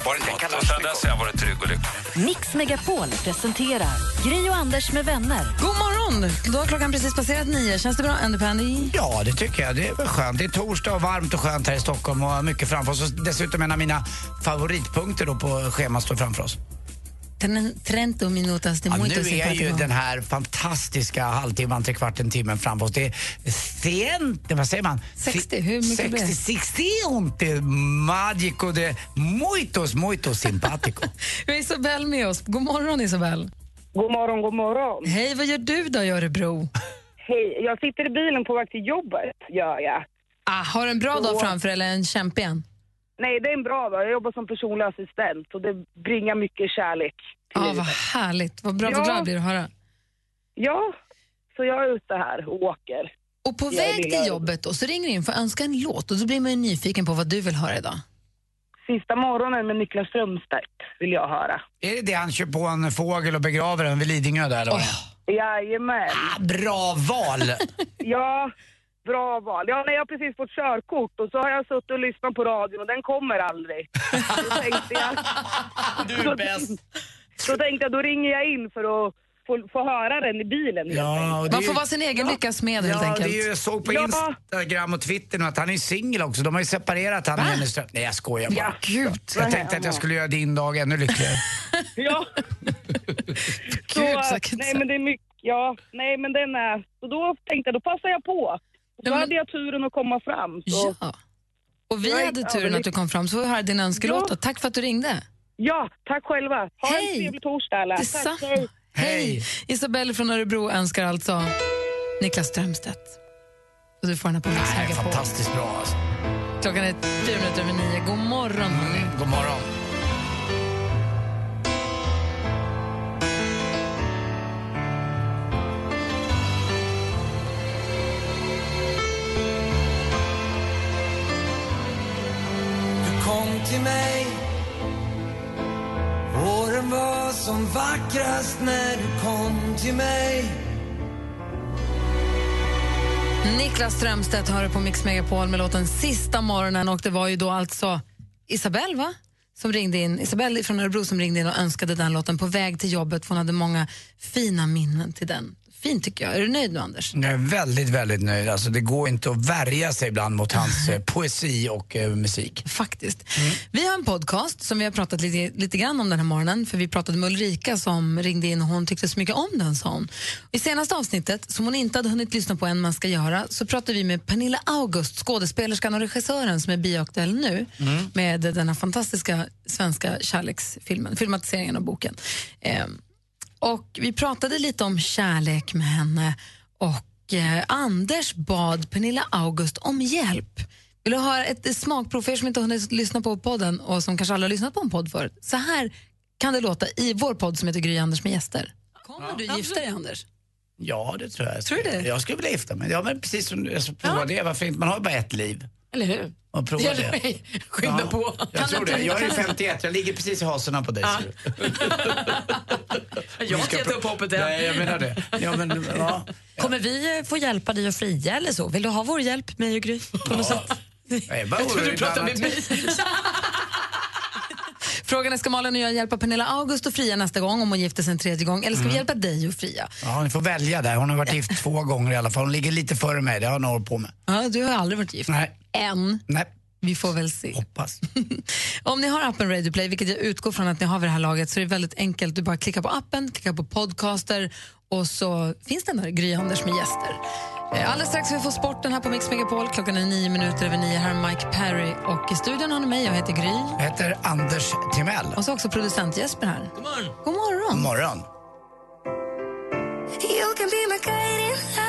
[SPEAKER 17] Var det inte Och sen dess har jag varit trygg och lycklig.
[SPEAKER 1] Mix Megapol presenterar Gri och Anders med vänner.
[SPEAKER 2] God morgon! Då har klockan precis passerat nio. Känns det bra, Andy Pandy?
[SPEAKER 3] Ja, det tycker jag. Det är väl skönt. Det är torsdag och varmt och skönt här i Stockholm och mycket framför oss. Och dessutom en av mina favoritpunkter då på schemat står framför oss.
[SPEAKER 2] Tren- Trento minutas de
[SPEAKER 3] Ja,
[SPEAKER 2] muitos
[SPEAKER 3] nu
[SPEAKER 2] y
[SPEAKER 3] är ju
[SPEAKER 2] cuatro.
[SPEAKER 3] den här fantastiska halvtimman, tre kvarten, timmen framför oss. Det är sent, vad säger man?
[SPEAKER 2] 60, hur mycket
[SPEAKER 3] 60,
[SPEAKER 2] blir det?
[SPEAKER 3] 60 inte magico de muitos, muitos simpatico.
[SPEAKER 2] Vi har Isabel med oss. God morgon, Isabel.
[SPEAKER 21] God morgon, god morgon.
[SPEAKER 2] Hej, vad gör du då i Örebro?
[SPEAKER 21] Hej, jag sitter i bilen på väg till jobbet, gör jag.
[SPEAKER 2] Ah, har du en bra dag framför eller en kämpig en?
[SPEAKER 21] Nej, det är en bra dag. Jag jobbar som personlig assistent och det bringar mycket kärlek.
[SPEAKER 2] ah, vad härligt. Vad bra,
[SPEAKER 21] Ja.
[SPEAKER 2] vad glad jag blir att höra.
[SPEAKER 21] Ja, så jag är ute här och åker.
[SPEAKER 2] Och på
[SPEAKER 21] Jag
[SPEAKER 2] väg
[SPEAKER 21] gillar
[SPEAKER 2] till
[SPEAKER 21] det.
[SPEAKER 2] jobbet och så ringer du in för att önska en låt och då blir man ju nyfiken på vad du vill höra idag.
[SPEAKER 21] Sista morgonen med Niklas Strömstedt vill jag höra.
[SPEAKER 3] Är det det han kör på en fågel och begraver den vid Lidingö där? Eller? vad det är?
[SPEAKER 21] Jajamän.
[SPEAKER 3] Ah, bra val!
[SPEAKER 21] Ja, bra val. Ja, när jag har precis fått körkort och så har jag suttit och lyssnat på radion och den kommer aldrig. Då tänkte jag... Du är bäst. Då tänkte jag, då ringer jag in för att få, få höra den i bilen.
[SPEAKER 3] Ja, och det är
[SPEAKER 2] Man
[SPEAKER 3] ju-
[SPEAKER 2] får vara sin egen lyckas med helt
[SPEAKER 3] ja,
[SPEAKER 2] enkelt.
[SPEAKER 3] det är ju, jag såg på
[SPEAKER 2] Ja.
[SPEAKER 3] Instagram och Twitter nu att han är singel också. De har ju separerat han och Jenny Ström. Nej, jag skojar bara.
[SPEAKER 2] Ja, gud.
[SPEAKER 3] Jag tänkte att jag skulle göra din dag ännu lyckligare.
[SPEAKER 21] Ja.
[SPEAKER 2] Gud,
[SPEAKER 21] så,
[SPEAKER 2] säkert.
[SPEAKER 21] nej men det är mycket, ja, nej men den är, så då tänkte jag då passar jag på. Så hade jag turen att komma fram. Så.
[SPEAKER 2] Ja. Och vi
[SPEAKER 21] Jag är
[SPEAKER 2] hade turen att du
[SPEAKER 21] överlycklig.
[SPEAKER 2] kom fram så vi hörde din önskelåt. då. Tack för att du ringde.
[SPEAKER 21] Ja, tack själva. Ha en trevlig torsdag alla. Tack,
[SPEAKER 2] Detsamma.
[SPEAKER 21] hej.
[SPEAKER 2] Hej! Isabelle från Örebro önskar alltså Niklas Strömstedt. Och du får henne på Mix
[SPEAKER 3] Det här är
[SPEAKER 2] Megapol.
[SPEAKER 3] fantastiskt bra alltså.
[SPEAKER 2] Klockan är fyra minuter över nio. God morgon, hörni.
[SPEAKER 3] God morgon.
[SPEAKER 26] Du kom till mig Våren var som vackrast när du kom till mig
[SPEAKER 2] Niklas Strömstedt hör på Mix Megapol med låten Sista morgonen och det var ju då alltså Isabelle va? Som ringde in, Isabelle från Örebro som ringde in och önskade den låten på väg till jobbet för hon hade många fina minnen till den. Fint tycker jag. Är du nöjd nu Anders?
[SPEAKER 3] Jag är väldigt, väldigt nöjd. Alltså, det går inte att värja sig ibland mot hans eh, poesi och eh, musik.
[SPEAKER 2] Faktiskt. Vi har en podcast som vi har pratat lite, lite grann om den här morgonen för vi pratade med Ulrika som ringde in och hon tyckte så mycket om den sa hon. I senaste avsnittet, som hon inte hade hunnit lyssna på än man ska göra, så pratade vi med Pernilla August, skådespelerskan och regissören som är bioaktuell nu
[SPEAKER 23] Mm.
[SPEAKER 2] med den här fantastiska svenska kärleksfilmen, filmatiseringen av boken. Ehm, och vi pratade lite om kärlek med henne och eh, Anders bad Pernilla August om hjälp. Vill du höra ett smakprov för er som inte har hunnit lyssna på podden och som kanske aldrig har lyssnat på en podd förut? Så här kan det låta i vår podd som heter Gry Anders med gäster. Kommer du gifta dig Anders?
[SPEAKER 3] Ja, det tror jag.
[SPEAKER 2] Tror du det?
[SPEAKER 3] Jag skulle vilja gifta mig. Ja, men precis som du, alltså, prova det. Varför inte? Man har ju bara ett liv.
[SPEAKER 2] Eller hur?
[SPEAKER 3] Och prova
[SPEAKER 2] Hjälp
[SPEAKER 3] det.
[SPEAKER 2] mig. Skynda
[SPEAKER 3] Ja,
[SPEAKER 2] på.
[SPEAKER 3] Jag tror det. Jag är ju 51, jag ligger precis i hasorna på dig.
[SPEAKER 11] Ja.
[SPEAKER 3] ser du.
[SPEAKER 11] Jag har inte gett upp hoppet än.
[SPEAKER 3] Nej, jag menar det. Ja, men, ja.
[SPEAKER 18] Kommer vi eh, få hjälpa dig att fria eller så? Vill du ha vår hjälp, mig och Gry? På något sätt?
[SPEAKER 3] Jag, är bara orolig ibland att-
[SPEAKER 2] Frågan är, ska Malin och jag hjälpa Pernilla August att fria nästa gång om hon gifter sig en tredje gång? Eller ska vi
[SPEAKER 3] Mm.
[SPEAKER 2] hjälpa dig att fria?
[SPEAKER 3] Ja, ni får välja där. Hon har varit gift två gånger i alla fall. Hon ligger lite före mig, det har jag några år på mig.
[SPEAKER 2] Ja, du har aldrig varit gift.
[SPEAKER 3] Nej.
[SPEAKER 2] Än.
[SPEAKER 3] Nej.
[SPEAKER 2] Vi får väl se.
[SPEAKER 3] Hoppas.
[SPEAKER 2] Om ni har appen Radio Play, vilket jag utgår från att ni har vid det här laget, så är det väldigt enkelt. Du bara klickar på appen, klickar på podcaster och så finns den där, Gry Anders med gäster. Eh, Alldeles strax ska vi få sporten här på Mix Megapol. Klockan är nio minuter över nio. Här är Mike Perry och i studion har ni mig. Jag heter Gry.
[SPEAKER 3] Jag heter Anders Timell.
[SPEAKER 2] Och så också producent Jesper här. God morgon. God morgon. God
[SPEAKER 3] morgon.
[SPEAKER 27] You can be my guiding light.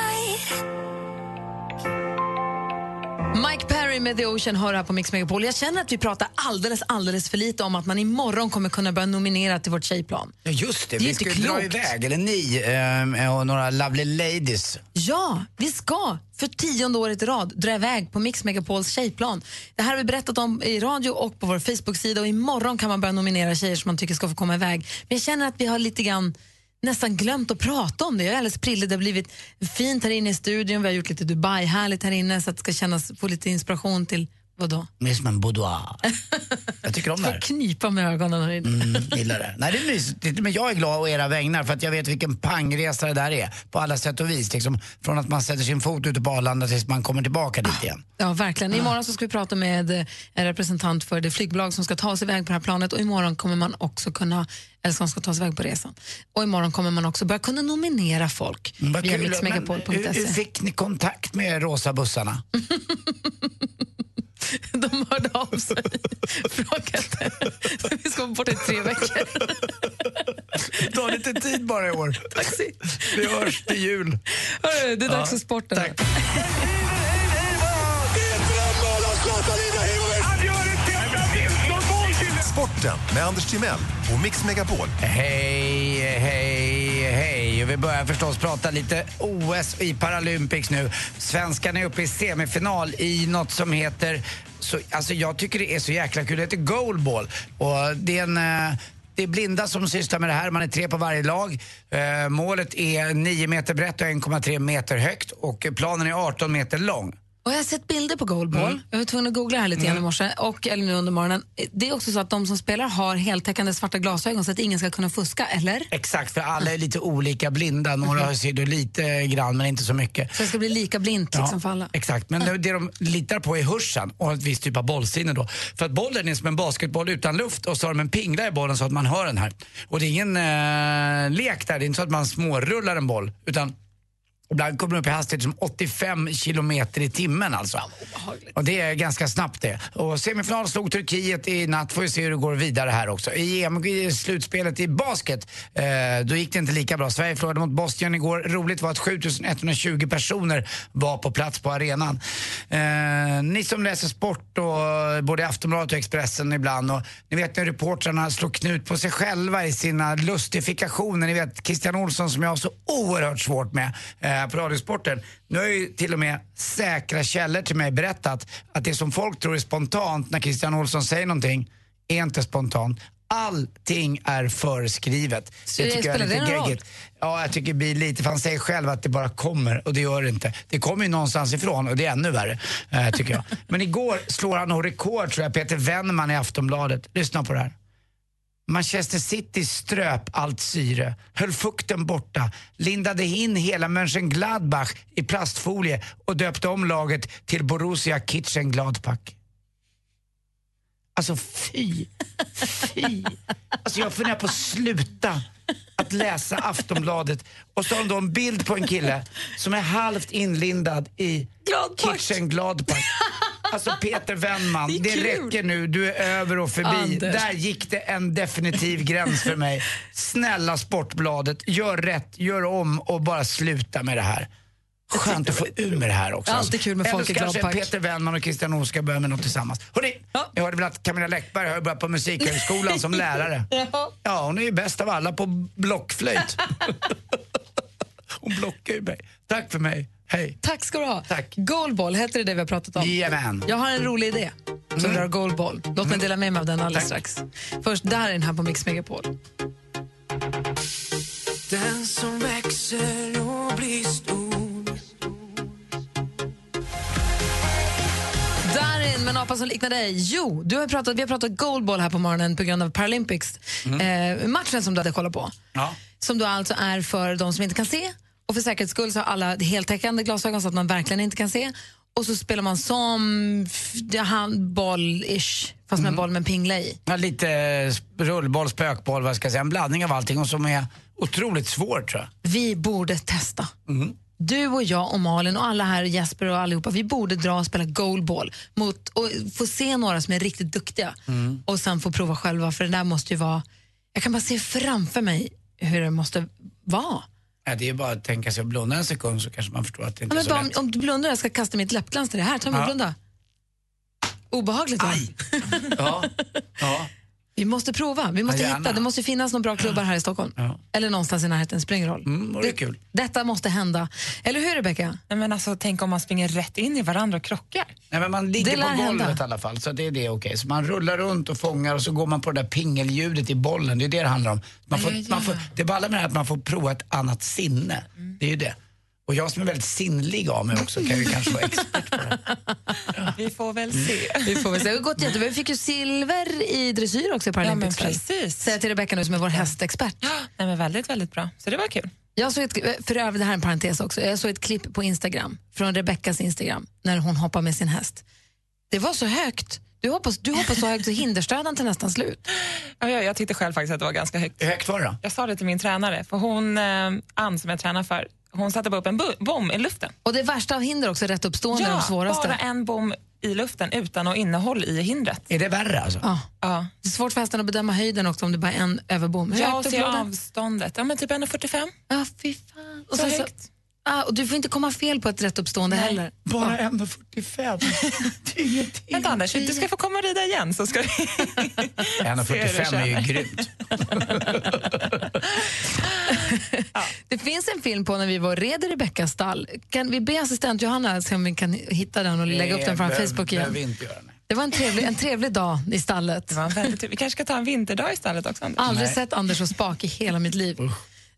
[SPEAKER 2] Mike Perry med The Ocean hör här på Mix Megapol. Jag känner att vi pratar alldeles, alldeles för lite om att man imorgon kommer kunna börja nominera till vårt tjejplan.
[SPEAKER 3] Ja, just det.
[SPEAKER 2] Det är
[SPEAKER 3] vi
[SPEAKER 2] inte
[SPEAKER 3] ska ju dra
[SPEAKER 2] klokt.
[SPEAKER 3] iväg, eller ni ehm, och några lovely ladies.
[SPEAKER 2] Ja, vi ska för tionde året i rad dra iväg på Mix Megapols tjejplan. Det här har vi berättat om i radio och på vår Facebook-sida och imorgon kan man börja nominera tjejer som man tycker ska få komma iväg. Men jag känner att vi har lite grann nästan glömt att prata om det. Jag är alldeles prillig. Det har blivit fint här inne i studion. Vi har gjort lite Dubai-härligt här inne så att det ska kännas, få lite inspiration till vadå?
[SPEAKER 3] Det är som en boudoir. Jag tycker om det här.
[SPEAKER 2] Knipa med ögonen här inne.
[SPEAKER 3] Mm, gillar det. Nej, det är mysigt. Men jag är glad å era vägnar för att jag vet vilken pangresa det där är på alla sätt och vis. Liksom, från att man sätter sin fot ute på Arlanda tills man kommer tillbaka
[SPEAKER 2] Ah.
[SPEAKER 3] dit igen.
[SPEAKER 2] Ja, verkligen. Imorgon så ska vi prata med eh, en representant för det flygbolag som ska ta sig iväg på det här planet och imorgon kommer man också kunna, eller som ska ta sig iväg på resan. Och imorgon kommer man också börja kunna nominera folk
[SPEAKER 3] Mm, vad
[SPEAKER 2] via
[SPEAKER 3] kul. Men hur, hur
[SPEAKER 2] mixmegapol.se.
[SPEAKER 3] fick ni kontakt med rosa bussarna?
[SPEAKER 2] De hörde av sig. Frågade. Vi ska vara borta i tre veckor.
[SPEAKER 3] Ta lite tid bara i år.
[SPEAKER 2] Taxi.
[SPEAKER 3] Vi hörs till jul.
[SPEAKER 2] Hörru, det är dags
[SPEAKER 3] Ja,
[SPEAKER 2] för sporten.
[SPEAKER 9] Sporten med Anders Timell och Mix Megapol.
[SPEAKER 3] Hej, hej, hej. Och Vi börjar förstås prata lite OS i Paralympics nu. Svenskarna är uppe i semifinal i något som heter... Så, alltså jag tycker det är så jäkla kul. Det heter goalball. Och det är en... eh, Det är blinda som sysslar med det här. Man är tre på varje lag. Eh, målet är 9 meter brett och 1,3 meter högt. Och planen är 18 meter lång.
[SPEAKER 2] Och jag har sett bilder på goalball.
[SPEAKER 3] Mm.
[SPEAKER 2] Jag var tvungen att googla här lite grann i morse, och, eller nu under morgonen. Det är också så att de som spelar har heltäckande svarta glasögon så att ingen ska kunna fuska, eller?
[SPEAKER 3] Exakt, för alla är lite olika blinda. Några ser du lite grann, men inte så mycket.
[SPEAKER 2] Så det ska bli lika blint liksom, för alla.
[SPEAKER 3] Exakt, men det det de litar på är hörseln och ett visst typ av bollsinne då. För att bollen är som en basketboll utan luft och så har de en pingla i bollen så att man hör den här. Och det är ingen eh, lek där, det är inte så att man smårullar en boll utan ibland kommer den upp i hastighet som 85 kilometer i timmen alltså. Och det är ganska snabbt det. Och semifinal slog Turkiet i natt, får vi se hur det går vidare här också. I EM-slutspelet i basket, eh, då gick det inte lika bra. Sverige förlorade mot Bosnien igår. Roligt var att 7120 personer var på plats på arenan. Eh, ni som läser sport, och, både i Aftonbladet och Expressen ibland, och ni vet när reportrarna slår knut på sig själva i sina lustifikationer. Ni vet Christian Olsson som jag har så oerhört svårt med eh, på Radiosporten. Nu har ju till och med säkra källor till mig berättat att det som folk tror är spontant när Christian Olsson säger någonting är inte spontant. Allting är förskrivet.
[SPEAKER 2] det spelar det någon roll?
[SPEAKER 3] Ja, jag tycker det blir lite, för han säger själv att det bara kommer och det gör det inte. Det kommer ju någonstans ifrån och det är ännu värre, eh, tycker jag. Men igår slår han nog rekord tror jag, Peter Wennman i Aftonbladet. Lyssna på det här. Manchester City ströp allt syre, höll fukten borta, lindade in hela Mönchengladbach i plastfolie och döpte om laget till Borussia Kitchen-Gladbach. Alltså fy, fy. Alltså jag funderar på att sluta att läsa Aftonbladet och så har de då en bild på en kille som är halvt inlindad i Kitchen Gladbach. Alltså Peter Wennman, det, räcker nu, du är över och förbi.
[SPEAKER 2] Anders.
[SPEAKER 3] Där gick det en definitiv gräns för mig. Snälla Sportbladet, gör rätt, gör om och bara sluta med det här. Skönt att få ur med det här också.
[SPEAKER 2] Det är alltid kul med
[SPEAKER 3] Eller
[SPEAKER 2] folk i
[SPEAKER 3] så kanske
[SPEAKER 2] Gladbach.
[SPEAKER 3] Peter Wennman och Christian Olsson ska börja med något tillsammans. Hörrni, jag hörde väl att Camilla Läckberg har ju börjat på Musikhögskolan som lärare. Ja, hon är ju bäst av alla på blockflöjt. hon blockar ju mig. Tack för mig. Hej.
[SPEAKER 2] Tack ska du ha. Tack. Goalball heter det det vi har pratat om.
[SPEAKER 3] Jajamän.
[SPEAKER 2] Jag har en rolig idé som rör goalball. Låt mig dela med mig av den alldeles strax. Först där är den här på Mix Megapol.
[SPEAKER 7] Den som växer och blir stor
[SPEAKER 2] Darin med apa som liknar dig? Jo, du har pratat, vi har pratat goalball här på morgonen på grund av Paralympics. Eh, matchen som du hade kollat på.
[SPEAKER 3] Ja.
[SPEAKER 2] Som då alltså är för de som inte kan se. Och för säkerhets skull så har alla heltäckande glasögon så att man verkligen inte kan se. Och så spelar man som f- handboll-ish, fast med en boll med en pingla i.
[SPEAKER 3] Ja, lite eh, rullboll, spökboll, vad ska jag säga, en blandning av allting och som är otroligt svår tror jag.
[SPEAKER 2] Vi borde testa. Du och jag och Malin och alla här, Jesper och allihopa, vi borde dra och spela goalball mot, och få se några som är riktigt duktiga och sen få prova själva för det där måste ju vara, jag kan bara se framför mig hur det måste vara.
[SPEAKER 3] Ja, det är ju bara att tänka sig att blunda en sekund så kanske man förstår att det
[SPEAKER 2] Ja,
[SPEAKER 3] inte är
[SPEAKER 2] men
[SPEAKER 3] så
[SPEAKER 2] bara,
[SPEAKER 3] lätt.
[SPEAKER 2] om, om du blundar, jag ska kasta mitt läppglans till det här, ta mig
[SPEAKER 3] Ja.
[SPEAKER 2] blunda. Obehagligt va?
[SPEAKER 3] Ja, ja.
[SPEAKER 2] Vi måste prova, vi måste
[SPEAKER 3] Ja, gärna.
[SPEAKER 2] hitta, det måste ju finnas några bra klubbar här i Stockholm. Eller någonstans i närheten, det spelar ingen roll.
[SPEAKER 3] Mm, och det är kul.
[SPEAKER 2] Detta måste hända. Eller hur Rebecca?
[SPEAKER 23] Nej, men alltså, tänk om man springer rätt in i varandra och krockar.
[SPEAKER 3] Nej, men man ligger
[SPEAKER 2] Det
[SPEAKER 3] på
[SPEAKER 2] lär
[SPEAKER 3] golvet
[SPEAKER 2] hända.
[SPEAKER 3] i alla fall, så det är det okej. Så man rullar runt och fångar och så går man på det där pingelljudet i bollen, det är det det handlar om. Man får,
[SPEAKER 2] Ja, ja, ja.
[SPEAKER 3] Man får, det balla med det här att man får prova ett annat sinne,
[SPEAKER 2] Mm.
[SPEAKER 3] det är ju det. Och jag som är väldigt sinnlig av mig också kan ju kanske vara expert.
[SPEAKER 23] Vi får väl se.
[SPEAKER 2] Vi får väl se. Det har gått jättebra. Vi fick ju silver i dressyr också i Paralympics.
[SPEAKER 23] Ja, men precis.
[SPEAKER 2] Säger jag till Rebecca nu som är vår hästexpert.
[SPEAKER 23] Nej, men väldigt, väldigt bra. Så det var kul.
[SPEAKER 2] Jag såg ett, för övrigt, det här är en parentes också. Jag såg ett klipp på Instagram, från Rebeckas Instagram, när hon hoppar med sin häst. Det var så högt. Du hoppas, du hoppas så högt så hinderstödan till nästan slut.
[SPEAKER 23] Ja, jag, jag tyckte själv faktiskt att det var ganska högt.
[SPEAKER 3] Hur högt var det då?
[SPEAKER 23] Jag sa det till min tränare, för hon, eh, Ann som jag tränar för, hon satte bara upp en bu- bom i luften.
[SPEAKER 2] Och det värsta av hinder också, rätt uppstående, är de svåraste.
[SPEAKER 23] bara en bom i luften utan något innehåll i hindret.
[SPEAKER 3] Är det värre alltså?
[SPEAKER 2] Ja.
[SPEAKER 23] Ja.
[SPEAKER 2] Det är svårt för hästen att bedöma höjden också om det bara är en överbom. Hur
[SPEAKER 23] Jag och
[SPEAKER 2] högt upp
[SPEAKER 23] se
[SPEAKER 2] låg den?
[SPEAKER 23] avståndet. Ja, men typ 1,45.
[SPEAKER 2] Ja, fy fan. Och
[SPEAKER 23] Så
[SPEAKER 2] sen så,
[SPEAKER 23] högt.
[SPEAKER 2] ah, och du får inte komma fel på ett rätt uppstående
[SPEAKER 23] Nej.
[SPEAKER 2] heller.
[SPEAKER 3] Bara 1,45. Det är ingenting.
[SPEAKER 23] Vänta Anders, du ska få komma och rida igen så ska vi...
[SPEAKER 3] 1,45 är ju grymt.
[SPEAKER 2] Det finns en film på när vi var och red i Rebeckas stall. Kan vi be assistent Johanna se om vi kan hitta den och lägga upp den på vår
[SPEAKER 3] Behöver-
[SPEAKER 2] Facebook
[SPEAKER 3] behöver vi
[SPEAKER 2] igen?
[SPEAKER 3] inte göra, nej.
[SPEAKER 2] Det var en trevlig, en trevlig dag i stallet.
[SPEAKER 23] Det var väldigt, vi kanske ska ta en vinterdag i stallet också Anders.
[SPEAKER 2] Aldrig sett Anders så spak i hela mitt liv.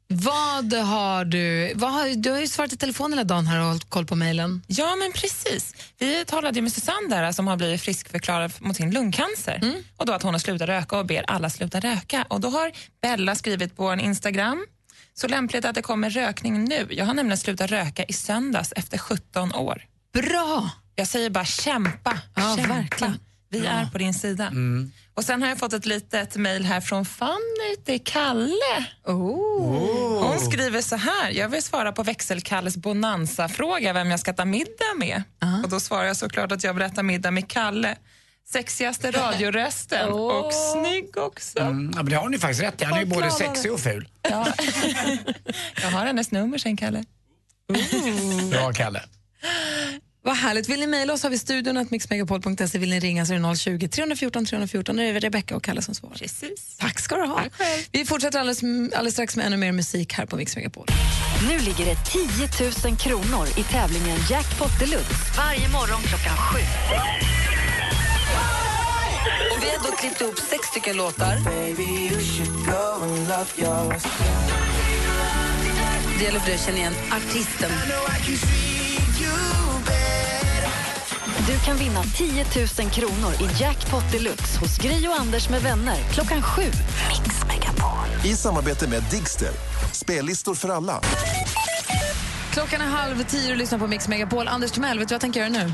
[SPEAKER 2] Vad har du... Vad har, du har ju svarat i telefon hela dagen här och hållit koll på mejlen.
[SPEAKER 23] Ja, men precis. Vi talade ju med Susanne där som har blivit friskförklarad mot sin lungcancer
[SPEAKER 2] Mm.
[SPEAKER 23] och då att hon har slutat röka och ber alla sluta röka. Och då har Bella skrivit på en Instagram så lämpligt att det kommer rökning nu. Jag har nämligen slutat röka i söndags efter 17 år.
[SPEAKER 2] Bra!
[SPEAKER 23] Jag säger bara kämpa,
[SPEAKER 2] Ja,
[SPEAKER 23] kämpa.
[SPEAKER 2] verkligen. Mm.
[SPEAKER 23] Vi är på din sida. Och sen har jag fått ett litet mejl här från Fanny till Kalle.
[SPEAKER 2] Oh.
[SPEAKER 23] Hon skriver så här, jag vill svara på växelkalles bonanza-fråga vem jag ska ta middag med. Och då svarar jag såklart att jag vill äta middag med Kalle. Sexigaste radiorösten och snygg också.
[SPEAKER 3] Mm, ja, men det har ni faktiskt rätt i. Han är ju både sexig och ful.
[SPEAKER 23] Ja. jag har hennes nummer sen Kalle.
[SPEAKER 2] Mm.
[SPEAKER 3] Bra, Kalle.
[SPEAKER 2] Vad härligt. Vill ni mejla oss har vi studion att mixmegapol.se. Vill ni ringa så är det 020 314 314. Nu är det Rebecca och Kalle som svarar.
[SPEAKER 23] Precis.
[SPEAKER 2] Tack ska du ha. Vi fortsätter alldeles, alldeles strax med ännu mer musik här på Mix Megapol.
[SPEAKER 1] Nu ligger det 10 000 kronor i tävlingen Jackpot Deluxe varje morgon klockan sju.
[SPEAKER 11] Och vi har då klippt ihop sex stycken låtar. Det gäller för dig att känna igen artisten.
[SPEAKER 1] Du kan vinna 10 000 kronor i Jackpot Deluxe hos Gri och Anders med vänner klockan sju. Mix Megapol.
[SPEAKER 9] I samarbete med Digster. Spellistor för alla.
[SPEAKER 2] Klockan är halv tio och lyssnar på Mix Megapol. Anders Timell, vet du vad jag tänker göra nu?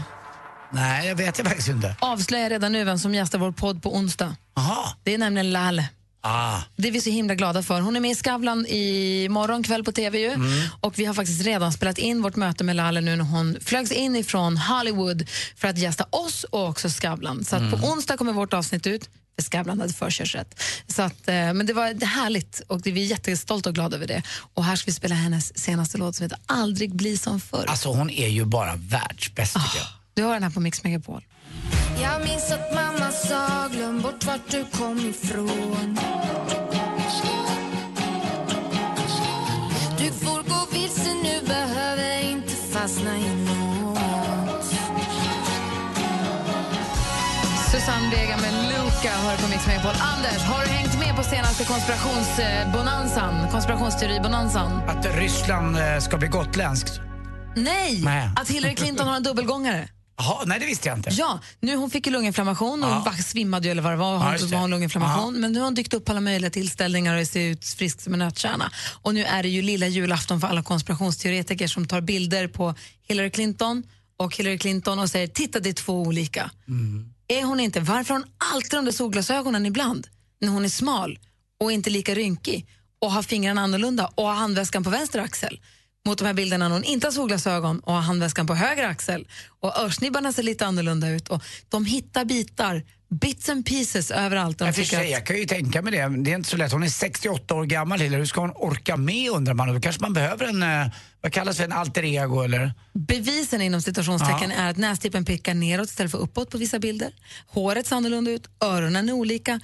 [SPEAKER 3] Nej, jag vet jag faktiskt inte.
[SPEAKER 2] Avslöja redan nu vem som gästar vår podd på onsdag.
[SPEAKER 3] Aha.
[SPEAKER 2] Det är nämligen Lalle.
[SPEAKER 3] Ah.
[SPEAKER 2] Det är vi så himla glada för. Hon är med i Skavlan i morgon kväll på TV ju. Och vi har faktiskt redan spelat in vårt möte med Lalle nu när hon flögs in ifrån Hollywood för att gästa oss och också Skavlan. Så att på onsdag kommer vårt avsnitt ut, för Skavlan hade förkörsrätt. Så att, eh, men det var härligt och det- vi är jättestolta och glada över det. Och här ska vi spela hennes senaste låt som heter Aldrig bli som förr.
[SPEAKER 3] Alltså, hon är ju bara världsbäst, tycker jag.
[SPEAKER 2] Du har den här på Mix Megapol.
[SPEAKER 4] Jag minns att mamma sa glöm bort vart du kom ifrån Du får gå vilse nu, behöver inte fastna i något
[SPEAKER 2] Susanne Vega med Luca hör på Mix Megapol. Anders, har du hängt med på senaste konspirationsbonanzan? Konspirationsteoribonanzan?
[SPEAKER 3] Att Ryssland eh, ska bli gotländskt.
[SPEAKER 2] Nej!
[SPEAKER 3] Nej.
[SPEAKER 2] Att Hillary Clinton har en dubbelgångare?
[SPEAKER 3] Jaha, nej det visste jag inte.
[SPEAKER 2] Ja, nu hon fick ju lunginflammation och
[SPEAKER 3] Ja.
[SPEAKER 2] va- svimmade ju eller vad det var, hon
[SPEAKER 3] Ja, just det.
[SPEAKER 2] var hon lunginflammation.
[SPEAKER 3] Ja.
[SPEAKER 2] Men nu har hon dykt upp på alla möjliga tillställningar och ser ut frisk som en nötkärna. Och nu är det ju lilla julafton för alla konspirationsteoretiker som tar bilder på Hillary Clinton och Hillary Clinton och säger titta det är två olika. Är hon inte? Varför har hon alltid de där solglasögonen ibland? När hon är smal och inte lika rynkig och har fingrarna annorlunda och har handväskan på vänster axel mot de här bilderna när hon inte har solglasögon och har handväskan på höger axel och örsnibbarna ser lite annorlunda ut och de hittar bitar, bits and pieces överallt. där De
[SPEAKER 3] Jag, för sig, jag kan ju tänka mig det. Det är inte så lätt. Hon är 68 år gammal, Hillary. Hur ska hon orka med undrar man? Då kanske man behöver en, eh, vad kallas det, en alter ego eller?
[SPEAKER 2] Bevisen inom citationstecken
[SPEAKER 3] Ja.
[SPEAKER 2] är att nästippen pekar neråt istället för uppåt på vissa bilder. Håret ser annorlunda ut, öronen är olika.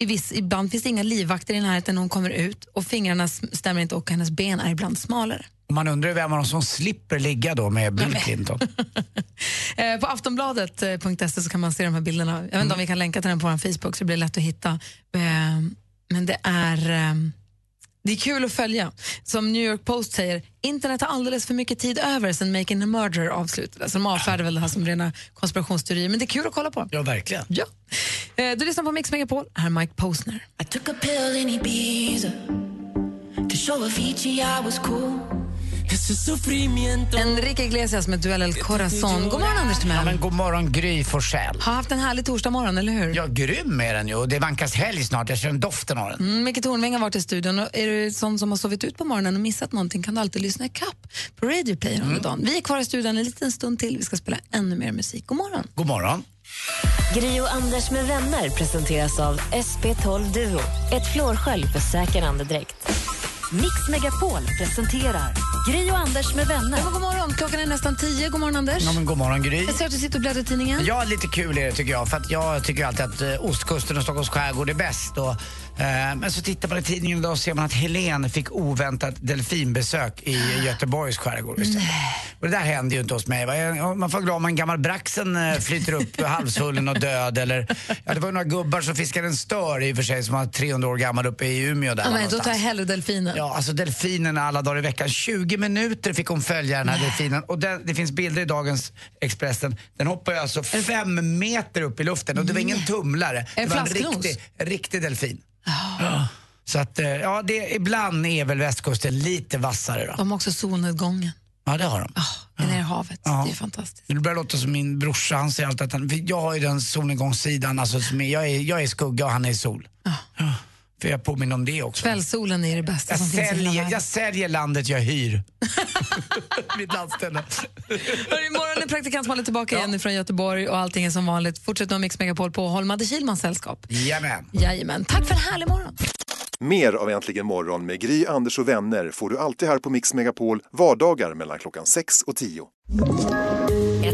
[SPEAKER 2] I viss, ibland finns det inga livvakter i närheten när hon kommer ut och fingrarna s- stämmer inte och hennes ben är ibland smalare.
[SPEAKER 3] Man undrar ju vem av dem som slipper ligga då med Bill Clinton.
[SPEAKER 2] Eh, på aftonbladet.se så kan man se de här bilderna. Jag vet inte
[SPEAKER 3] Mm.
[SPEAKER 2] om vi kan länka till den på vår Facebook så det blir lätt att hitta. Eh, men det är, eh, det är kul att följa. Som New York Post säger, internet har alldeles för mycket tid över sen Making a Murder avslutades. Så De avfärdar väl det här som rena konspirationsteorier, men det är kul att kolla på.
[SPEAKER 3] Ja, verkligen.
[SPEAKER 2] Ja. Eh, du lyssnar på Mix Megapol, här är Mike Posner.
[SPEAKER 7] I took a pill in Ibiza to show Avicii I was cool. Ese sufrimiento.
[SPEAKER 2] Enrique Iglesias med Duell El Corazon. God morgon Anders
[SPEAKER 3] Ja,
[SPEAKER 2] Timell.
[SPEAKER 3] men god morgon Gry Forssell.
[SPEAKER 2] Har haft en härlig torsdag morgon, eller hur?
[SPEAKER 3] Ja, grym är den ju. Och det vankas helg snart. Jag känner doften av den.
[SPEAKER 2] Mm, Micke Tornving har varit i studion. Och är du sån som har sovit ut på morgonen och missat någonting kan du alltid lyssna i kapp på Radio Play under
[SPEAKER 3] Mm.
[SPEAKER 2] dagen. Vi är kvar i studion en liten stund till. Vi ska spela ännu mer musik. God morgon!
[SPEAKER 3] God morgon.
[SPEAKER 10] Gri och Anders med vänner presenteras av SP12 Duo. Ett flårskölj för säker andedräkt.
[SPEAKER 28] Mix Megapol presenterar Gri och Anders med vänner.
[SPEAKER 2] Ja, god morgon! Klockan är nästan tio. God morgon, Anders!
[SPEAKER 3] Ja, men god morgon Gry.
[SPEAKER 2] Jag ser att du sitter och bläddrar i tidningen.
[SPEAKER 3] Ja, lite kul är det tycker jag. För att jag tycker alltid att eh, ostkusten och Stockholms skärgård är bäst. Och, eh, men så tittar man i tidningen idag och ser man att Helen fick oväntat delfinbesök i Göteborgs skärgård. istället. Och det där händer ju inte hos mig. va? Jag- Man får vara glad om en gammal braxen eh, flyter upp halvsvullen och död. Eller, ja, det var ju några gubbar som fiskade en stör i och för sig som var 300 år gammal uppe i Umeå. Där
[SPEAKER 2] Ja, men, då
[SPEAKER 3] någonstans.
[SPEAKER 2] tar jag hellre delfinen.
[SPEAKER 3] Ja, alltså delfinerna alla dagar i veckan. 20 minuter fick hon följa den här delfinen. Och den, det finns bilder i dagens Expressen. Den hoppar ju alltså fem meter upp i luften och det var ingen tumlare.
[SPEAKER 2] En
[SPEAKER 3] det var en
[SPEAKER 2] flasknos? Ah.
[SPEAKER 3] riktig, en riktig delfin. Ja. Så att, eh, ja, det, ibland är väl västkusten lite vassare då.
[SPEAKER 2] De har också solnedgången.
[SPEAKER 3] Ja, det har de.
[SPEAKER 2] Den är i havet. Ah, Det är fantastiskt.
[SPEAKER 3] Nu börjar det låta som min brorsa, han säger alltid att han, för jag har ju den solnedgångssidan, alltså som är, jag, är, jag är skugga och han är sol.
[SPEAKER 2] Ah.
[SPEAKER 3] Ja. För jag påminner om det också.
[SPEAKER 2] Kvällssolen är det bästa
[SPEAKER 3] Jag
[SPEAKER 2] som finns i hela
[SPEAKER 3] säljer,
[SPEAKER 2] världen.
[SPEAKER 3] jag säljer landet jag hyr. Mitt landställe.
[SPEAKER 2] Hörru, Imorgon är praktikant Malin tillbaka igen från Göteborg och allting är som vanligt. Fortsätt med Mix Megapol på Holmade Kilmans sällskap.
[SPEAKER 3] Jajamän.
[SPEAKER 2] Jajamän. Tack för en härlig morgon!
[SPEAKER 9] Mer av Äntligen morgon med Gry, Anders och vänner får du alltid här på Mix Megapol vardagar mellan klockan 6 och 10.